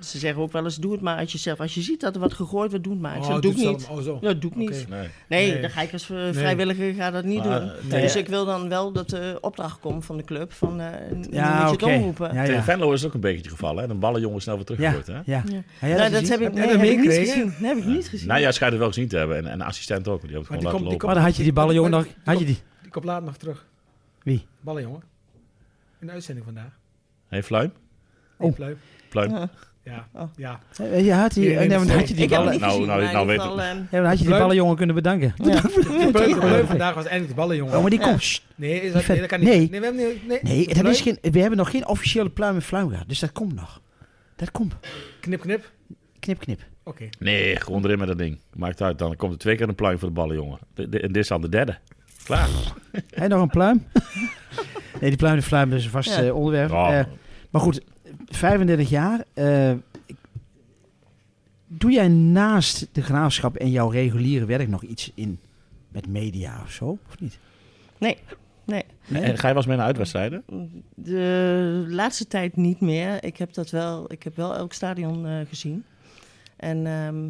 Speaker 5: ze zeggen ook wel eens, doe het maar uit jezelf. Als je ziet dat er wat gegooid wordt, doe het maar. Ik
Speaker 4: Oh,
Speaker 5: zeg, dat doe ik
Speaker 4: het
Speaker 5: niet.
Speaker 4: zelf. Oh, zo.
Speaker 5: Ja, Dat doe ik
Speaker 4: Oké.
Speaker 5: niet.
Speaker 3: Nee.
Speaker 5: Nee,
Speaker 4: Nee. Ah,
Speaker 5: dan ga ik als eh, vrijwilliger ga dat niet
Speaker 3: Maar,
Speaker 5: doen.
Speaker 3: eh, tegen-
Speaker 5: Dus ik wil dan wel dat de opdracht komt van de club. Van, eh, nu moet je
Speaker 2: Ja,
Speaker 5: het
Speaker 2: oké.
Speaker 5: omroepen.
Speaker 2: Ja,
Speaker 5: Ja,
Speaker 2: ja.
Speaker 3: Tegen Venlo is het ook een beetje het geval, hè? Dan ballen jongens snel weer
Speaker 2: Ja,
Speaker 3: teruggegooid,
Speaker 2: ja.
Speaker 3: hè?
Speaker 2: ja. Nou, ja,
Speaker 5: Nou, dat,
Speaker 2: is
Speaker 5: heb
Speaker 2: iets.
Speaker 5: ik,
Speaker 4: je dat
Speaker 5: nee, heb ik niet
Speaker 4: meegekregen?
Speaker 5: gezien. Nee, heb ik niet gezien.
Speaker 3: Nou, jij schijnt het wel gezien te hebben. En, en de assistent ook, die hebben het
Speaker 4: Maar
Speaker 3: gewoon
Speaker 4: die
Speaker 3: laten
Speaker 4: komt-
Speaker 2: Maar
Speaker 3: lopen.
Speaker 2: Oh, dan had je die ballen, jongen, nog... Had je die?
Speaker 4: Die komt laat nog terug.
Speaker 2: Wie?
Speaker 4: Ballen, jongen. In de uitzending vandaag.
Speaker 3: Hé, Fluim?
Speaker 4: Nee,
Speaker 2: Oh.
Speaker 4: pluim.
Speaker 3: Pluim.
Speaker 5: Ja.
Speaker 4: Ja,
Speaker 5: Oh.
Speaker 4: ja.
Speaker 2: Eh, Je had die,
Speaker 1: Hier in
Speaker 2: eh, nee,
Speaker 1: de
Speaker 2: want dan had je die
Speaker 5: Ik heb het
Speaker 2: ballen...
Speaker 5: niet
Speaker 3: Nou,
Speaker 5: gezien,
Speaker 3: nou,
Speaker 5: maar
Speaker 3: nou
Speaker 5: in
Speaker 3: weet
Speaker 5: ieder geval... ehm,
Speaker 2: Ja, dan had je die
Speaker 4: Leuk.
Speaker 2: ballenjongen kunnen bedanken.
Speaker 5: ja.
Speaker 4: De pleu- de pleu vandaag was eindelijk de ballen, jongen.
Speaker 2: Oh, maar die
Speaker 5: Ja.
Speaker 2: komt... Sst.
Speaker 4: Nee, is dat,
Speaker 2: vet-
Speaker 4: nee, dat kan niet.
Speaker 2: nee.
Speaker 4: we hebben niet- nee.
Speaker 2: Nee,
Speaker 4: De
Speaker 2: dat
Speaker 4: pleu,
Speaker 2: is geen, we hebben nog geen officiële pluim en fluim gehad. Dus dat komt nog. Dat komt.
Speaker 4: Knip, knip.
Speaker 2: Knip, knip.
Speaker 4: Oké.
Speaker 3: Nee, gewoon erin met dat ding. Maakt uit, dan komt er twee keer een pluim voor de ballen, jongen. De- de- En dit is dan de derde. Klaar.
Speaker 2: Hé, nog een pluim? nee, die pluim en fluim dat is een vast
Speaker 5: Ja.
Speaker 2: eh, onderwerp.
Speaker 3: Oh,
Speaker 2: Eh, maar goed, 35 jaar. eh, ik- doe jij naast de graafschap en jouw reguliere werk nog iets in met media of zo? Of niet?
Speaker 5: Nee, nee.
Speaker 2: Nee?
Speaker 3: en ga je wel eens mee naar uitwedstrijden?
Speaker 5: De laatste tijd niet meer. Ik heb, dat wel, ik heb wel elk stadion eh, gezien. En ehm,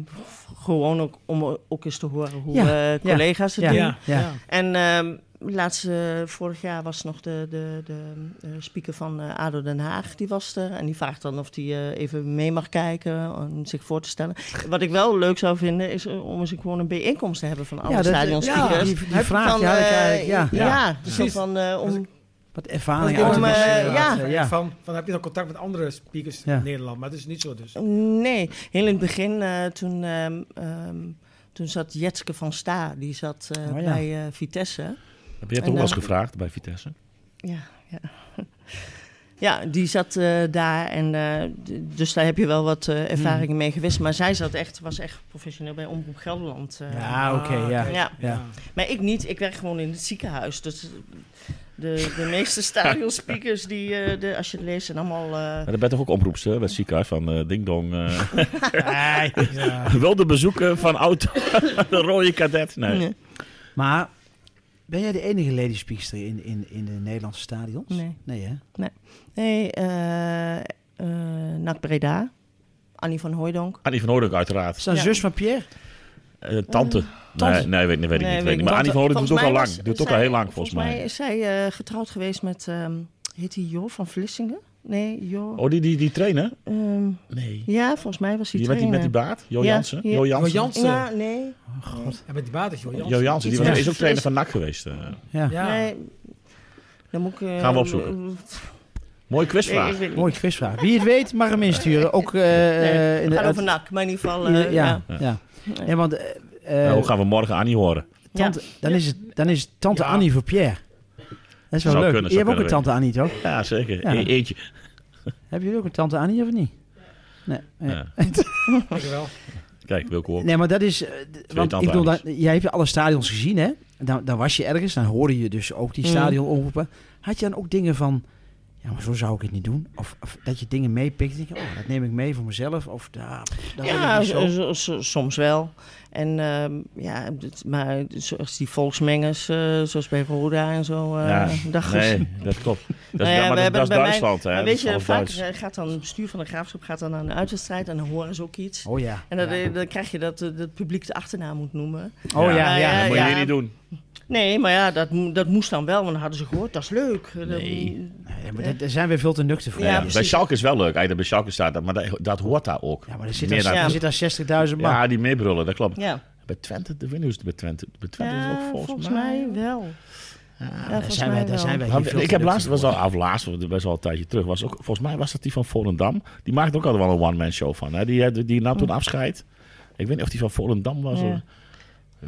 Speaker 5: gewoon ook om ook eens te horen hoe
Speaker 2: Ja,
Speaker 5: eh,
Speaker 2: ja,
Speaker 5: collega's het
Speaker 2: ja.
Speaker 5: doen.
Speaker 4: Ja,
Speaker 2: Ja.
Speaker 4: ja.
Speaker 5: En ehm, laatste, vorig jaar was nog de, de, de eh, speaker van eh, ADO Den Haag, die was er. En die vraagt dan of die eh, even mee mag kijken om zich voor te stellen. Wat ik wel leuk zou vinden, is eh, om eens gewoon een bijeenkomst te hebben van alle
Speaker 2: dat-
Speaker 5: stadionspeakers.
Speaker 2: die, die vraag die had ik
Speaker 5: eh,
Speaker 2: eigenlijk, ja.
Speaker 5: ja,
Speaker 4: Ja,
Speaker 5: zo
Speaker 4: precies.
Speaker 5: van eh,
Speaker 4: Dus
Speaker 5: om...
Speaker 2: Wat ervaring
Speaker 5: Om,
Speaker 2: uit de
Speaker 5: eh,
Speaker 2: wedstrijd,
Speaker 5: ja.
Speaker 2: eh,
Speaker 4: Van, van heb je dan contact met andere speakers
Speaker 2: Ja.
Speaker 4: in Nederland? Maar het is niet zo dus.
Speaker 5: Nee, heel in het begin, eh, toen, ehm, ehm, toen zat Jetske van Sta, die zat eh,
Speaker 2: Oh ja.
Speaker 5: bij eh, Vitesse.
Speaker 3: Heb je het
Speaker 5: En,
Speaker 3: ook wel eens
Speaker 5: eh,
Speaker 3: gevraagd bij Vitesse?
Speaker 5: Ja, ja. ja die zat eh, daar en eh, d- dus daar heb je wel wat eh ervaring
Speaker 2: Hmm.
Speaker 5: mee gewist. Maar zij zat echt, was echt professioneel bij Omroep Gelderland. eh.
Speaker 2: Ja, oké,
Speaker 4: Ah,
Speaker 2: ja.
Speaker 4: oké.
Speaker 5: Ja.
Speaker 2: Ja.
Speaker 5: Maar ik niet, ik werk gewoon in het ziekenhuis. Dus de, de meeste stadionspeakers, die, eh, de, als je het leest, zijn allemaal... eh,
Speaker 3: Maar dat bent toch ook omroepster bij het ziekenhuis van eh, Ding Dong? eh.
Speaker 2: Nee.
Speaker 4: Ja.
Speaker 3: wel de bezoeken van oud de rode kadet. Nee.
Speaker 5: nee.
Speaker 2: Maar ben jij de enige ladiespeakster in, in, in de Nederlandse stadions?
Speaker 5: Nee.
Speaker 2: Nee, hè?
Speaker 5: Nee, eh eh, NAC Breda, Annie van Hooijdonk.
Speaker 3: Annie van Hoornhoek uiteraard.
Speaker 2: Is dat een
Speaker 5: Ja.
Speaker 2: zus van Pierre?
Speaker 3: Eh, tante.
Speaker 2: tante.
Speaker 3: Nee, nee, weet, nee, weet ik
Speaker 5: Nee,
Speaker 3: niet.
Speaker 5: weet
Speaker 3: Weet
Speaker 5: ik
Speaker 3: ik. Maar Annie van Hoornhoek
Speaker 5: Want, eh,
Speaker 3: doet ook
Speaker 5: volgens
Speaker 3: al
Speaker 5: mij
Speaker 3: lang.
Speaker 5: was-
Speaker 3: Doet ook
Speaker 5: zij-
Speaker 3: al heel lang, volgens mij.
Speaker 5: is zij eh, getrouwd geweest met, ehm, heet die Jo van Vlissingen? Nee, Jo.
Speaker 3: Oh, die, die, die trainer?
Speaker 5: ehm,
Speaker 3: Nee.
Speaker 5: ja, volgens mij was hij
Speaker 3: Die met, die met die baard? Jo
Speaker 5: Ja,
Speaker 3: Jansen?
Speaker 5: ja.
Speaker 3: Jo Jansen.
Speaker 4: Jo Jansen.
Speaker 5: Ja, nee.
Speaker 4: En met die baardjes, joh.
Speaker 3: Jo Jansen, die
Speaker 5: Iets
Speaker 3: was,
Speaker 5: met-
Speaker 3: is ook trainer van NAC geweest. eh.
Speaker 2: Ja.
Speaker 4: Ja.
Speaker 5: nee. Dan moet ik... eh,
Speaker 3: Gaan we opzoeken. Mooie
Speaker 5: Nee, ik
Speaker 3: quizvraag.
Speaker 5: weet niet.
Speaker 2: Mooie quizvraag. Wie het weet, mag hem insturen. Ook eh
Speaker 5: Nee,
Speaker 2: eh,
Speaker 5: het gaat
Speaker 2: inderdaad-
Speaker 5: over NAC, maar in ieder geval...
Speaker 2: Ja,
Speaker 5: eh,
Speaker 2: ja,
Speaker 5: ja.
Speaker 2: ja.
Speaker 5: Nee.
Speaker 2: Ja, want eh, eh,
Speaker 3: nou, gaan we morgen Annie horen?
Speaker 2: tante, dan, is het, dan is het tante
Speaker 4: Ja.
Speaker 2: Annie voor Pierre. Dat is wel
Speaker 3: Zou
Speaker 2: leuk.
Speaker 3: kunnen,
Speaker 2: je
Speaker 3: zou
Speaker 2: hebt ook een
Speaker 3: kunnen,
Speaker 2: tante Annie, toch?
Speaker 3: Ja, zeker.
Speaker 2: Ja.
Speaker 3: E- eentje.
Speaker 2: Hebben jullie ook een tante Annie of niet? Nee, eh,
Speaker 3: Ja.
Speaker 4: Ik wel.
Speaker 3: Kijk, Wilco ook.
Speaker 2: nee maar dat is... eh, d- want ik
Speaker 3: tante
Speaker 2: bedoel, dan- jij hebt alle stadions gezien, hè? Dan, dan was je ergens, dan hoorde je dus ook die
Speaker 5: Mm.
Speaker 2: stadion omroepen. Had je dan ook dingen van... Ja, maar zo zou ik het niet doen. Of, of dat je dingen meepikt. en Denk je, oh, dat neem ik mee voor mezelf. Of ja, dat wil ik
Speaker 5: Ja,
Speaker 2: niet zo.
Speaker 5: s- s- s- soms wel. En ehm, ja, dit- maar zoals die volksmengers, eh, zoals bij Roda en zo, eh
Speaker 3: Ja,
Speaker 5: dat is-
Speaker 3: nee, dat klopt. Dat is,
Speaker 5: Nou ja,
Speaker 3: maar
Speaker 5: we
Speaker 3: dat-
Speaker 5: hebben
Speaker 3: dat is
Speaker 5: bij mij-
Speaker 3: Duitsland, hè?
Speaker 5: Maar
Speaker 3: Dat
Speaker 5: weet
Speaker 3: is
Speaker 5: je,
Speaker 3: alles
Speaker 5: vaak
Speaker 3: Duits.
Speaker 5: eh, gaat dan het bestuur van de graafschap gaat dan aan de uitwedstrijd en dan horen ze ook iets.
Speaker 2: Oh ja.
Speaker 5: En dan,
Speaker 2: ja.
Speaker 5: dan krijg je dat eh, het publiek de achternaam moet noemen.
Speaker 2: Oh ja, ja.
Speaker 5: Ja,
Speaker 3: dat moet je
Speaker 5: ja.
Speaker 3: weer niet doen.
Speaker 5: Nee, maar ja, dat, mo- dat moest dan wel, want dan hadden ze gehoord, dat is leuk. Eh, dat-
Speaker 3: Nee.
Speaker 2: Nee, maar daar- daar zijn we veel te nuchter voor.
Speaker 5: Ja,
Speaker 3: Ja, bij
Speaker 5: precies.
Speaker 3: Schalke is wel leuk. Eigenlijk bij Schalke staat dat, maar dat, dat hoort daar ook.
Speaker 2: Ja, maar er zit,
Speaker 3: Meer
Speaker 2: daar,
Speaker 3: dan-
Speaker 2: er zit daar 60.000 man.
Speaker 3: Ja, die meebrullen, dat klopt.
Speaker 5: Ja,
Speaker 3: Bij Twente, de winnen is het bij Twente. Bij Twente is het ook
Speaker 5: Ja,
Speaker 3: volgens,
Speaker 5: volgens
Speaker 3: mij.
Speaker 5: mij wel. Ja,
Speaker 2: daar
Speaker 5: volgens
Speaker 2: zijn
Speaker 5: mij
Speaker 2: wij, daar
Speaker 5: wel.
Speaker 2: zijn wij
Speaker 3: Maar
Speaker 2: hier veel
Speaker 3: ik
Speaker 2: te
Speaker 3: heb laatst,
Speaker 2: nuchter
Speaker 3: was
Speaker 2: voor.
Speaker 3: al, of laatst, best wel een tijdje terug, was ook, volgens mij was dat die van Volendam. Die maakte ook altijd wel een one-man show van. Hè? Die, die, die nam toen afscheid. Ik weet niet of die van Volendam was.
Speaker 5: Ja.
Speaker 3: of-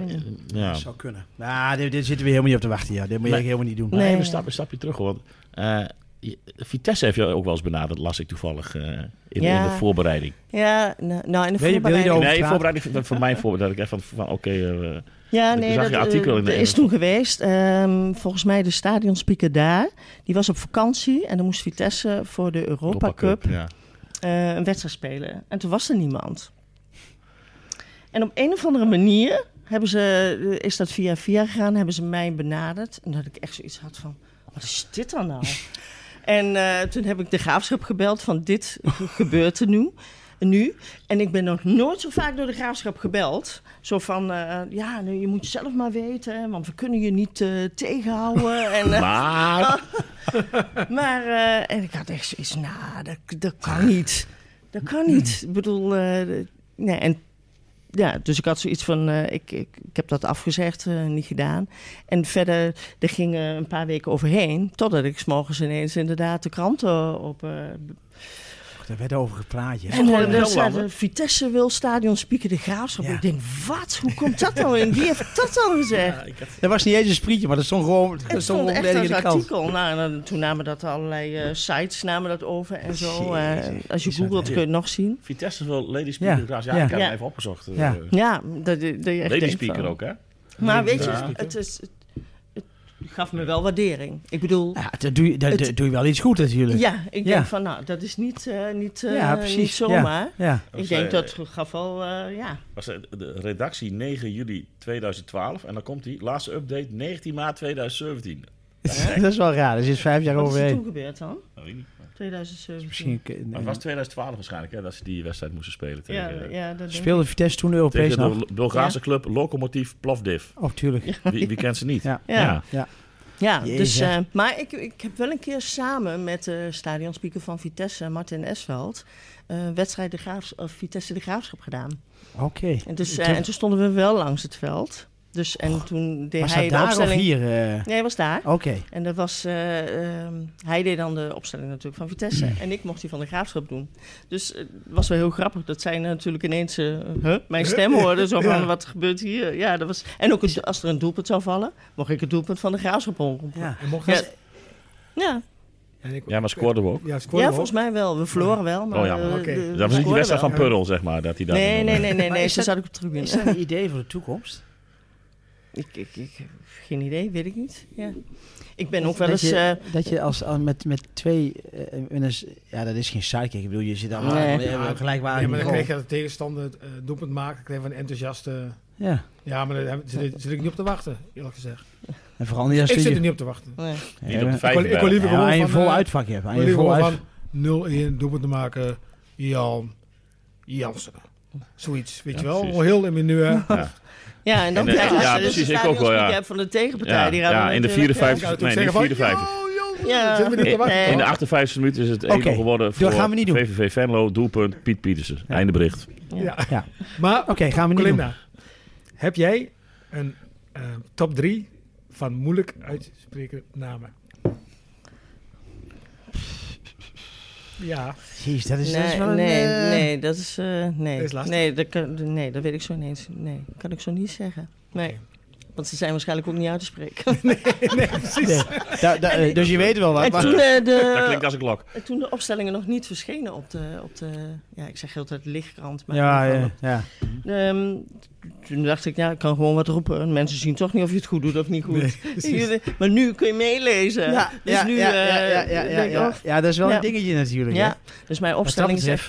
Speaker 3: Eh, Ja.
Speaker 2: Dat zou kunnen. Nou, dit, dit zitten we helemaal niet op te wachten. Ja. Dit moet je
Speaker 3: Nee.
Speaker 2: echt helemaal niet doen.
Speaker 5: Nee.
Speaker 3: Nee, een, stap, een stapje terug hoor. Eh, je- Vitesse heeft je ook wel eens benaderd, las ik toevallig eh, in,
Speaker 5: Ja.
Speaker 3: in de voorbereiding.
Speaker 5: Ja, nou, nou in de
Speaker 2: Wil je- wil je
Speaker 5: voorbereiding...
Speaker 2: erover
Speaker 3: Nee,
Speaker 2: praten?
Speaker 3: voorbereiding van, van mijn voorbereiding. Dat ik echt van, van oké, eh,
Speaker 5: Ja,
Speaker 3: Ik
Speaker 5: nee,
Speaker 3: zag
Speaker 5: dat
Speaker 3: je artikel in de-
Speaker 5: eh, is toen geweest. Ehm, volgens mij de stadionspeaker daar, die was op vakantie en dan moest Vitesse voor de Europa,
Speaker 3: Europa
Speaker 5: Cup,
Speaker 3: Ja.
Speaker 5: eh, een wedstrijd spelen. En toen was er niemand. En op een of andere manier hebben ze, eh, is dat via via gegaan, hebben ze mij benaderd. En dat ik echt zoiets had van, wat is dit dan nou? en eh, toen heb ik de graafschap gebeld van dit gebeurt er nu. Nu. En ik ben nog nooit zo vaak door de graafschap gebeld. Zo van, eh, ja, nou, je moet zelf maar weten, hè, want we kunnen je niet eh, tegenhouden. en, eh,
Speaker 3: Maar,
Speaker 5: maar eh, en ik had echt zoiets, nou, dat, dat kan niet. Dat kan niet. Ik bedoel, eh, nee, en, ja, dus ik had zoiets van, eh, ik, ik, ik heb dat afgezegd, eh, niet gedaan. En verder, er gingen een paar weken overheen, totdat ik 's morgens ineens inderdaad de kranten op... eh,
Speaker 2: Daar werd over gepraat, ja.
Speaker 5: En
Speaker 3: gewoon
Speaker 5: eh,
Speaker 3: heel
Speaker 5: daar staat
Speaker 3: lang,
Speaker 5: een Vitesse wil stadion Spieken de Graafschap.
Speaker 2: Ja.
Speaker 5: Ik denk, wat? Hoe komt dat nou in? Wie heeft dat dan gezegd?
Speaker 3: ik had-
Speaker 2: Dat was niet eens een sprietje, maar dat stond gewoon, dat
Speaker 5: Het
Speaker 2: stond
Speaker 5: stond
Speaker 2: gewoon
Speaker 5: echt
Speaker 2: volledig
Speaker 5: als
Speaker 2: in de krant.
Speaker 5: artikel. Nou, en dan- toen namen dat allerlei eh, sites namen dat over en zo. eh,
Speaker 2: Jezus,
Speaker 5: als je
Speaker 2: is dat
Speaker 5: googelt
Speaker 2: hè?
Speaker 5: kun je het nog zien.
Speaker 3: Vitesse wil Lady Speaker.
Speaker 2: Ja,
Speaker 3: Ja, ja,
Speaker 2: ja.
Speaker 3: ik heb
Speaker 5: Ja.
Speaker 3: hem even opgezocht. eh,
Speaker 2: Ja.
Speaker 5: Ja, dat, dat je echt
Speaker 3: Lady
Speaker 5: denkt
Speaker 3: Speaker
Speaker 5: van-
Speaker 3: ook, hè?
Speaker 5: Maar weet je,
Speaker 3: Ja.
Speaker 5: het, is, het, het gaf me wel waardering. Ik bedoel,
Speaker 2: Ja, dat doe, je, dat,
Speaker 5: Het-
Speaker 2: dat doe je wel iets goed natuurlijk.
Speaker 5: ja, ik
Speaker 2: Ja.
Speaker 5: denk van nou, dat is niet, eh, niet, eh,
Speaker 2: Ja,
Speaker 5: niet
Speaker 2: precies.
Speaker 5: zomaar.
Speaker 2: Ja.
Speaker 5: Ik
Speaker 3: Was,
Speaker 5: denk
Speaker 3: eh,
Speaker 5: dat gaf wel, eh, ja.
Speaker 3: Was eh, de redactie 9 juli 2012. En dan komt die laatste update 19 maart Nou, 2017.
Speaker 2: dat is wel raar. Er zit vijf jaar
Speaker 5: Wat is er
Speaker 2: overheen.
Speaker 5: toen gebeurd dan?
Speaker 3: Nou, weet ik niet. Maar
Speaker 5: 2017.
Speaker 2: Misschien
Speaker 3: maar het was 2012 waarschijnlijk hè, dat ze die wedstrijd moesten spelen.
Speaker 5: Ja,
Speaker 3: Tegen, eh,
Speaker 5: ja, dat denk ik.
Speaker 2: speelde Vitesse toen Europees
Speaker 3: tegen
Speaker 2: nog.
Speaker 3: de Bulgaarse
Speaker 5: Ja.
Speaker 3: club Lokomotiv Plovdiv.
Speaker 2: Oh, tuurlijk. Ja.
Speaker 3: Wie, wie kent ze niet?
Speaker 2: Ja.
Speaker 5: Ja. Ja,
Speaker 2: Jezus,
Speaker 5: dus,
Speaker 2: hè.
Speaker 5: eh, maar ik, ik heb wel een keer samen met de stadionspeaker van Vitesse, Martin Esveld, eh, wedstrijd de Graafs, of Vitesse de Graafschap gedaan.
Speaker 2: Oké.
Speaker 5: En, dus, eh, en toen stonden we wel langs het veld. Dus, en toen deed
Speaker 2: Was
Speaker 5: hij
Speaker 2: dat
Speaker 5: de
Speaker 2: daar of
Speaker 5: opstelling.
Speaker 2: hier? eh?
Speaker 5: Nee, hij was daar.
Speaker 2: Oké.
Speaker 5: En dat was, eh, ehm, hij deed dan de opstelling natuurlijk van Vitesse.
Speaker 2: Mm.
Speaker 5: En ik mocht die van de graafschap doen. Dus eh, het was wel heel grappig dat zij natuurlijk ineens eh, huh, mijn stem hoorde. Zo van,
Speaker 1: Ja.
Speaker 5: wat gebeurt hier? Ja, dat was... En ook het- als er een doelpunt zou vallen, mocht ik het doelpunt van de graafschap omroepen. Ja.
Speaker 2: Ja.
Speaker 4: En mocht
Speaker 5: Ja.
Speaker 4: dat- en ik-
Speaker 3: Ja, maar scoorden we ook.
Speaker 4: Ja,
Speaker 5: Ja,
Speaker 4: scoorde
Speaker 5: volgens mij wel. We verloren wel, maar...
Speaker 3: Oh ja, maar-
Speaker 5: eh,
Speaker 1: Oké.
Speaker 5: de-
Speaker 1: Dat
Speaker 3: Dat
Speaker 5: we
Speaker 3: was niet die
Speaker 5: scoorden
Speaker 3: wedstrijd
Speaker 5: wel.
Speaker 3: van Purl, zeg maar. Dat hij dat
Speaker 5: Nee, nee, nee, nee,
Speaker 2: Maar
Speaker 5: nee.
Speaker 2: is
Speaker 5: Ze
Speaker 2: dat-
Speaker 5: zat ik op de
Speaker 2: Is
Speaker 5: tribune.
Speaker 2: dat een idee voor de toekomst?
Speaker 5: Ik, ik, ik, geen idee, weet ik niet. Ja. Ik ben ook
Speaker 2: Dat
Speaker 5: wel eens...
Speaker 2: je-
Speaker 5: eh,
Speaker 2: dat je als, als met, met twee... eh, en is- ja, dat is geen sidekick. Ik bedoel, je zit allemaal
Speaker 5: Nee.
Speaker 2: nee. gelijkwaardig.
Speaker 4: Ja, maar dan
Speaker 2: niveau.
Speaker 4: kreeg je de tegenstander eh doelpunt maken. Dan kreeg je een enthousiaste...
Speaker 2: Ja.
Speaker 4: Ja, maar daar heb- zit ik- zit ik niet op te wachten, eerlijk gezegd.
Speaker 2: En vooral niet als
Speaker 4: Ik
Speaker 2: je...
Speaker 4: zit er niet op te wachten.
Speaker 5: nee.
Speaker 3: Niet op de
Speaker 4: Ik wil-
Speaker 3: vijfde
Speaker 4: ik wil
Speaker 3: bellen.
Speaker 4: liever
Speaker 2: Ja, maar
Speaker 4: gewoon
Speaker 2: aan je
Speaker 4: van...
Speaker 2: vol
Speaker 4: eh,
Speaker 2: uitvak hebt. Aan
Speaker 4: ik
Speaker 2: je
Speaker 4: wil
Speaker 2: vol
Speaker 4: liever
Speaker 2: uit...
Speaker 4: gewoon van 0-1 doelpunt te maken. Jan Jansen. Zoiets, weet
Speaker 3: Ja,
Speaker 4: je wel.
Speaker 3: precies.
Speaker 4: Gewoon Heel in
Speaker 2: Hm.
Speaker 4: mineur.
Speaker 3: Ja.
Speaker 5: Ja, en
Speaker 3: En,
Speaker 5: dan
Speaker 3: eh,
Speaker 5: krijg je
Speaker 3: ja,
Speaker 5: als je
Speaker 3: precies,
Speaker 5: de
Speaker 3: ik ook wel,
Speaker 5: stadionspeaker
Speaker 3: ja.
Speaker 5: hebt van de tegenpartij.
Speaker 3: Ja,
Speaker 5: die gaan
Speaker 3: ja,
Speaker 5: we
Speaker 3: in de
Speaker 5: natuurlijk, eh,
Speaker 3: 54 Nee, niet 54.
Speaker 5: Ja.
Speaker 4: Zitten we niet op te
Speaker 5: Nee.
Speaker 4: wachten.
Speaker 3: In de 58 minuut is het 1-0
Speaker 2: Oké,
Speaker 3: geworden
Speaker 2: dat
Speaker 3: voor
Speaker 2: gaan we niet doen.
Speaker 3: VVV Venlo, doelpunt Piet Pietersen.
Speaker 2: Ja.
Speaker 3: Einde bericht.
Speaker 5: Eh,
Speaker 4: Ja.
Speaker 2: Ja.
Speaker 4: Maar,
Speaker 2: Oké, gaan we niet doen.
Speaker 4: Colinda, heb jij een eh, top 3 van moeilijk uitspreken namen? Ja,
Speaker 2: Jeez, dat is, Dus dat is
Speaker 5: Nee,
Speaker 2: wel een,
Speaker 5: nee,
Speaker 2: eh,
Speaker 5: nee, dat is... eh, nee.
Speaker 4: Dat is lastig.
Speaker 5: nee, dat kan, nee, dat weet ik zo ineens. Nee, kan ik zo niet zeggen. Nee.
Speaker 4: Oké.
Speaker 5: Want ze zijn waarschijnlijk ook niet uit te spreken.
Speaker 4: nee, precies.
Speaker 2: Nee. Da- da- eh, dus je weet wel wat.
Speaker 5: en
Speaker 2: maar-
Speaker 5: toen, eh,
Speaker 3: Dat
Speaker 5: de,
Speaker 3: klinkt als een klok.
Speaker 5: toen de opstellingen nog niet verschenen op de... Op de ja, ik zeg heel de tijd lichtkrant. Maar
Speaker 2: ja,
Speaker 5: in ieder
Speaker 2: ja,
Speaker 5: geval
Speaker 2: ja.
Speaker 5: Ehm, toen dacht ik, ja, ik kan gewoon wat roepen. Mensen zien toch niet of je het goed doet of niet goed. Jullie- maar nu kun je meelezen. dus nu
Speaker 2: ja,
Speaker 5: eh,
Speaker 2: ja, ja, ja,
Speaker 5: denk ik,
Speaker 2: ja.
Speaker 5: oh,
Speaker 2: Ja, dat is wel
Speaker 5: Ja.
Speaker 2: een dingetje natuurlijk. hè.
Speaker 5: ja, dus mijn
Speaker 2: Wat dat
Speaker 5: opstelling is echt,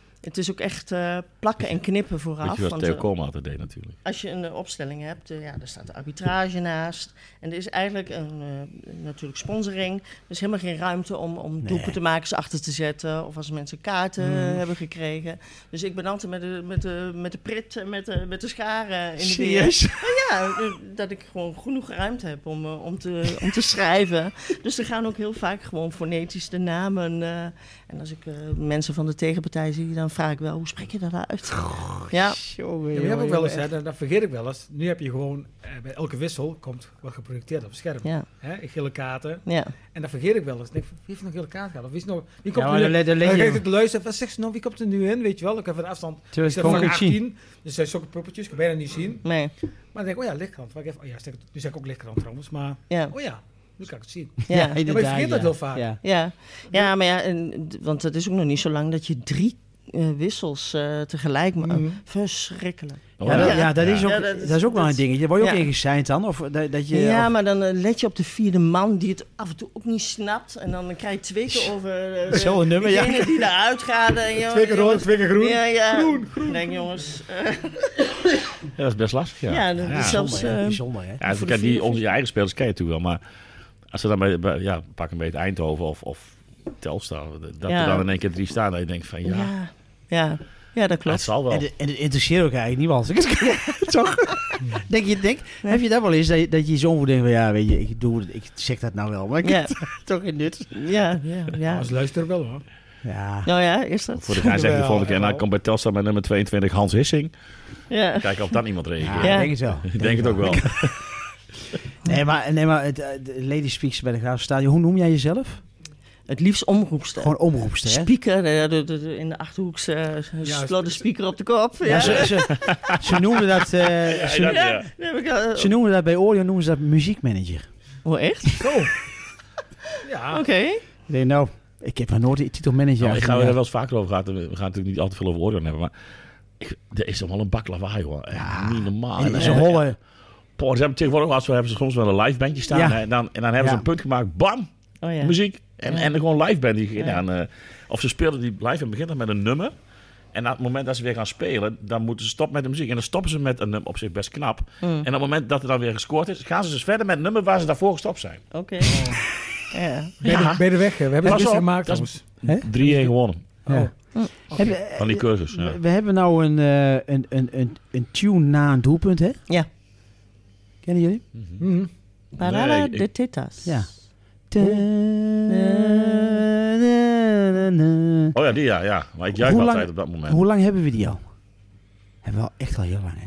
Speaker 2: betreft.
Speaker 5: het is ook echt eh, plakken en knippen
Speaker 3: Weet
Speaker 5: vooraf.
Speaker 3: je wat
Speaker 5: want,
Speaker 3: Theo
Speaker 5: eh,
Speaker 3: Koolmaat dat deed natuurlijk.
Speaker 5: als je een eh, opstelling hebt, eh, ja, daar staat de arbitrage naast. En er is eigenlijk een, eh, natuurlijk sponsoring. Dus helemaal geen ruimte om, om doelpuntenmakers achter te zetten. Of als mensen kaarten eh, hebben gekregen. Dus ik ben altijd met de, met de, met de prit, eh, met de, met de scharen in de weer.
Speaker 2: Serieus?
Speaker 5: Ja, eh, dat ik gewoon genoeg ruimte heb om, eh, om, te, om te schrijven. Dus er gaan ook heel vaak gewoon fonetisch de namen. eh, en als ik eh, mensen van de tegenpartij zie, dan vraag ik wel, hoe spreek je dat uit? Ja,
Speaker 2: Jongen,
Speaker 4: Ja, maar je
Speaker 2: jongen,
Speaker 4: hebt ook wel eens,
Speaker 2: jongen,
Speaker 4: hè, dat, dat vergeet ik wel eens. Nu heb je gewoon, eh, bij elke wissel komt wat geprojecteerd op het scherm.
Speaker 5: ja,
Speaker 4: Hè, in gele kaarten.
Speaker 5: ja.
Speaker 4: En dat vergeet ik wel eens. Ik Denk, wie heeft nog gele kaart gehad? Of wie, is nog, wie
Speaker 2: Ja, maar
Speaker 4: komt er
Speaker 2: dan
Speaker 4: nu
Speaker 2: le- dan leg
Speaker 4: Dan
Speaker 2: je
Speaker 4: kijk
Speaker 2: hem.
Speaker 4: ik de luister, wat zegt ze nou, wie komt er nu in? Weet je wel, ik heb een afstand.
Speaker 2: Terwijl
Speaker 4: Ik
Speaker 2: het
Speaker 4: zit van
Speaker 2: gewoon kunt zien.
Speaker 4: 18, dus zijn zulke poppetjes, ik kan bijna niet zien.
Speaker 5: Nee,
Speaker 4: Maar dan denk ik, oh ja, lichtkrant. Wacht even, oh ja, zeg, nu zeg ik ook lichtkrant trouwens, maar
Speaker 5: ja,
Speaker 4: oh ja, nu kan ik het zien.
Speaker 5: ja.
Speaker 4: je
Speaker 2: inderdaad,
Speaker 4: vergeet dat
Speaker 2: ja.
Speaker 4: heel vaak.
Speaker 2: Ja.
Speaker 5: Ja, ja maar ja, en, d- want het is ook nog niet zo lang dat je drie eh, wissels eh, tegelijk maakt.
Speaker 4: Mhm.
Speaker 5: Verschrikkelijk.
Speaker 3: Oh,
Speaker 2: Ja, dat, ja,
Speaker 5: Oh, Ja.
Speaker 2: dat is ook,
Speaker 5: Ja,
Speaker 2: dat
Speaker 5: dat
Speaker 2: is,
Speaker 5: is-
Speaker 2: ook wel
Speaker 5: dat
Speaker 2: een
Speaker 5: is-
Speaker 2: dingetje. Word je ook
Speaker 5: ja.
Speaker 2: ingesignd dan? Of dat, dat je,
Speaker 5: ja,
Speaker 2: of-
Speaker 5: maar dan eh, let je op de vierde man die het af en toe ook niet snapt. En dan krijg je twee keer over eh,
Speaker 2: Zo'n nummer, ja.
Speaker 5: degene die eruit gaat. En, joh,
Speaker 4: Twee keer rood,
Speaker 5: jongens,
Speaker 4: twee keer groen.
Speaker 5: Ja, ja. Groen, groen. Denk jongens. eh,
Speaker 3: Ja, dat is best lastig. Ja,
Speaker 5: ja,
Speaker 3: ja,
Speaker 5: dat is
Speaker 3: ja.
Speaker 5: zelfs.
Speaker 2: Zonde, hè?
Speaker 5: eh,
Speaker 2: Bijzonder, hè?
Speaker 3: kijk,
Speaker 5: voor de
Speaker 3: die,
Speaker 5: vier-
Speaker 3: onze je eigen spelers ken je natuurlijk wel. Maar als ze dan bij, bij- ja, pak een beetje Eindhoven of, of Telstar. Dat
Speaker 5: Ja.
Speaker 3: er dan in één keer drie staan. Dat je denkt van ja,
Speaker 5: ja. Ja. ja, dat
Speaker 3: het
Speaker 5: klopt.
Speaker 3: zal wel.
Speaker 2: En, de- en het interesseert ook eigenlijk niet wat. Toch? Denk je, denk, Heb je dat wel eens dat je, dat je zo'n denkt van ja, weet je, ik, doe, het, ik zeg dat nou wel, maar ik
Speaker 5: Ja,
Speaker 2: toch geen nut.
Speaker 5: ja, ja, ja.
Speaker 4: Als luister wel hoor.
Speaker 2: Ja.
Speaker 5: Nou ja, is dat?
Speaker 3: Voor de gein zeg ik de
Speaker 4: Wel,
Speaker 3: volgende keer. Nou,
Speaker 4: wel.
Speaker 3: ik kom bij Telstar met nummer 22 Hans Hissing.
Speaker 5: Ja.
Speaker 3: Kijken of dan iemand
Speaker 2: Ja,
Speaker 3: reageert.
Speaker 5: Ja.
Speaker 2: ik denk het wel.
Speaker 3: Ik denk het ook wel.
Speaker 2: Nee, maar, nee, maar het, eh, de Lady Speaks bij de Graafstadion. Hoe noem jij jezelf?
Speaker 5: Het liefst omroepster.
Speaker 2: Gewoon omroepster, hè?
Speaker 5: Speaker, eh, de- de- de- in de Achterhoek ze
Speaker 1: Ja,
Speaker 5: slot de speaker op de kop. Ja,
Speaker 2: Ja, ze, ze, ze noemden dat... eh, ze,
Speaker 3: dat-
Speaker 5: Ja,
Speaker 3: ja.
Speaker 5: dat heb ik, eh,
Speaker 2: ze noemden dat bij Orion noemen ze dat muziekmanager.
Speaker 5: oh, echt?
Speaker 4: Ja,
Speaker 5: Oké.
Speaker 2: Ik denk, nou, ik heb nog nooit die titel manager.
Speaker 5: Nou,
Speaker 3: Ja, ik ga er
Speaker 2: uitgedacht.
Speaker 3: wel eens vaker over gaan. We gaan natuurlijk niet altijd veel over Orion hebben, maar ik, er is toch wel een bak lawaai, hoor. Echt niet normaal.
Speaker 2: En,
Speaker 3: En-
Speaker 2: en ze
Speaker 3: en-
Speaker 2: hollen.
Speaker 3: Poh, ze hebben tegenwoordig als we hebben ze soms wel een live bandje staan
Speaker 2: Ja.
Speaker 3: hè, en, dan, en dan hebben ze
Speaker 2: Ja.
Speaker 3: een punt gemaakt, bam,
Speaker 5: Oh ja.
Speaker 3: muziek en,
Speaker 5: Ja.
Speaker 3: en gewoon live band. Die,
Speaker 5: Ja.
Speaker 3: ja. en, eh, of ze speelden die live en beginnen met een nummer en op het moment dat ze weer gaan spelen, dan moeten ze stoppen met de muziek en dan stoppen ze met een nummer op zich best knap.
Speaker 2: Mm.
Speaker 3: En op het moment dat er dan weer gescoord is, gaan ze dus verder met het nummer waar ze daarvoor gestopt zijn.
Speaker 5: Oké. Ja.
Speaker 4: bij de, bij de weg. hè. We hebben
Speaker 3: Pas
Speaker 4: het
Speaker 3: op,
Speaker 4: best gemaakt,
Speaker 3: dat
Speaker 4: jongens.
Speaker 3: 3-1 gewonnen
Speaker 2: Ja. Hebben-
Speaker 3: van die cursus. Ja.
Speaker 2: We, we hebben nou een, eh, een, een, een, een tune na een doelpunt, hè?
Speaker 5: Ja.
Speaker 2: Kennen jullie?
Speaker 4: Mhm.
Speaker 5: Parada
Speaker 3: Nee, ik-
Speaker 5: de titas.
Speaker 2: Ja.
Speaker 3: Oh ja, die ja, ja. Maar ik juich
Speaker 2: Hoe lang-
Speaker 3: altijd op dat moment.
Speaker 2: Hoe lang hebben we die al? Hebben we al echt al heel lang, hè?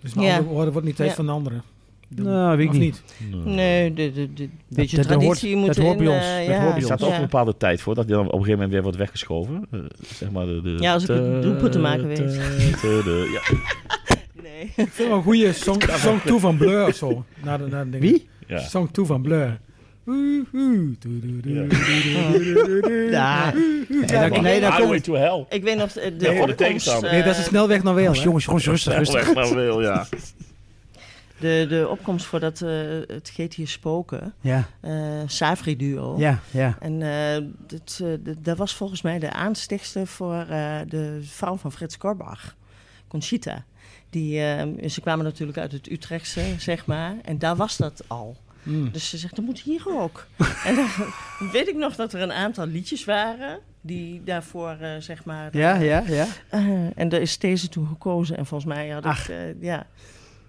Speaker 4: Dus met
Speaker 5: Ja.
Speaker 4: andere woorden wordt niet tijd
Speaker 5: Ja.
Speaker 4: van de anderen.
Speaker 2: Nou, weet ik
Speaker 4: Of
Speaker 2: niet.
Speaker 4: niet?
Speaker 5: Nee, de, de, de, beetje
Speaker 2: dat hoort-
Speaker 5: traditie moet
Speaker 2: dat hoort
Speaker 5: in,
Speaker 2: bij ons.
Speaker 5: eh,
Speaker 2: Dat
Speaker 5: ja.
Speaker 2: hoort bij
Speaker 3: Er
Speaker 2: ons.
Speaker 3: staat ook
Speaker 5: Ja.
Speaker 3: een bepaalde tijd voor dat die dan op een gegeven moment weer wordt weggeschoven. Eh, zeg maar de, de
Speaker 5: Ja, als ik het doelpunt te maken weet.
Speaker 3: te- te- de- ja.
Speaker 5: Nee.
Speaker 4: Ik vind wel een goede song, song 2 van Blur of zo. Naar de, naar de dingen.
Speaker 2: Wie?
Speaker 3: Ja.
Speaker 4: Song 2 van Blur. Woehoe. Doe, doe, doe,
Speaker 3: Ja.
Speaker 4: doe, doe, doe, doe.
Speaker 2: Ja.
Speaker 4: Ja,
Speaker 2: dan- nee, dan
Speaker 3: Highway to hell.
Speaker 5: Ik weet nog eh, de, de
Speaker 3: Ja, voor de
Speaker 5: opkomst...
Speaker 3: tegenstander.
Speaker 5: eh,
Speaker 4: Nee, dat is de snelweg nog wel.
Speaker 2: Jongens,
Speaker 4: hè.
Speaker 2: jongens, jongens, rustig, rustig.
Speaker 3: Weg naar wil, ja.
Speaker 5: de, de opkomst voor dat, eh, het Geet hier spoken.
Speaker 2: Ja,
Speaker 5: eh Savri-duo.
Speaker 2: ja, ja.
Speaker 5: En eh, dit, eh, dit- dat was volgens mij de aanstichter voor eh, de vrouw van Frits Korbach, Conchita. Die, eh, ze kwamen natuurlijk uit het Utrechtse, zeg maar. En daar was dat al.
Speaker 2: Hmm.
Speaker 4: Mm.
Speaker 5: Dus ze zegt, dat moet hier ook. en dan weet ik nog dat er een aantal liedjes waren die daarvoor, eh, zeg maar...
Speaker 2: Ja, ja, ja.
Speaker 5: eh, en daar is deze toe gekozen. En volgens mij had ik...
Speaker 2: Ach.
Speaker 5: eh, ja.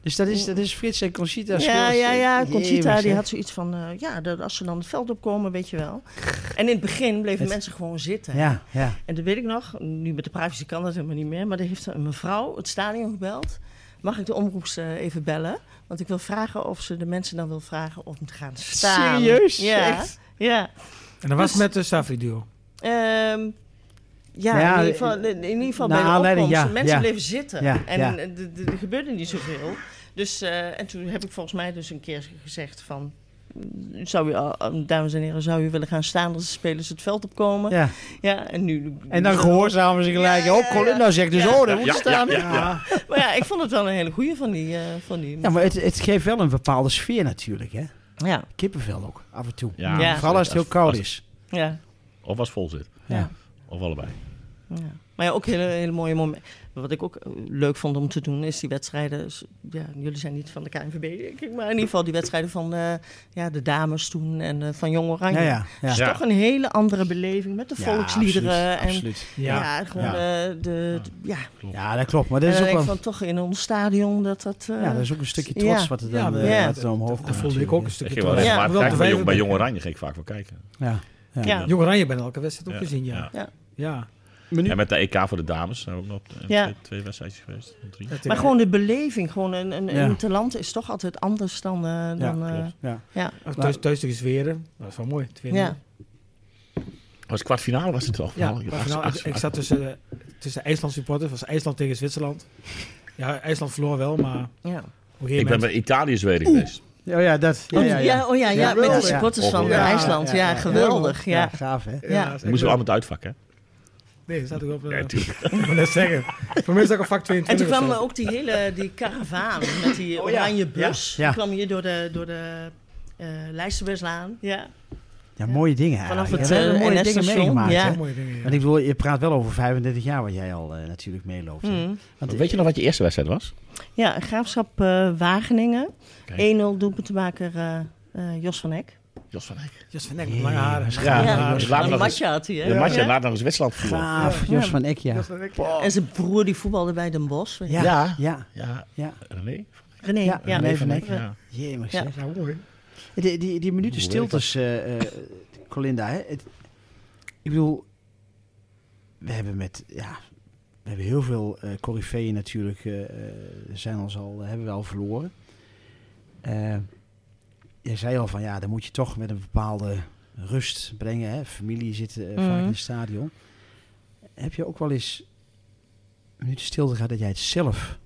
Speaker 2: Dus dat is, dat is Frits en Conchita.
Speaker 5: Ja, ja, ja. Conchita die had zoiets van, eh, ja, dat als ze dan het veld opkomen, weet je wel. En in het begin bleven
Speaker 2: Het-
Speaker 5: mensen gewoon zitten.
Speaker 2: Ja, ja.
Speaker 5: En dat weet ik nog, nu met de privacy kan dat helemaal niet meer, maar er heeft een mevrouw het stadion gebeld. Mag ik de omroeps eh, even bellen? Want ik wil vragen of ze de mensen dan wil vragen om te gaan staan.
Speaker 2: Serieus?
Speaker 5: Ja.
Speaker 2: Echt?
Speaker 5: Ja.
Speaker 4: En dat was het met de Safri Duo.
Speaker 5: Ehm, ja,
Speaker 2: Nou ja,
Speaker 5: in ieder geval, in ieder geval
Speaker 2: naar
Speaker 5: bij de
Speaker 2: aanleiding,
Speaker 5: opkomst.
Speaker 2: ja,
Speaker 5: mensen
Speaker 2: ja.
Speaker 5: bleven zitten.
Speaker 2: Ja,
Speaker 5: en
Speaker 2: ja.
Speaker 5: eh, d- d- er gebeurde niet zoveel. Dus, eh, en toen heb ik volgens mij dus een keer gezegd van... mm, Zou u, al- eh, dames en heren, zou u willen gaan staan als de spelers het veld opkomen? Ja,
Speaker 2: ja.
Speaker 5: en nu...
Speaker 2: En dan gehoorzamen ze gelijk.
Speaker 5: Ja, ja,
Speaker 2: Oh, Colin,
Speaker 5: ja.
Speaker 2: nou zegt dus,
Speaker 5: Ja.
Speaker 2: oh, dat moet
Speaker 3: Ja,
Speaker 2: staan.
Speaker 3: ja, ja, ja.
Speaker 5: Maar ja, ik vond het wel een hele goeie van die... eh, van die
Speaker 2: Ja, maar het, het geeft wel een bepaalde sfeer natuurlijk, hè?
Speaker 5: ja,
Speaker 2: Kippenvel ook, af en toe.
Speaker 3: Ja.
Speaker 5: Ja.
Speaker 2: Vooral als het heel koud is.
Speaker 5: ja.
Speaker 3: Of was vol zit.
Speaker 2: Ja.
Speaker 3: Of allebei.
Speaker 5: Ja. Maar ja, ook hele, hele mooie momenten. Wat ik ook eh, leuk vond om te doen, is die wedstrijden. s- Ja, jullie zijn niet van de KNVB, denk ik. Maar in ieder geval die wedstrijden van eh, ja, de dames toen en eh, van Jong Oranje.
Speaker 2: Ja, ja. ja.
Speaker 5: Dus
Speaker 3: Ja.
Speaker 5: toch een hele andere beleving met de
Speaker 2: Ja,
Speaker 5: volksliederen. en
Speaker 2: absoluut, absoluut.
Speaker 5: Ja,
Speaker 4: Ja.
Speaker 5: gewoon eh, de, de- ja.
Speaker 2: Ja, dat klopt. Maar
Speaker 5: En
Speaker 2: dat is
Speaker 5: dan
Speaker 2: ook
Speaker 5: denk Eh, ik
Speaker 2: wel...
Speaker 5: van toch in ons stadion dat dat... eh,
Speaker 2: Ja, dat is ook een stukje trots
Speaker 5: Ja.
Speaker 2: wat er
Speaker 4: Ja,
Speaker 2: dan,
Speaker 4: maar
Speaker 2: eh,
Speaker 5: ja.
Speaker 2: wat er dan omhoog
Speaker 4: Dat
Speaker 2: komt
Speaker 4: voelde ik ook een
Speaker 2: natuurlijk,
Speaker 3: Ik
Speaker 4: stukje
Speaker 3: ging wel
Speaker 4: terug.
Speaker 5: Ja,
Speaker 3: regelmatig
Speaker 4: Hoewel
Speaker 3: kijken. Bij,
Speaker 4: de
Speaker 3: Jong, bij
Speaker 4: vijfde-
Speaker 3: Jong Oranje ging ik vaak wel kijken.
Speaker 2: Ja. Ja.
Speaker 5: Ja.
Speaker 4: Jong Oranje ben elke wedstrijd ook
Speaker 3: Ja,
Speaker 4: gezien, ja.
Speaker 3: ja.
Speaker 4: Ja.
Speaker 3: En met de EK voor de dames zijn we ook nog op de-
Speaker 5: Ja.
Speaker 3: twee, twee wedstrijdjes geweest. of Drie.
Speaker 5: Maar gewoon de beleving, gewoon een, een,
Speaker 2: Ja.
Speaker 5: een talent is toch altijd anders dan... eh, dan eh,
Speaker 3: klopt.
Speaker 2: Ja.
Speaker 5: ja.
Speaker 4: Of Thuis, thuis tegen Zweren. Dat is wel mooi. 2-0.
Speaker 5: Ja.
Speaker 3: Was het kwartfinale was het toch?
Speaker 4: Oh, Ja,
Speaker 3: Acht-
Speaker 4: maar vooral,
Speaker 3: acht-
Speaker 4: ik, ik zat tussen, eh, tussen IJsland supporters. was IJsland tegen Zwitserland. Ja, IJsland verloor wel, maar op
Speaker 5: Ja.
Speaker 4: een
Speaker 3: ik
Speaker 4: gegeven
Speaker 3: ben
Speaker 4: moment...
Speaker 3: bij Italië Zweden geweest.
Speaker 2: Ja, ja, dat. Ja,
Speaker 5: Oh,
Speaker 2: ja, ja.
Speaker 5: oh ja, ja,
Speaker 2: Ja,
Speaker 5: met
Speaker 2: ja,
Speaker 5: de
Speaker 2: ja.
Speaker 5: supporters van
Speaker 4: Ja,
Speaker 5: IJsland. Ja,
Speaker 2: ja, ja.
Speaker 5: geweldig. Ja.
Speaker 2: Ja, gaaf, hè?
Speaker 5: Ja.
Speaker 4: dat is echt
Speaker 3: Moesten we
Speaker 4: leuk.
Speaker 3: allemaal het uitvakken, hè?
Speaker 4: Nee, dat staat ook op... eh,
Speaker 3: Ja, natuurlijk.
Speaker 4: ik wil net zeggen. Voor mij is dat ook een vak
Speaker 5: En
Speaker 4: 22
Speaker 5: toen kwam
Speaker 4: of
Speaker 5: er
Speaker 4: zo.
Speaker 5: ook die hele die karavaan met die
Speaker 2: Oh, ja.
Speaker 5: oranje bus.
Speaker 2: Ja.
Speaker 5: Die kwam hier door de, door de eh Leijsterbusslaan. Ja.
Speaker 2: Ja, mooie dingen
Speaker 5: Vanaf
Speaker 2: eigenlijk.
Speaker 5: het,
Speaker 2: Ja, we
Speaker 5: eh,
Speaker 2: hebben mooie dingen
Speaker 5: NS-station,
Speaker 2: meegemaakt,
Speaker 5: ja.
Speaker 2: hè?
Speaker 5: ook-
Speaker 4: Mooie dingen, ja.
Speaker 2: Want ik bedoel, je praat wel over 35 jaar wat jij al eh, natuurlijk meeloopt. hè?
Speaker 5: Mm.
Speaker 2: Want,
Speaker 3: Weet je nog wat je eerste wedstrijd was?
Speaker 5: ja, graafschap eh, Wageningen. 1-0
Speaker 3: Kijk.
Speaker 5: doelpuntenmaker eh, eh, Jos van Hek.
Speaker 3: Jos van Eyck.
Speaker 4: Jos van Eck met lange haren.
Speaker 3: Ja,
Speaker 5: Ja,
Speaker 3: ja,
Speaker 5: een
Speaker 3: dus later nog eens-
Speaker 5: matje had hij. hè?
Speaker 3: De match
Speaker 5: Ja.
Speaker 3: laat nog eens Zwitserland verloren.
Speaker 2: Gaaf, Jos van Eck, ja.
Speaker 4: Jos van Eck, ja.
Speaker 5: En zijn broer die voetbalde bij Den Bosch.
Speaker 2: Ja, ja.
Speaker 3: Ja.
Speaker 2: ja.
Speaker 3: Ja,
Speaker 2: ja.
Speaker 3: René?
Speaker 5: René.
Speaker 2: Ja,
Speaker 5: Ja,
Speaker 2: René
Speaker 5: ja.
Speaker 2: van Eyck,
Speaker 3: Ja.
Speaker 2: Jemig,
Speaker 5: Ja.
Speaker 2: zeg.
Speaker 4: Ja, mooi.
Speaker 2: Die, die, die minuten
Speaker 3: Hoe weet ik dat?
Speaker 2: stiltes, eh, eh, Colinda, hè? Het- ik bedoel, we hebben met, ja, we hebben heel veel eh coryfeeën natuurlijk, eh, eh, zijn ons al, hebben we al Eh, verloren. Eh, jij zei al van, ja, dan moet je toch met een bepaalde rust brengen. Hè? Familie zit eh,
Speaker 5: Mhm.
Speaker 2: vaak in het stadion. Heb je ook wel eens een minuut stilte gehad dat jij het zelf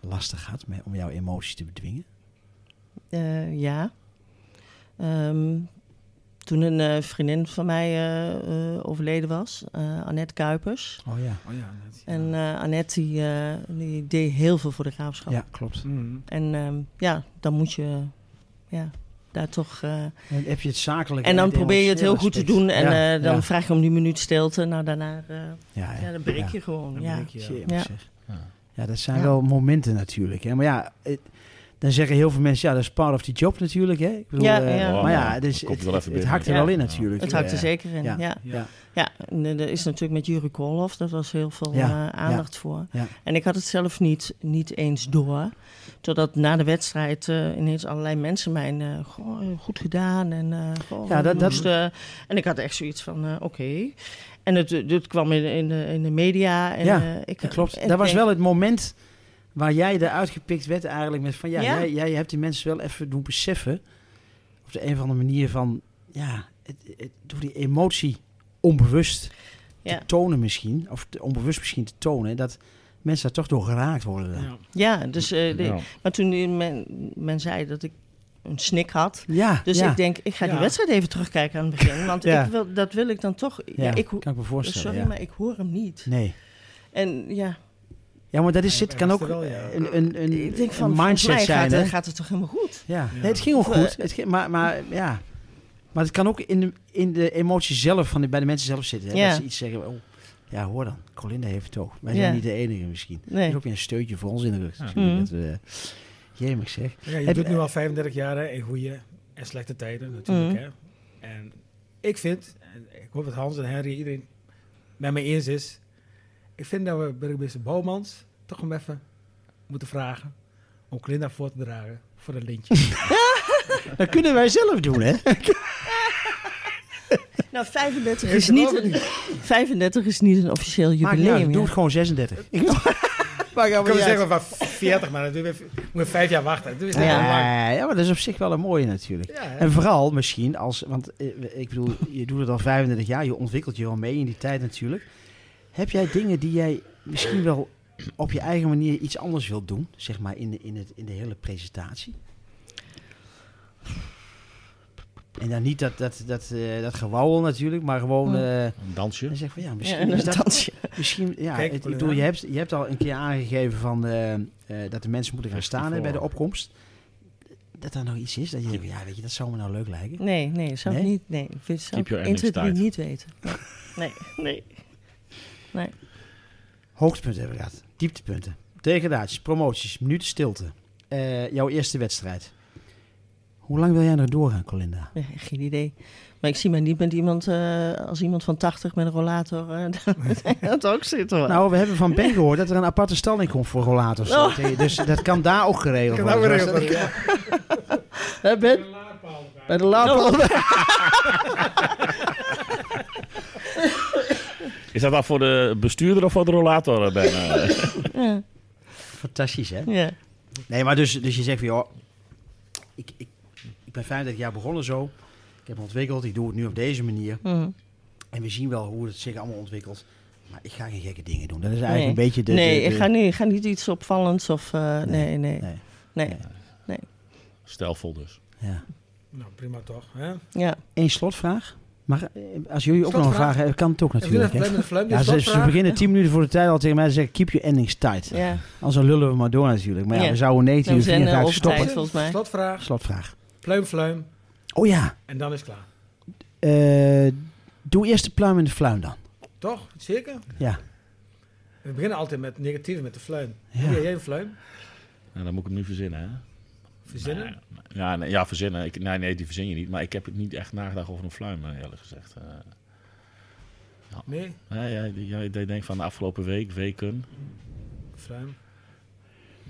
Speaker 2: lastig had met, om jouw emoties te bedwingen?
Speaker 5: Eh, ja. Ehm, toen een eh, vriendin van mij eh, eh, overleden was, eh, Annette Kuipers.
Speaker 2: Oh ja.
Speaker 4: Oh ja, net.
Speaker 5: En eh, Annette die, eh, die deed heel veel voor de graafschap.
Speaker 2: Ja, klopt.
Speaker 4: Mhm.
Speaker 5: En ehm, ja, dan moet je ja, daar toch. eh,
Speaker 2: Dan heb je het zakelijk.
Speaker 5: en dan probeer je het heel goed te doen. En eh, dan
Speaker 2: ja.
Speaker 5: vraag je om die minuut stilte. Nou, daarna eh,
Speaker 2: Ja,
Speaker 5: ja, dan breek je gewoon.
Speaker 4: Dan
Speaker 5: ja.
Speaker 4: breek je, ja.
Speaker 2: Jemig
Speaker 5: Ja.
Speaker 2: zeg.
Speaker 3: Ja.
Speaker 2: Ja, dat zijn
Speaker 5: Ja.
Speaker 2: wel momenten natuurlijk. Hè. Maar ja, het- dan zeggen heel veel mensen, ja, dat is part of the job natuurlijk. Hè. Ik bedoel,
Speaker 5: Ja,
Speaker 2: eh,
Speaker 5: ja.
Speaker 2: Maar ja, dus,
Speaker 3: Oh, Komt
Speaker 2: het, het,
Speaker 3: wel even
Speaker 2: het
Speaker 3: binnen.
Speaker 2: hakt er
Speaker 5: Ja.
Speaker 2: wel in natuurlijk.
Speaker 5: Het hakt er
Speaker 2: Eh,
Speaker 5: zeker in.
Speaker 2: ja.
Speaker 5: Ja, ja.
Speaker 2: Ja.
Speaker 5: en eh, er is natuurlijk met Jurie Koolhof, daar was heel veel
Speaker 2: Ja,
Speaker 5: eh,
Speaker 2: ja.
Speaker 5: aandacht voor.
Speaker 2: Ja.
Speaker 5: En ik had het zelf niet, niet eens door. Totdat na de wedstrijd eh, ineens allerlei mensen mij eh, goh, eh, goed gedaan. En, eh, goh,
Speaker 2: Ja, dat-
Speaker 5: je
Speaker 2: dat-
Speaker 5: moest, eh, en ik had echt zoiets van, eh, oké. En het, het kwam in, in, de, in de media. En,
Speaker 2: Ja,
Speaker 5: eh, ik,
Speaker 2: Dat klopt.
Speaker 5: en ik
Speaker 2: dat was
Speaker 5: denk-
Speaker 2: wel het moment waar jij eruit gepikt werd eigenlijk. Met van, ja,
Speaker 5: Ja.
Speaker 2: Jij, jij hebt die mensen wel even doen beseffen. Op de een of andere manier van, ja, het, het, door die emotie onbewust
Speaker 5: Ja.
Speaker 2: te tonen misschien. Of te- onbewust misschien te tonen. Dat mensen daar toch door geraakt worden. dan.
Speaker 4: Ja.
Speaker 5: Ja, dus, eh, de-
Speaker 3: Ja.
Speaker 5: maar toen die men, men zei dat ik een snik had.
Speaker 2: Ja,
Speaker 5: Dus
Speaker 2: ja.
Speaker 5: ik denk, ik ga die
Speaker 4: Ja.
Speaker 5: wedstrijd even terugkijken aan het begin. Want
Speaker 2: Ja.
Speaker 5: ik wil, dat wil ik dan toch. Ja,
Speaker 2: ja,
Speaker 5: ik, ho-
Speaker 2: kan ik me voorstellen.
Speaker 5: sorry,
Speaker 2: ja.
Speaker 5: maar ik hoor hem niet.
Speaker 2: Nee.
Speaker 5: En ja,
Speaker 2: Ja, maar dat is,
Speaker 4: Ja,
Speaker 2: zit,
Speaker 4: hij
Speaker 2: kan
Speaker 4: was
Speaker 2: ook
Speaker 4: er wel, ja.
Speaker 2: een, een, een,
Speaker 5: ik denk van,
Speaker 2: een
Speaker 5: volgens
Speaker 2: mindset
Speaker 5: mij
Speaker 2: zijn.
Speaker 5: gaat,
Speaker 2: hè?
Speaker 5: het- gaat het toch helemaal goed?
Speaker 2: Ja,
Speaker 4: Ja.
Speaker 2: Nee, het ging ook
Speaker 5: Of,
Speaker 2: goed.
Speaker 5: eh,
Speaker 2: Het ging, maar, maar ja. Maar het kan ook in de, in de emotie zelf, van de, bij de mensen zelf zitten. Hè?
Speaker 5: Ja.
Speaker 2: Dat ze iets zeggen. Oh, ja, hoor dan. Colinda heeft het ook. Wij zijn
Speaker 5: Ja.
Speaker 2: niet de enige misschien.
Speaker 5: Nee.
Speaker 2: Er is ook weer een steuntje voor ons in de rug.
Speaker 5: Mm.
Speaker 2: natuurlijk. Dat we- eh, Jemig zeg.
Speaker 4: Ja, je
Speaker 2: Heb-
Speaker 4: doet nu al 35 jaar hè, in goede en slechte tijden natuurlijk.
Speaker 5: Mhm.
Speaker 4: Hè. En ik vind, en ik hoop dat Hans en Henry iedereen met me eens is. Ik vind dat we burgemeester Bouwmans toch hem even moeten vragen om Glinda voor te dragen voor een lintje.
Speaker 2: Dat kunnen wij zelf doen, hè?
Speaker 5: Nou, 35
Speaker 4: Heeft
Speaker 5: is
Speaker 4: het
Speaker 5: niet,
Speaker 4: ook
Speaker 5: een, 35 is niet een officieel
Speaker 2: Maakt niet uit,
Speaker 5: jubileum.
Speaker 2: Doe het
Speaker 5: ja.
Speaker 2: gewoon 36. Ik Maakt
Speaker 4: Ik kan
Speaker 2: allemaal
Speaker 4: wel
Speaker 2: niet uit.
Speaker 4: zeggen van 40, maar dan moet je vijf jaar wachten. Dat is
Speaker 5: Ja.
Speaker 4: heel lang.
Speaker 2: Ja, ja, maar dat is op zich wel een mooie natuurlijk.
Speaker 4: Ja, hè.
Speaker 2: En vooral misschien als, want eh, ik bedoel, je doet het al 35 jaar, je ontwikkelt je wel mee in die tijd natuurlijk. Heb jij dingen die jij misschien wel op je eigen manier iets anders wilt doen, zeg maar in de, in het, in de hele presentatie? En dan niet dat, dat, dat, eh, dat gewauwel natuurlijk, maar gewoon. eh,
Speaker 3: Een dansje.
Speaker 2: dan zeg van ja,
Speaker 5: Ja,
Speaker 2: misschien
Speaker 5: en
Speaker 2: is
Speaker 5: een
Speaker 2: dat
Speaker 5: dansje.
Speaker 2: Misschien, ja.
Speaker 4: Kijk,
Speaker 2: het- ik
Speaker 4: Paulina.
Speaker 2: bedoel, je hebt, je hebt al een keer aangegeven van, eh, eh, dat de mensen moeten gaan staan hè, bij de opkomst. Dat daar nog iets is. Dat je denkt, ja, weet je, dat zou me nou leuk lijken.
Speaker 5: Nee, nee, zou ik
Speaker 2: Nee?
Speaker 5: niet. Nee, ik vind- zou
Speaker 3: Keep
Speaker 5: ik
Speaker 3: your
Speaker 5: intuïtief
Speaker 3: enemies
Speaker 5: niet weten. Nee, nee. nee.
Speaker 2: Hoogtepunten hebben we gehad. Dieptepunten. Degradaties, promoties, minuten stilte. Eh, jouw eerste wedstrijd. Hoe lang wil jij nog doorgaan, Colinda?
Speaker 5: Ja, geen idee. Maar ik zie mij niet met iemand, eh, als iemand van 80 met een rollator, eh, dat- dat ook zit hoor.
Speaker 2: Nou, we hebben van Ben gehoord dat er een aparte stalling komt voor rollators.
Speaker 5: Oh.
Speaker 2: Dus dat kan daar ook geregeld
Speaker 4: Ik kan
Speaker 2: worden.
Speaker 4: ook weer
Speaker 2: Zoals
Speaker 4: even- ja.
Speaker 5: Eh,
Speaker 2: dat- Hè, ben? Bij de laadpaal. Oh.
Speaker 3: Is dat dan voor de bestuurder of voor de rollator? eh, bijna?
Speaker 5: ja,
Speaker 2: Fantastisch, hè?
Speaker 5: ja.
Speaker 2: Nee, maar dus, dus je zegt van, joh, ik, ik, ik ben 35 jaar begonnen zo. Ik heb me ontwikkeld, ik doe het nu op deze manier.
Speaker 5: Mhm.
Speaker 2: En we zien wel hoe het zich allemaal ontwikkelt. Maar ik ga geen gekke dingen doen. Dat is eigenlijk
Speaker 5: Nee.
Speaker 2: een beetje de...
Speaker 5: nee,
Speaker 2: de- de-
Speaker 5: ik ga niet, ik ga niet iets opvallends of... eh, nee, nee, nee.
Speaker 2: nee.
Speaker 3: Stelvol dus.
Speaker 2: Ja.
Speaker 4: Nou, prima toch. Hè?
Speaker 5: Ja.
Speaker 2: Eén slotvraag. Maar eh, als jullie ook nog een
Speaker 4: Slotvraag?
Speaker 2: vraag hebben, kan het ook
Speaker 4: Even doen
Speaker 2: natuurlijk.
Speaker 4: even
Speaker 2: hè?
Speaker 4: met de fluim. dus
Speaker 2: Ja, ze, ze beginnen 10 minuten voor de tijd al tegen mij te zeggen, keep your endings tight.
Speaker 5: ja.
Speaker 2: Anders dan lullen we maar door natuurlijk. Maar ja,
Speaker 5: Ja.
Speaker 2: we zouden 19 uur
Speaker 5: Nou, we zijn, eh,
Speaker 2: 54
Speaker 5: over
Speaker 2: stoppen.
Speaker 5: tijd. volgens mij.
Speaker 4: Slotvraag.
Speaker 2: Slotvraag.
Speaker 4: Fluim, fluim.
Speaker 2: Oh ja,
Speaker 4: En dan is het klaar.
Speaker 2: eh, doe eerst de pluim en de fluim dan.
Speaker 4: Toch? Zeker?
Speaker 2: Ja.
Speaker 4: We beginnen altijd met negatieve, met de fluim.
Speaker 2: Ja.
Speaker 4: Heb jij een fluim?
Speaker 3: Nou, dan moet ik hem nu verzinnen, hè?
Speaker 4: Verzinnen?
Speaker 3: Nee, ja, nee, ja, verzinnen. Ik, nee, nee, die verzin je niet. Maar ik heb het niet echt nagedacht over een fluim, eh, eerlijk gezegd. Eh,
Speaker 4: Nee,
Speaker 3: nee, ja, die- ja, ik denk van de afgelopen week, weken.
Speaker 4: fluim.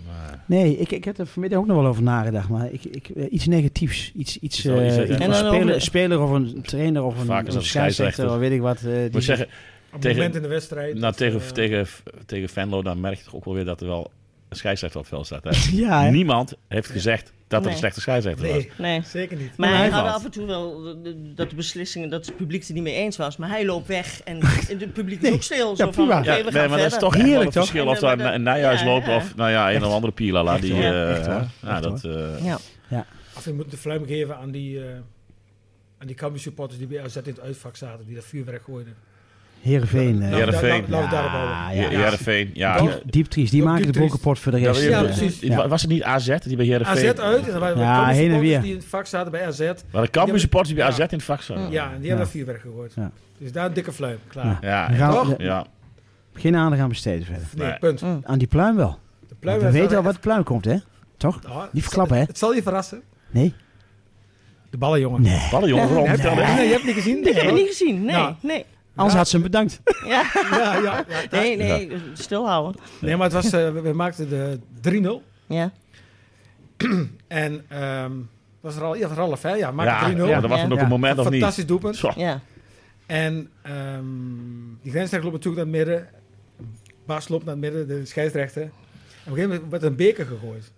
Speaker 3: Maar,
Speaker 2: Nee, ik, ik heb er vanmiddag ook nog wel over nagedacht, maar ik, ik, eh, iets negatiefs. Iets, iets,
Speaker 3: Is wel iets
Speaker 2: eh,
Speaker 3: uit-
Speaker 2: iets
Speaker 3: En
Speaker 2: een
Speaker 5: dan over
Speaker 2: speler,
Speaker 5: de-
Speaker 2: speler of een trainer of
Speaker 3: Vaak is
Speaker 2: een,
Speaker 3: dat
Speaker 2: een
Speaker 3: een
Speaker 2: scheidsrechter,
Speaker 3: scheidsrechter.
Speaker 2: of weet ik wat. eh, die
Speaker 3: ik moet zeggen,
Speaker 4: Op het
Speaker 3: Tegen-
Speaker 4: moment in de wedstrijd.
Speaker 3: nou,
Speaker 4: of,
Speaker 3: tegen,
Speaker 4: eh,
Speaker 3: tegen, tegen Venlo, dan merk je toch ook wel weer dat er wel een scheidsrechter op het veld staat. Hè?
Speaker 2: ja, hè?
Speaker 3: Niemand heeft gezegd, dat er
Speaker 5: Nee.
Speaker 3: een slechte scheidsrechter was.
Speaker 4: Nee,
Speaker 5: Nee.
Speaker 4: zeker niet.
Speaker 5: Maar
Speaker 3: Maar
Speaker 5: hij
Speaker 3: hij
Speaker 5: had
Speaker 3: valt.
Speaker 5: af en toe wel de- de- dat de beslissingen, dat het publiek het er niet mee eens was. Maar hij loopt weg en het publiek is ook stil. zo van,
Speaker 2: prima.
Speaker 5: oké,
Speaker 3: Ja,
Speaker 5: we gaan
Speaker 3: nee, maar dat is
Speaker 5: verder.
Speaker 3: toch echt wel
Speaker 2: Heerlijk,
Speaker 3: het
Speaker 2: toch?
Speaker 3: verschil
Speaker 5: En,
Speaker 3: of
Speaker 5: eh,
Speaker 3: daar
Speaker 5: maar
Speaker 3: een, een
Speaker 5: dat-
Speaker 3: Nijhuis
Speaker 5: ja,
Speaker 3: loopt
Speaker 5: ja.
Speaker 3: of nou ja, een of andere Pilala.
Speaker 2: Echt
Speaker 3: Die,
Speaker 2: hoor,
Speaker 3: eh,
Speaker 2: echt hoor,
Speaker 3: ja,
Speaker 2: echt
Speaker 3: dat, eh,
Speaker 5: Ja.
Speaker 4: Of je moet de fluim geven aan die, eh, aan die Cambuur supporters die bij AZ in het uitvak zaten, die dat vuurwerk gooiden.
Speaker 2: Heerenveen. eh,
Speaker 4: Nou,
Speaker 3: Heerenveen.
Speaker 4: nou, nou, nou, daarop houden.
Speaker 2: Ja,
Speaker 3: Heer-
Speaker 2: ja.
Speaker 3: Heerenveen, ja.
Speaker 2: Diep,
Speaker 3: eh,
Speaker 2: diep triest. Die
Speaker 4: Diep
Speaker 2: maken de
Speaker 4: triest.
Speaker 2: boekenport voor de
Speaker 3: ja,
Speaker 2: rest.
Speaker 4: Ja,
Speaker 2: eh,
Speaker 4: precies.
Speaker 2: ja.
Speaker 3: Was het niet AZ die bij
Speaker 4: AZ
Speaker 3: Heerenveen?
Speaker 4: uit, en dan waren
Speaker 2: Ja,
Speaker 4: ja,
Speaker 2: heen en weer.
Speaker 4: die in het vak zaten bij AZ.
Speaker 3: Maar de Cambuur supporters die bij AZ in het vak zaten.
Speaker 4: Ja, en die hebben dat vuurwerk gegooid.
Speaker 2: Ja.
Speaker 4: Dus daar een dikke fluim, klaar.
Speaker 2: Ja.
Speaker 3: Ja,
Speaker 2: We
Speaker 3: ja.
Speaker 2: gaan
Speaker 4: Toch?
Speaker 2: we- geen aandacht aan besteden verder.
Speaker 4: Nee,
Speaker 3: Nee.
Speaker 4: punt.
Speaker 2: Aan die pluim wel.
Speaker 4: De
Speaker 2: Want
Speaker 4: pluim
Speaker 2: we
Speaker 4: werd
Speaker 2: weten al
Speaker 4: wel
Speaker 2: wat de pluim komt, hè? Toch?
Speaker 4: echt- Oh,
Speaker 2: Niet verklappen, hè?
Speaker 4: Het zal je verrassen.
Speaker 2: Nee?
Speaker 4: De ballen, jongen.
Speaker 2: Nee.
Speaker 3: Ballen jongen, waarom?
Speaker 4: Nee,
Speaker 3: Vertel
Speaker 4: nee,
Speaker 3: eens.
Speaker 4: nee, je hebt het niet gezien.
Speaker 5: Nee, ik heb het
Speaker 4: Ja,
Speaker 5: niet gezien. Nee,
Speaker 4: Nou.
Speaker 5: nee.
Speaker 2: Anders had ze hem bedankt.
Speaker 5: Ja.
Speaker 4: ja, ja, ja.
Speaker 5: Nee, nee, stilhouden.
Speaker 4: Nee, maar het was, eh, we, we maakten de 3-0.
Speaker 5: Ja.
Speaker 4: En ehm was er al, ja, was er al een vijf, ja,
Speaker 3: Ja,
Speaker 4: maakte 3-0.
Speaker 3: ja, dat was
Speaker 5: Ja.
Speaker 3: dan ook een
Speaker 2: Ja.
Speaker 3: moment of niet.
Speaker 4: Fantastisch doelpunt.
Speaker 3: Zo.
Speaker 5: Ja.
Speaker 4: En ehm, die grensrechter loopt natuurlijk naar het midden. Bas loopt naar het midden, de scheidsrechter. En op een gegeven moment werd een beker gegooid.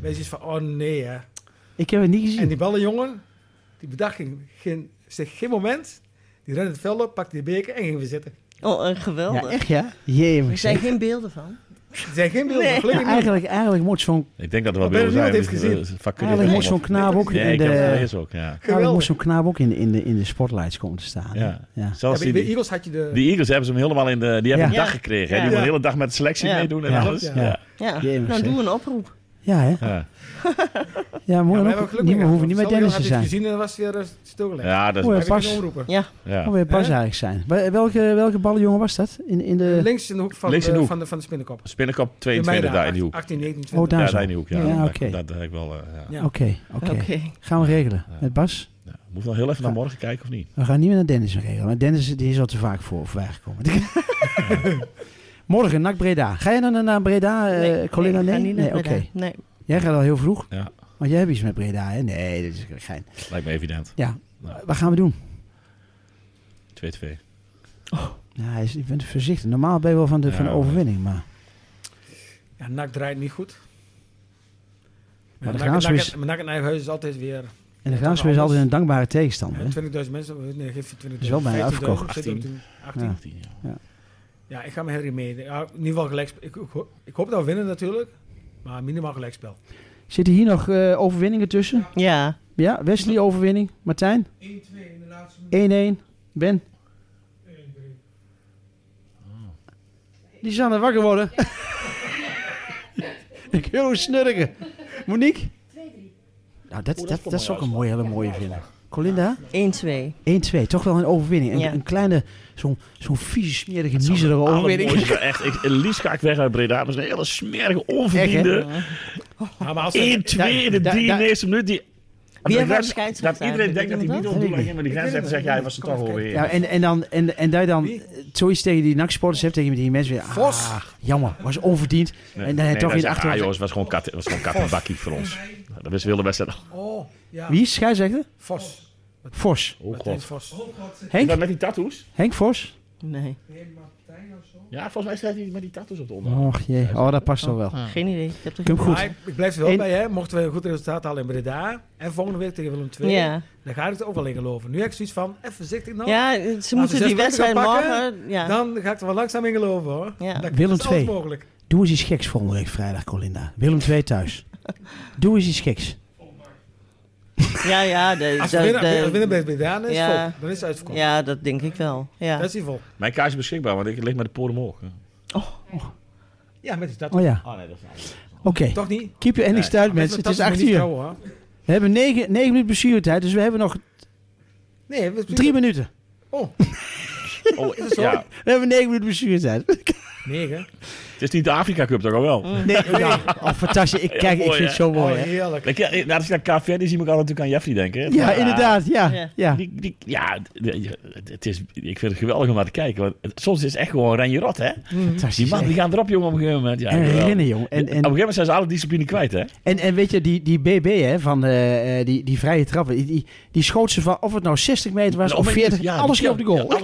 Speaker 4: Wees iets van, oh nee hè.
Speaker 2: Ik heb het niet gezien.
Speaker 4: En die ballenjongen, die bedacht geen, geen, zich geen moment. Die rende het veld op, pakte die beker en ging weer zitten.
Speaker 5: Oh, eh,
Speaker 2: Ja,
Speaker 5: geweldig.
Speaker 2: echt ja? Jee, maar
Speaker 5: er zijn geen beelden van.
Speaker 4: Er zijn geen beelden,
Speaker 5: Nee.
Speaker 4: gelukkig
Speaker 2: Ja,
Speaker 4: niet.
Speaker 2: eigenlijk, eigenlijk moet zo'n
Speaker 3: Ik denk dat er wel
Speaker 4: Maar
Speaker 3: beelden zijn.
Speaker 4: bijna niemand
Speaker 3: maar
Speaker 4: heeft
Speaker 3: het- het vak kun je
Speaker 2: eigenlijk moet
Speaker 3: niet
Speaker 2: zo'n knaap ook
Speaker 3: Nee,
Speaker 2: in
Speaker 3: ik heb het
Speaker 2: de,
Speaker 3: gelezen ook, ja.
Speaker 2: eigenlijk moet
Speaker 4: Geweldig.
Speaker 2: Nou, zo'n knaap ook in de, in de, in de spotlights komen te staan. hè?
Speaker 3: Ja.
Speaker 2: Ja.
Speaker 4: Ja,
Speaker 3: Zelfs
Speaker 4: bij
Speaker 3: die,
Speaker 4: de
Speaker 3: die
Speaker 4: Eagles had je de...
Speaker 3: Eagles hebben ze hem helemaal in de... Die hebben
Speaker 5: Ja.
Speaker 3: een dag gekregen. Hè? Die
Speaker 5: Ja.
Speaker 3: hebben
Speaker 4: Ja.
Speaker 3: een hele dag met selectie
Speaker 5: Ja.
Speaker 3: meedoen en
Speaker 2: Ja.
Speaker 3: alles.
Speaker 4: Ja.
Speaker 3: Ja.
Speaker 5: Ja.
Speaker 2: Jemig,
Speaker 5: nou,
Speaker 2: zeg.
Speaker 5: doe een oproep.
Speaker 2: Ja, hè?
Speaker 3: Ja.
Speaker 2: Ja,
Speaker 4: Ja,
Speaker 2: mooi. Ja,
Speaker 4: maar we hebben
Speaker 2: ook,
Speaker 4: geluk
Speaker 2: niet,
Speaker 4: mee
Speaker 2: we
Speaker 4: gehad,
Speaker 2: hoeven niet bij
Speaker 4: want
Speaker 2: Dennis te
Speaker 4: Stel, je
Speaker 2: zijn.
Speaker 4: had het gezien en dan was het weer eh, stilgelegd.
Speaker 3: Ja, dat is...
Speaker 2: Oei.
Speaker 4: Heb ik
Speaker 2: Pas.
Speaker 4: kunnen omroepen.
Speaker 5: Ja.
Speaker 3: Ja.
Speaker 2: Oh, weer pas
Speaker 4: Hè?
Speaker 2: eigenlijk zijn. Bij- Welke, welke ballenjongen was dat? In, in de...
Speaker 4: eh, Links in de hoek van,
Speaker 3: Links in de
Speaker 4: de,
Speaker 3: hoek.
Speaker 4: van, de, van de spinnenkop.
Speaker 3: Spinnenkop
Speaker 4: In
Speaker 3: 22 daar in die hoek.
Speaker 4: 18, 19, 20.
Speaker 2: Oh,
Speaker 3: Ja,
Speaker 2: daar zo.
Speaker 3: daar in
Speaker 2: Oké,
Speaker 3: die hoek. Ja,
Speaker 2: Ja,
Speaker 3: Dat-
Speaker 2: oké.
Speaker 3: dat, dat heb ik wel... eh, ja.
Speaker 4: Ja.
Speaker 5: Oké.
Speaker 2: oké. Eh, Gaan we regelen met Bas.
Speaker 3: Ja. Moet nog heel even naar morgen kijken of niet?
Speaker 2: We gaan niet meer naar Dennis regelen. Maar Dennis die is al te vaak voor voorbij gekomen. Morgen, NAC Breda. Ga jij dan naar- naar Breda, eh, collega?
Speaker 5: ik ga
Speaker 2: Nee,
Speaker 5: niet naar
Speaker 2: nee, oké.
Speaker 5: Breda. Nee.
Speaker 2: Jij gaat al heel vroeg.
Speaker 3: Ja.
Speaker 2: Want jij hebt iets met Breda, hè? Nee, dat is gein.
Speaker 3: Lijkt me evident.
Speaker 2: Ja,
Speaker 3: Nou.
Speaker 2: wat gaan we doen?
Speaker 3: 2-2.
Speaker 2: Ja, hij is, ik ben voorzichtig. Normaal ben je wel van de,
Speaker 3: Ja,
Speaker 2: van de
Speaker 3: maar-
Speaker 2: overwinning, maar...
Speaker 4: Ja, NAC draait niet goed.
Speaker 2: Maar
Speaker 4: Maar
Speaker 2: de
Speaker 4: NAC,
Speaker 2: Graafschap
Speaker 4: NAC,
Speaker 2: is-
Speaker 4: maar NAC in eigen huis is altijd weer eh,
Speaker 2: En de Graafschap is
Speaker 4: anders.
Speaker 2: altijd een dankbare tegenstander. hè?
Speaker 4: 20.000 mensen. Nee, geef je 20.000.
Speaker 2: Is wel bijna
Speaker 4: 15.000,
Speaker 2: afgekocht.
Speaker 4: 17.000, 18.
Speaker 2: Ja.
Speaker 4: Ja.
Speaker 3: 18, ja.
Speaker 4: ik ga me Harry mee. Ja, in ieder geval gelijkspel. Ik, ik, ho- ik hoop dat we winnen natuurlijk. Maar minimaal gelijkspel.
Speaker 2: Zitten hier nog eh, overwinningen tussen?
Speaker 5: Ja.
Speaker 2: Ja, Wesley overwinning. Martijn? 1-2 in de laatste 1-1. Ben? 1-3. Die is aan het wakker worden. Ik wil hem snurken. Monique? 2-3. Nou, dat, dat, dat is ook een mooie, hele mooie vinden. Colinda?
Speaker 5: 1-2.
Speaker 2: 1-2, toch wel een overwinning. Een,
Speaker 5: Ja.
Speaker 2: een kleine, zo'n zo'n vieze, smerige, miserige overwinning.
Speaker 3: Allermooiste, echt, ik, het liefst ga ik weg uit Breda. Maar het is een hele smerige, onverdiende...
Speaker 4: Ja, maar als we-
Speaker 3: 1-2 in de
Speaker 2: daar- daar-
Speaker 3: 93 minuut. Die,
Speaker 5: Wie hebben
Speaker 3: dat-
Speaker 5: we als scheidsrechter
Speaker 3: Dat iedereen denkt dat hij
Speaker 5: eigenlijk?
Speaker 3: niet op
Speaker 2: Weet
Speaker 3: doel
Speaker 2: ik
Speaker 3: ging. Maar die
Speaker 4: Ik
Speaker 3: grensrechter zegt,
Speaker 4: weet het
Speaker 3: ja, hij
Speaker 4: niet.
Speaker 3: was er
Speaker 4: Kom
Speaker 3: toch
Speaker 4: even
Speaker 3: alweer.
Speaker 2: Ja, en, en, dan, en, en daar dan eh,
Speaker 4: Wie?
Speaker 2: zoiets tegen die NAC-sporters hebt, tegen die mensen weer...
Speaker 4: Vos.
Speaker 2: Ah, jammer, was onverdiend. en dan heb je toch
Speaker 3: in
Speaker 2: in achter...
Speaker 3: Ah, joh, het was gewoon kat, het was gewoon kat en bakkie voor ons. Dat is wilde best.
Speaker 4: Oh, ja.
Speaker 2: Wie is scheidsrechter?
Speaker 4: Vos.
Speaker 2: Vos.
Speaker 3: Oh
Speaker 4: Martijn Vos.
Speaker 2: Henk?
Speaker 3: met die tattoos?
Speaker 2: Henk Vos?
Speaker 5: Nee.
Speaker 3: Ja, volgens mij staat hij met die tattoos op de onderkant.
Speaker 2: Och jee, oh, dat past al wel.
Speaker 5: Geen idee. Ik heb er
Speaker 2: Ik heb hem
Speaker 4: Maar
Speaker 2: goed.
Speaker 4: ik, ik blijf er wel
Speaker 2: Eén-
Speaker 4: bij, hè. Mochten we een goed resultaat halen in Breda. En volgende week tegen Willem II.
Speaker 5: Ja.
Speaker 4: Dan ga ik er ook wel in geloven. Nu heb ik zoiets van, even voorzichtig nou.
Speaker 5: ja, ze
Speaker 4: Laten we
Speaker 5: moeten die
Speaker 4: zes
Speaker 5: wedstrijd
Speaker 4: punten gaan
Speaker 5: morgen... Ja.
Speaker 4: Dan ga ik er wel langzaam in geloven, hoor.
Speaker 5: Ja.
Speaker 4: Dat,
Speaker 2: Willem
Speaker 4: dat is alles
Speaker 2: II.
Speaker 4: mogelijk.
Speaker 2: Doe eens iets geks volgende week vrijdag, Colinda. Willem 2 thuis. Doe eens iets geks.
Speaker 5: ja, ja. De,
Speaker 4: Als
Speaker 5: de-
Speaker 4: we winnen,
Speaker 5: de-
Speaker 4: als we winnen bij Breda, dan is het
Speaker 5: Ja.
Speaker 4: vol. Dan is het uitverkocht.
Speaker 5: ja, dat denk ik wel. Ja.
Speaker 4: Dat is hij vol.
Speaker 3: Mijn kaars is beschikbaar, want ik lig met de poren omhoog.
Speaker 4: Ja, met die tattoo.
Speaker 2: Oh ja,
Speaker 3: Oh nee, dat is
Speaker 2: oké.
Speaker 4: Toch niet? Ah,
Speaker 2: Keep your endings uit,
Speaker 4: Met
Speaker 2: mensen.
Speaker 4: mijn
Speaker 2: Het is
Speaker 4: tattoo
Speaker 2: 8
Speaker 4: moet je niet
Speaker 2: uur.
Speaker 4: trouwen, hoor.
Speaker 2: We hebben 9 minuten blessuretijd, dus we hebben nog
Speaker 4: Nee, we
Speaker 2: 3 minuten.
Speaker 4: Oh,
Speaker 3: Oh,
Speaker 4: Is het zo?
Speaker 3: ja.
Speaker 2: We hebben 9 minuten blessuretijd.
Speaker 4: negen.
Speaker 3: Het is niet de Afrika Cup toch al wel?
Speaker 2: Nee, ja. Oh, fantastisch. Ik, kijk, ik
Speaker 3: mooi,
Speaker 2: vind het
Speaker 3: hè?
Speaker 2: zo mooi,
Speaker 4: Oh,
Speaker 2: hè.
Speaker 4: heerlijk.
Speaker 3: Ik, ja, eh, als ik naar KVR, die zie ik altijd natuurlijk aan Jeffrey denken. hè.
Speaker 2: Ja, inderdaad. Ja,
Speaker 5: Ja.
Speaker 2: ja.
Speaker 3: Die, die, ja, d- d- het is, ik vind het geweldig om naar te kijken. Want het- soms is het echt gewoon ren je rot, hè? Die
Speaker 2: Fantastisch.
Speaker 3: man, die gaan erop, jongen, op een gegeven moment. Ja,
Speaker 2: En
Speaker 3: geweldig.
Speaker 2: rennen, jong. En,
Speaker 3: op een gegeven
Speaker 2: en,
Speaker 3: moment zijn ze alle discipline kwijt, hè?
Speaker 2: en, en weet je, die, die BB hè, van eh, eh, die, die vrije trappen, die, die, die schoot ze van of het nou 60 meter was
Speaker 3: Nou,
Speaker 2: of
Speaker 3: maar-
Speaker 2: 40,
Speaker 3: ja,
Speaker 2: alles
Speaker 3: die-
Speaker 2: ging op de goal.
Speaker 3: ja,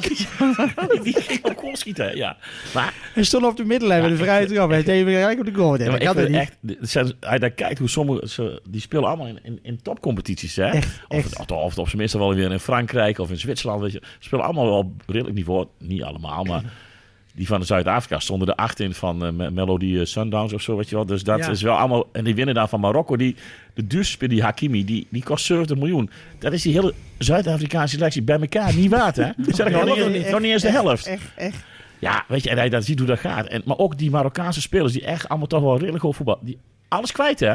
Speaker 3: alles- die ging op goal schieten, ja. Maar
Speaker 2: Een stond op de middenlijn met de vrije trap. Hij deed weer gelijk op de goal. Nee,
Speaker 3: Ja, maar
Speaker 2: dat kan
Speaker 3: ik
Speaker 2: toch
Speaker 3: vind
Speaker 2: niet?
Speaker 3: echt, de- ze- als je daar kijkt hoe sommige, ze, die spelen allemaal in, in, in topcompetities. Hè?
Speaker 2: Echt,
Speaker 3: of,
Speaker 2: echt.
Speaker 3: Of, of op zijn minst wel weer in Frankrijk of in Zwitserland. Weet je. Ze spelen allemaal wel op redelijk niveau. Niet allemaal, maar die van Zuid-Afrika stonden er acht in van eh, Me- Melody eh, Sundowns of zo. Weet je wel. Dus dat
Speaker 4: Ja.
Speaker 3: is wel allemaal... En die winnen daar van Marokko. Die, de duurste speler, die Hakimi, die, die kost 70 miljoen. Dat is die hele Zuid-Afrikaanse selectie bij elkaar niet waard. Hè? Zeg ik nog niet,
Speaker 2: Echt,
Speaker 3: nog niet eens de helft.
Speaker 2: Echt, echt.
Speaker 3: Ja, weet je, en hij dat ziet hoe dat gaat. En, maar ook die Marokkaanse spelers, die echt allemaal toch wel redelijk goed voetbal. Die alles kwijt, hè?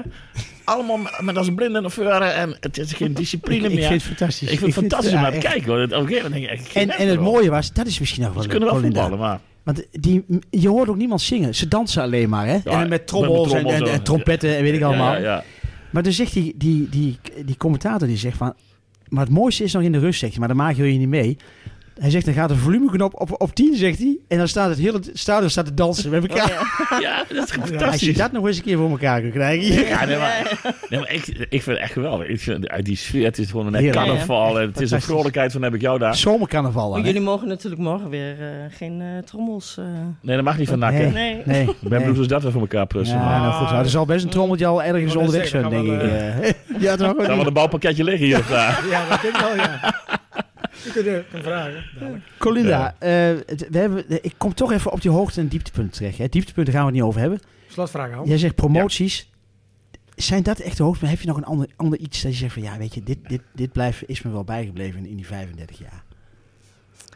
Speaker 3: Allemaal met, met als een blinde en veuren en het is geen discipline
Speaker 2: Ik
Speaker 3: meer.
Speaker 2: vind het fantastisch.
Speaker 3: Ik vind het fantastisch om
Speaker 2: ja,
Speaker 3: naar te
Speaker 2: echt.
Speaker 3: kijken, hoor. Op een gegeven moment denk ik, ik
Speaker 2: En,
Speaker 3: ken
Speaker 2: en het
Speaker 3: wel.
Speaker 2: mooie Oh, was, dat is misschien ook wel
Speaker 3: Ze kunnen wel
Speaker 2: leuk, Colinda.
Speaker 3: voetballen, maar...
Speaker 2: Want die, je hoort ook niemand zingen. Ze dansen alleen maar, hè? en met
Speaker 3: met
Speaker 2: trommels, en- en,
Speaker 3: trommels,
Speaker 2: en,
Speaker 3: ja.
Speaker 2: trompetten en weet ik allemaal.
Speaker 3: Ja, ja,
Speaker 2: Maar dan zegt die, die, die, die commentator, die zegt van... Maar het mooiste is nog in de rust, zegt hij. Maar daar maak je je niet mee. Hij zegt, dan gaat de volumeknop op, op 10, zegt hij. En dan staat het hele stadion staat te dansen met
Speaker 4: Oh,
Speaker 2: elkaar.
Speaker 3: ja. Ja, dat is
Speaker 2: Als je
Speaker 3: fantastisch.
Speaker 2: dat nog eens een keer voor elkaar kunt krijgen.
Speaker 3: Ja, nee, maar, nee, maar ik, ik vind het echt geweldig. Ik vind, uit die sfeer, het is gewoon een
Speaker 2: Heerlijk.
Speaker 3: carnaval. en het is een
Speaker 2: Fantastisch.
Speaker 3: vrolijkheid van heb ik jou daar.
Speaker 2: Zomercarnaval,
Speaker 5: Maar
Speaker 2: hè?
Speaker 5: jullie mogen natuurlijk morgen weer eh, geen eh, trommels. eh,
Speaker 3: Nee, dat mag niet van nakken.
Speaker 2: Nee.
Speaker 5: nee.
Speaker 2: Nee.
Speaker 3: Ik ben
Speaker 2: nee.
Speaker 3: benieuwd hoe ze dat weer voor elkaar prussen.
Speaker 2: Ja, nou goed. Nou, er zal best een trommeltje al ergens
Speaker 4: Ik wou net
Speaker 2: onderweg zijn,
Speaker 4: zeggen,
Speaker 2: denk ik.
Speaker 4: gaan we
Speaker 2: eh. ja, toch?
Speaker 3: Dan wel een bouwpakketje liggen hier of daar.
Speaker 4: Ja, dat denk ik wel, ja. Je kunt er kan vragen. dadelijk.
Speaker 2: Colinda, eh, het- we hebben, ik kom toch even op die hoogte- en dieptepunten terecht. Hè. Dieptepunten gaan we het niet over hebben.
Speaker 4: Slotvraag al.
Speaker 2: Jij zegt promoties. Zijn dat echt de hoogte? Heb je nog een ander, ander iets dat je zegt van... Ja, weet je, dit, dit, dit blijft, is me wel bijgebleven in, in die 35 jaar.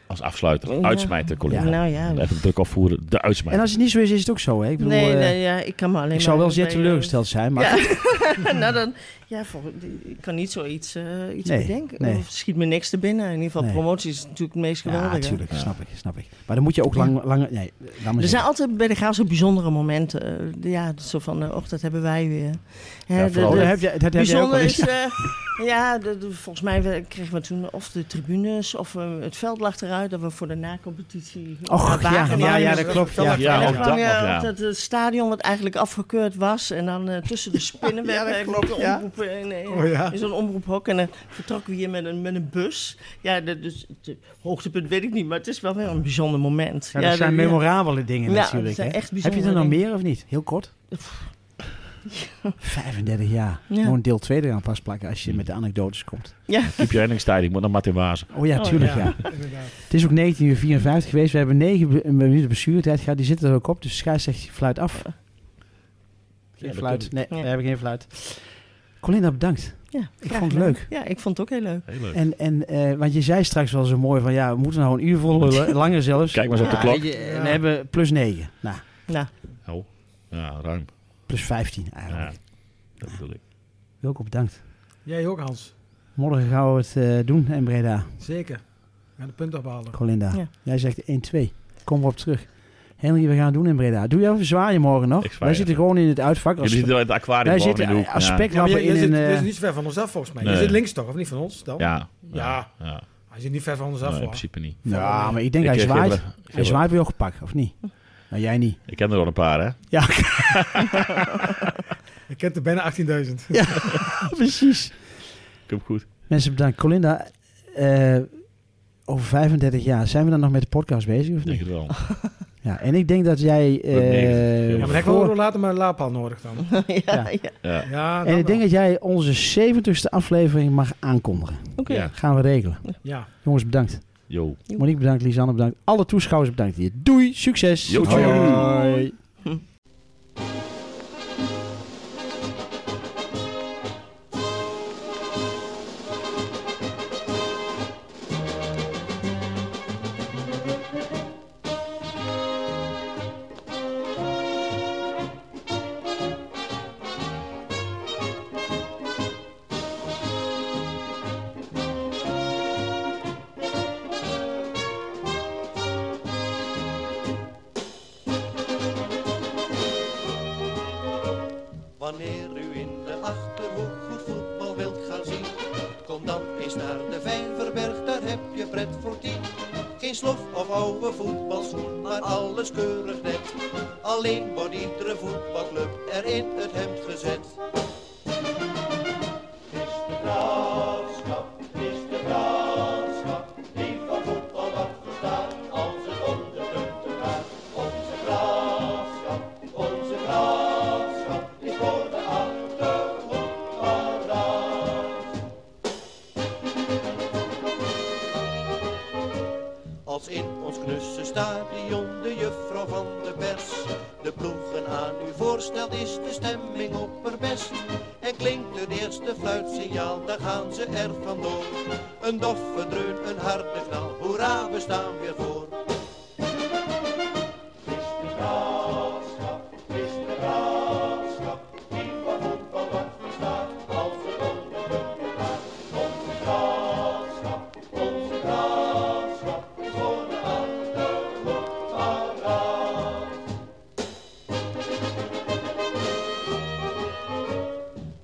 Speaker 3: Als afsluiter.
Speaker 5: Ja.
Speaker 3: Uitsmijter, collega.
Speaker 5: Nou ja.
Speaker 3: Even druk opvoeren. De
Speaker 2: En
Speaker 3: uitsmijter.
Speaker 2: als het niet zo is, is het ook zo. Hè? Ik, bedoel,
Speaker 5: Nee,
Speaker 2: eh,
Speaker 5: nee, ja, ik kan me alleen
Speaker 2: ik zou
Speaker 5: maar
Speaker 2: wel zeer
Speaker 5: bij, eh,
Speaker 2: teleurgesteld zijn, maar...
Speaker 5: Ja, nou dan, ja voor, ik kan niet zoiets, eh, iets
Speaker 2: Nee,
Speaker 5: bedenken.
Speaker 2: nee.
Speaker 5: Of schiet me niks te binnen. In ieder geval,
Speaker 2: Nee.
Speaker 5: promotie is natuurlijk het meest
Speaker 2: Ja,
Speaker 5: geweldige.
Speaker 2: natuurlijk, snap ik, snap ik. Maar dan moet je ook lang... lang nee, laat maar
Speaker 5: Er
Speaker 2: zeggen. Oh,
Speaker 5: zijn altijd bij de graaf zo bijzondere momenten. Eh, ja, zo van, eh, och, dat hebben wij weer. Hè,
Speaker 3: Ja,
Speaker 5: de-
Speaker 3: vooral
Speaker 5: de-
Speaker 2: dat heb je, dat heb jij ook
Speaker 5: bijzonder
Speaker 2: wel
Speaker 5: is,
Speaker 2: eens.
Speaker 5: eh, ja, de- de- volgens mij we- kregen we toen of de tribunes of eh, het veld lag eruit dat we voor de nacompetitie.
Speaker 2: Och,
Speaker 5: eh,
Speaker 2: ja,
Speaker 5: wagen
Speaker 2: ja,
Speaker 5: waren.
Speaker 2: ja,
Speaker 4: dus
Speaker 2: dat
Speaker 4: dat-
Speaker 2: klopt.
Speaker 4: dat
Speaker 2: Ja,
Speaker 4: lag-
Speaker 3: Ja,
Speaker 5: en
Speaker 3: ook
Speaker 5: dan
Speaker 3: dat nog,
Speaker 5: kwam je
Speaker 3: ja.
Speaker 5: op dat eh, stadion wat eigenlijk afgekeurd was. En dan eh, tussen de spinnenwebben en de omroep, eh, in, eh,
Speaker 4: Oh, ja.
Speaker 5: in zo'n omroephok. En dan vertrokken we hier met een, met een bus. Ja, de- dus het hoogtepunt weet ik niet, maar het is wel weer een bijzonder moment.
Speaker 2: Ja, dat zijn
Speaker 5: dat-
Speaker 2: memorabele dingen
Speaker 5: Ja, dat
Speaker 2: natuurlijk.
Speaker 5: zijn
Speaker 2: hè.
Speaker 5: echt
Speaker 2: Heb je
Speaker 5: bijzondere
Speaker 2: er nog
Speaker 5: dingen.
Speaker 2: meer of niet? Heel kort? 35 jaar.
Speaker 5: Ja.
Speaker 2: Gewoon deel 2 eraan vastplakken als je met de anekdotes komt.
Speaker 5: Ja.
Speaker 3: Keep your endings tijd. Ik moet naar Martin Wazen.
Speaker 2: Oh ja,
Speaker 5: Oh,
Speaker 2: tuurlijk ja.
Speaker 4: ja. Inderdaad.
Speaker 2: Het is ook 19.54 geweest. We hebben 9 be- minuten bestuurtijd gehad. Die zitten er ook op. Dus de scheidsrechter fluit af. Geen
Speaker 3: dat
Speaker 2: fluit.
Speaker 3: kan.
Speaker 2: Nee,
Speaker 5: Ja.
Speaker 2: we hebben geen fluit. Colinda, bedankt.
Speaker 5: Ja,
Speaker 2: Ik
Speaker 5: graag
Speaker 2: vond het
Speaker 5: gedaan.
Speaker 2: leuk.
Speaker 5: Ja, ik vond het ook heel leuk.
Speaker 3: Heel leuk.
Speaker 2: En, en, eh, want je zei straks wel zo mooi van... Ja, we moeten nou een uur vol lullen. Langer zelfs.
Speaker 3: Kijk maar eens op de
Speaker 2: Ja,
Speaker 3: klok.
Speaker 2: weet je, En we hebben plus 9. Nou,
Speaker 5: Nou,
Speaker 3: Oh. Ja, ruim.
Speaker 2: plus 15 eigenlijk.
Speaker 3: Ja. Dat bedoel ik.
Speaker 2: Wilco, bedankt.
Speaker 4: Jij ook, Hans.
Speaker 2: Morgen gaan we het eh, doen in Breda.
Speaker 4: Zeker. We gaan de punten ophalen.
Speaker 2: Colinda,
Speaker 5: Ja.
Speaker 2: jij zegt 1-2. Kom op terug. Henry, we gaan het doen in Breda. Doe jij even zwaaien morgen nog?
Speaker 3: Ik zwaai
Speaker 2: Wij
Speaker 3: even.
Speaker 2: zitten gewoon in het uitvak. Als-
Speaker 3: Jullie zitten wel in het aquarium.
Speaker 2: wij
Speaker 3: boven
Speaker 2: zitten
Speaker 3: in de hoek.
Speaker 2: als
Speaker 4: Ja, maar
Speaker 2: speknappen
Speaker 4: je, je
Speaker 2: in
Speaker 4: zit,
Speaker 2: een...
Speaker 4: je
Speaker 2: eh,
Speaker 4: zit niet zo ver van ons af, volgens mij.
Speaker 3: Nee.
Speaker 4: Je zit links toch, of niet van ons dan?
Speaker 3: Ja.
Speaker 4: Ja.
Speaker 3: ja. ja.
Speaker 4: Hij zit niet ver van ons af,
Speaker 3: Nee, in
Speaker 4: hoor.
Speaker 3: principe niet.
Speaker 2: ja, maar ik denk
Speaker 3: Ik
Speaker 2: hij
Speaker 3: geef
Speaker 2: zwaait.
Speaker 3: wel- ik geef
Speaker 2: hij
Speaker 3: wel-
Speaker 2: zwaait bij jou gepakt, of niet? Nou, jij niet.
Speaker 3: Ik ken er al een paar, hè?
Speaker 2: Ja,
Speaker 4: Ik ken er bijna 18.000.
Speaker 2: precies.
Speaker 3: Ik heb goed.
Speaker 2: Mensen, bedankt. Colinda, eh, over 35 jaar, zijn we dan nog met de podcast bezig of
Speaker 3: Ik denk
Speaker 2: niet?
Speaker 3: het wel.
Speaker 2: Ja, en ik denk dat jij... eh,
Speaker 3: Wordt 90.
Speaker 4: Ja, maar dan hebben we ook later maar een laadpaal nodig dan.
Speaker 5: ja, ja.
Speaker 3: Ja.
Speaker 4: Ja, dan
Speaker 2: en ik denk
Speaker 4: wel.
Speaker 2: dat jij onze 70ste aflevering mag aankondigen.
Speaker 5: oké.
Speaker 3: Ja.
Speaker 2: Gaan we regelen.
Speaker 4: Ja.
Speaker 2: Jongens, bedankt.
Speaker 3: Yo.
Speaker 2: Monique bedankt, Lisanne bedankt. Alle toeschouwers bedankt hier. Doei, succes.
Speaker 3: Jo, tjoe.
Speaker 2: Hoi.
Speaker 6: Wanneer u in de Achterhoek goed voetbal wilt gaan zien, kom dan eens naar de Vijverberg, daar heb je pret voor tien. Geen slof of oude voetbalschoen, maar alles keurig net. Alleen wordt iedere voetbalclub er in het hemd gezet. Het is de graafschap, het is de graafschap, die van voetbal wat verstaat, als het om de punten gaat. Onze graafschap. fluitsignaal, daar gaan ze er vandoor. Een doffe dreun, een harde knal, hoera, we staan weer voor.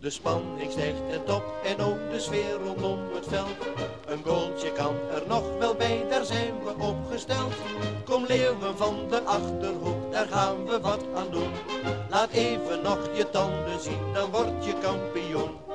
Speaker 6: De spanning stijgt het op en ook de sfeer rondom het veld. Een goaltje kan er nog wel bij, daar zijn we opgesteld. Kom leeuwen van de achterhoek, daar gaan we wat aan doen. Laat even nog je tanden zien, dan word je kampioen.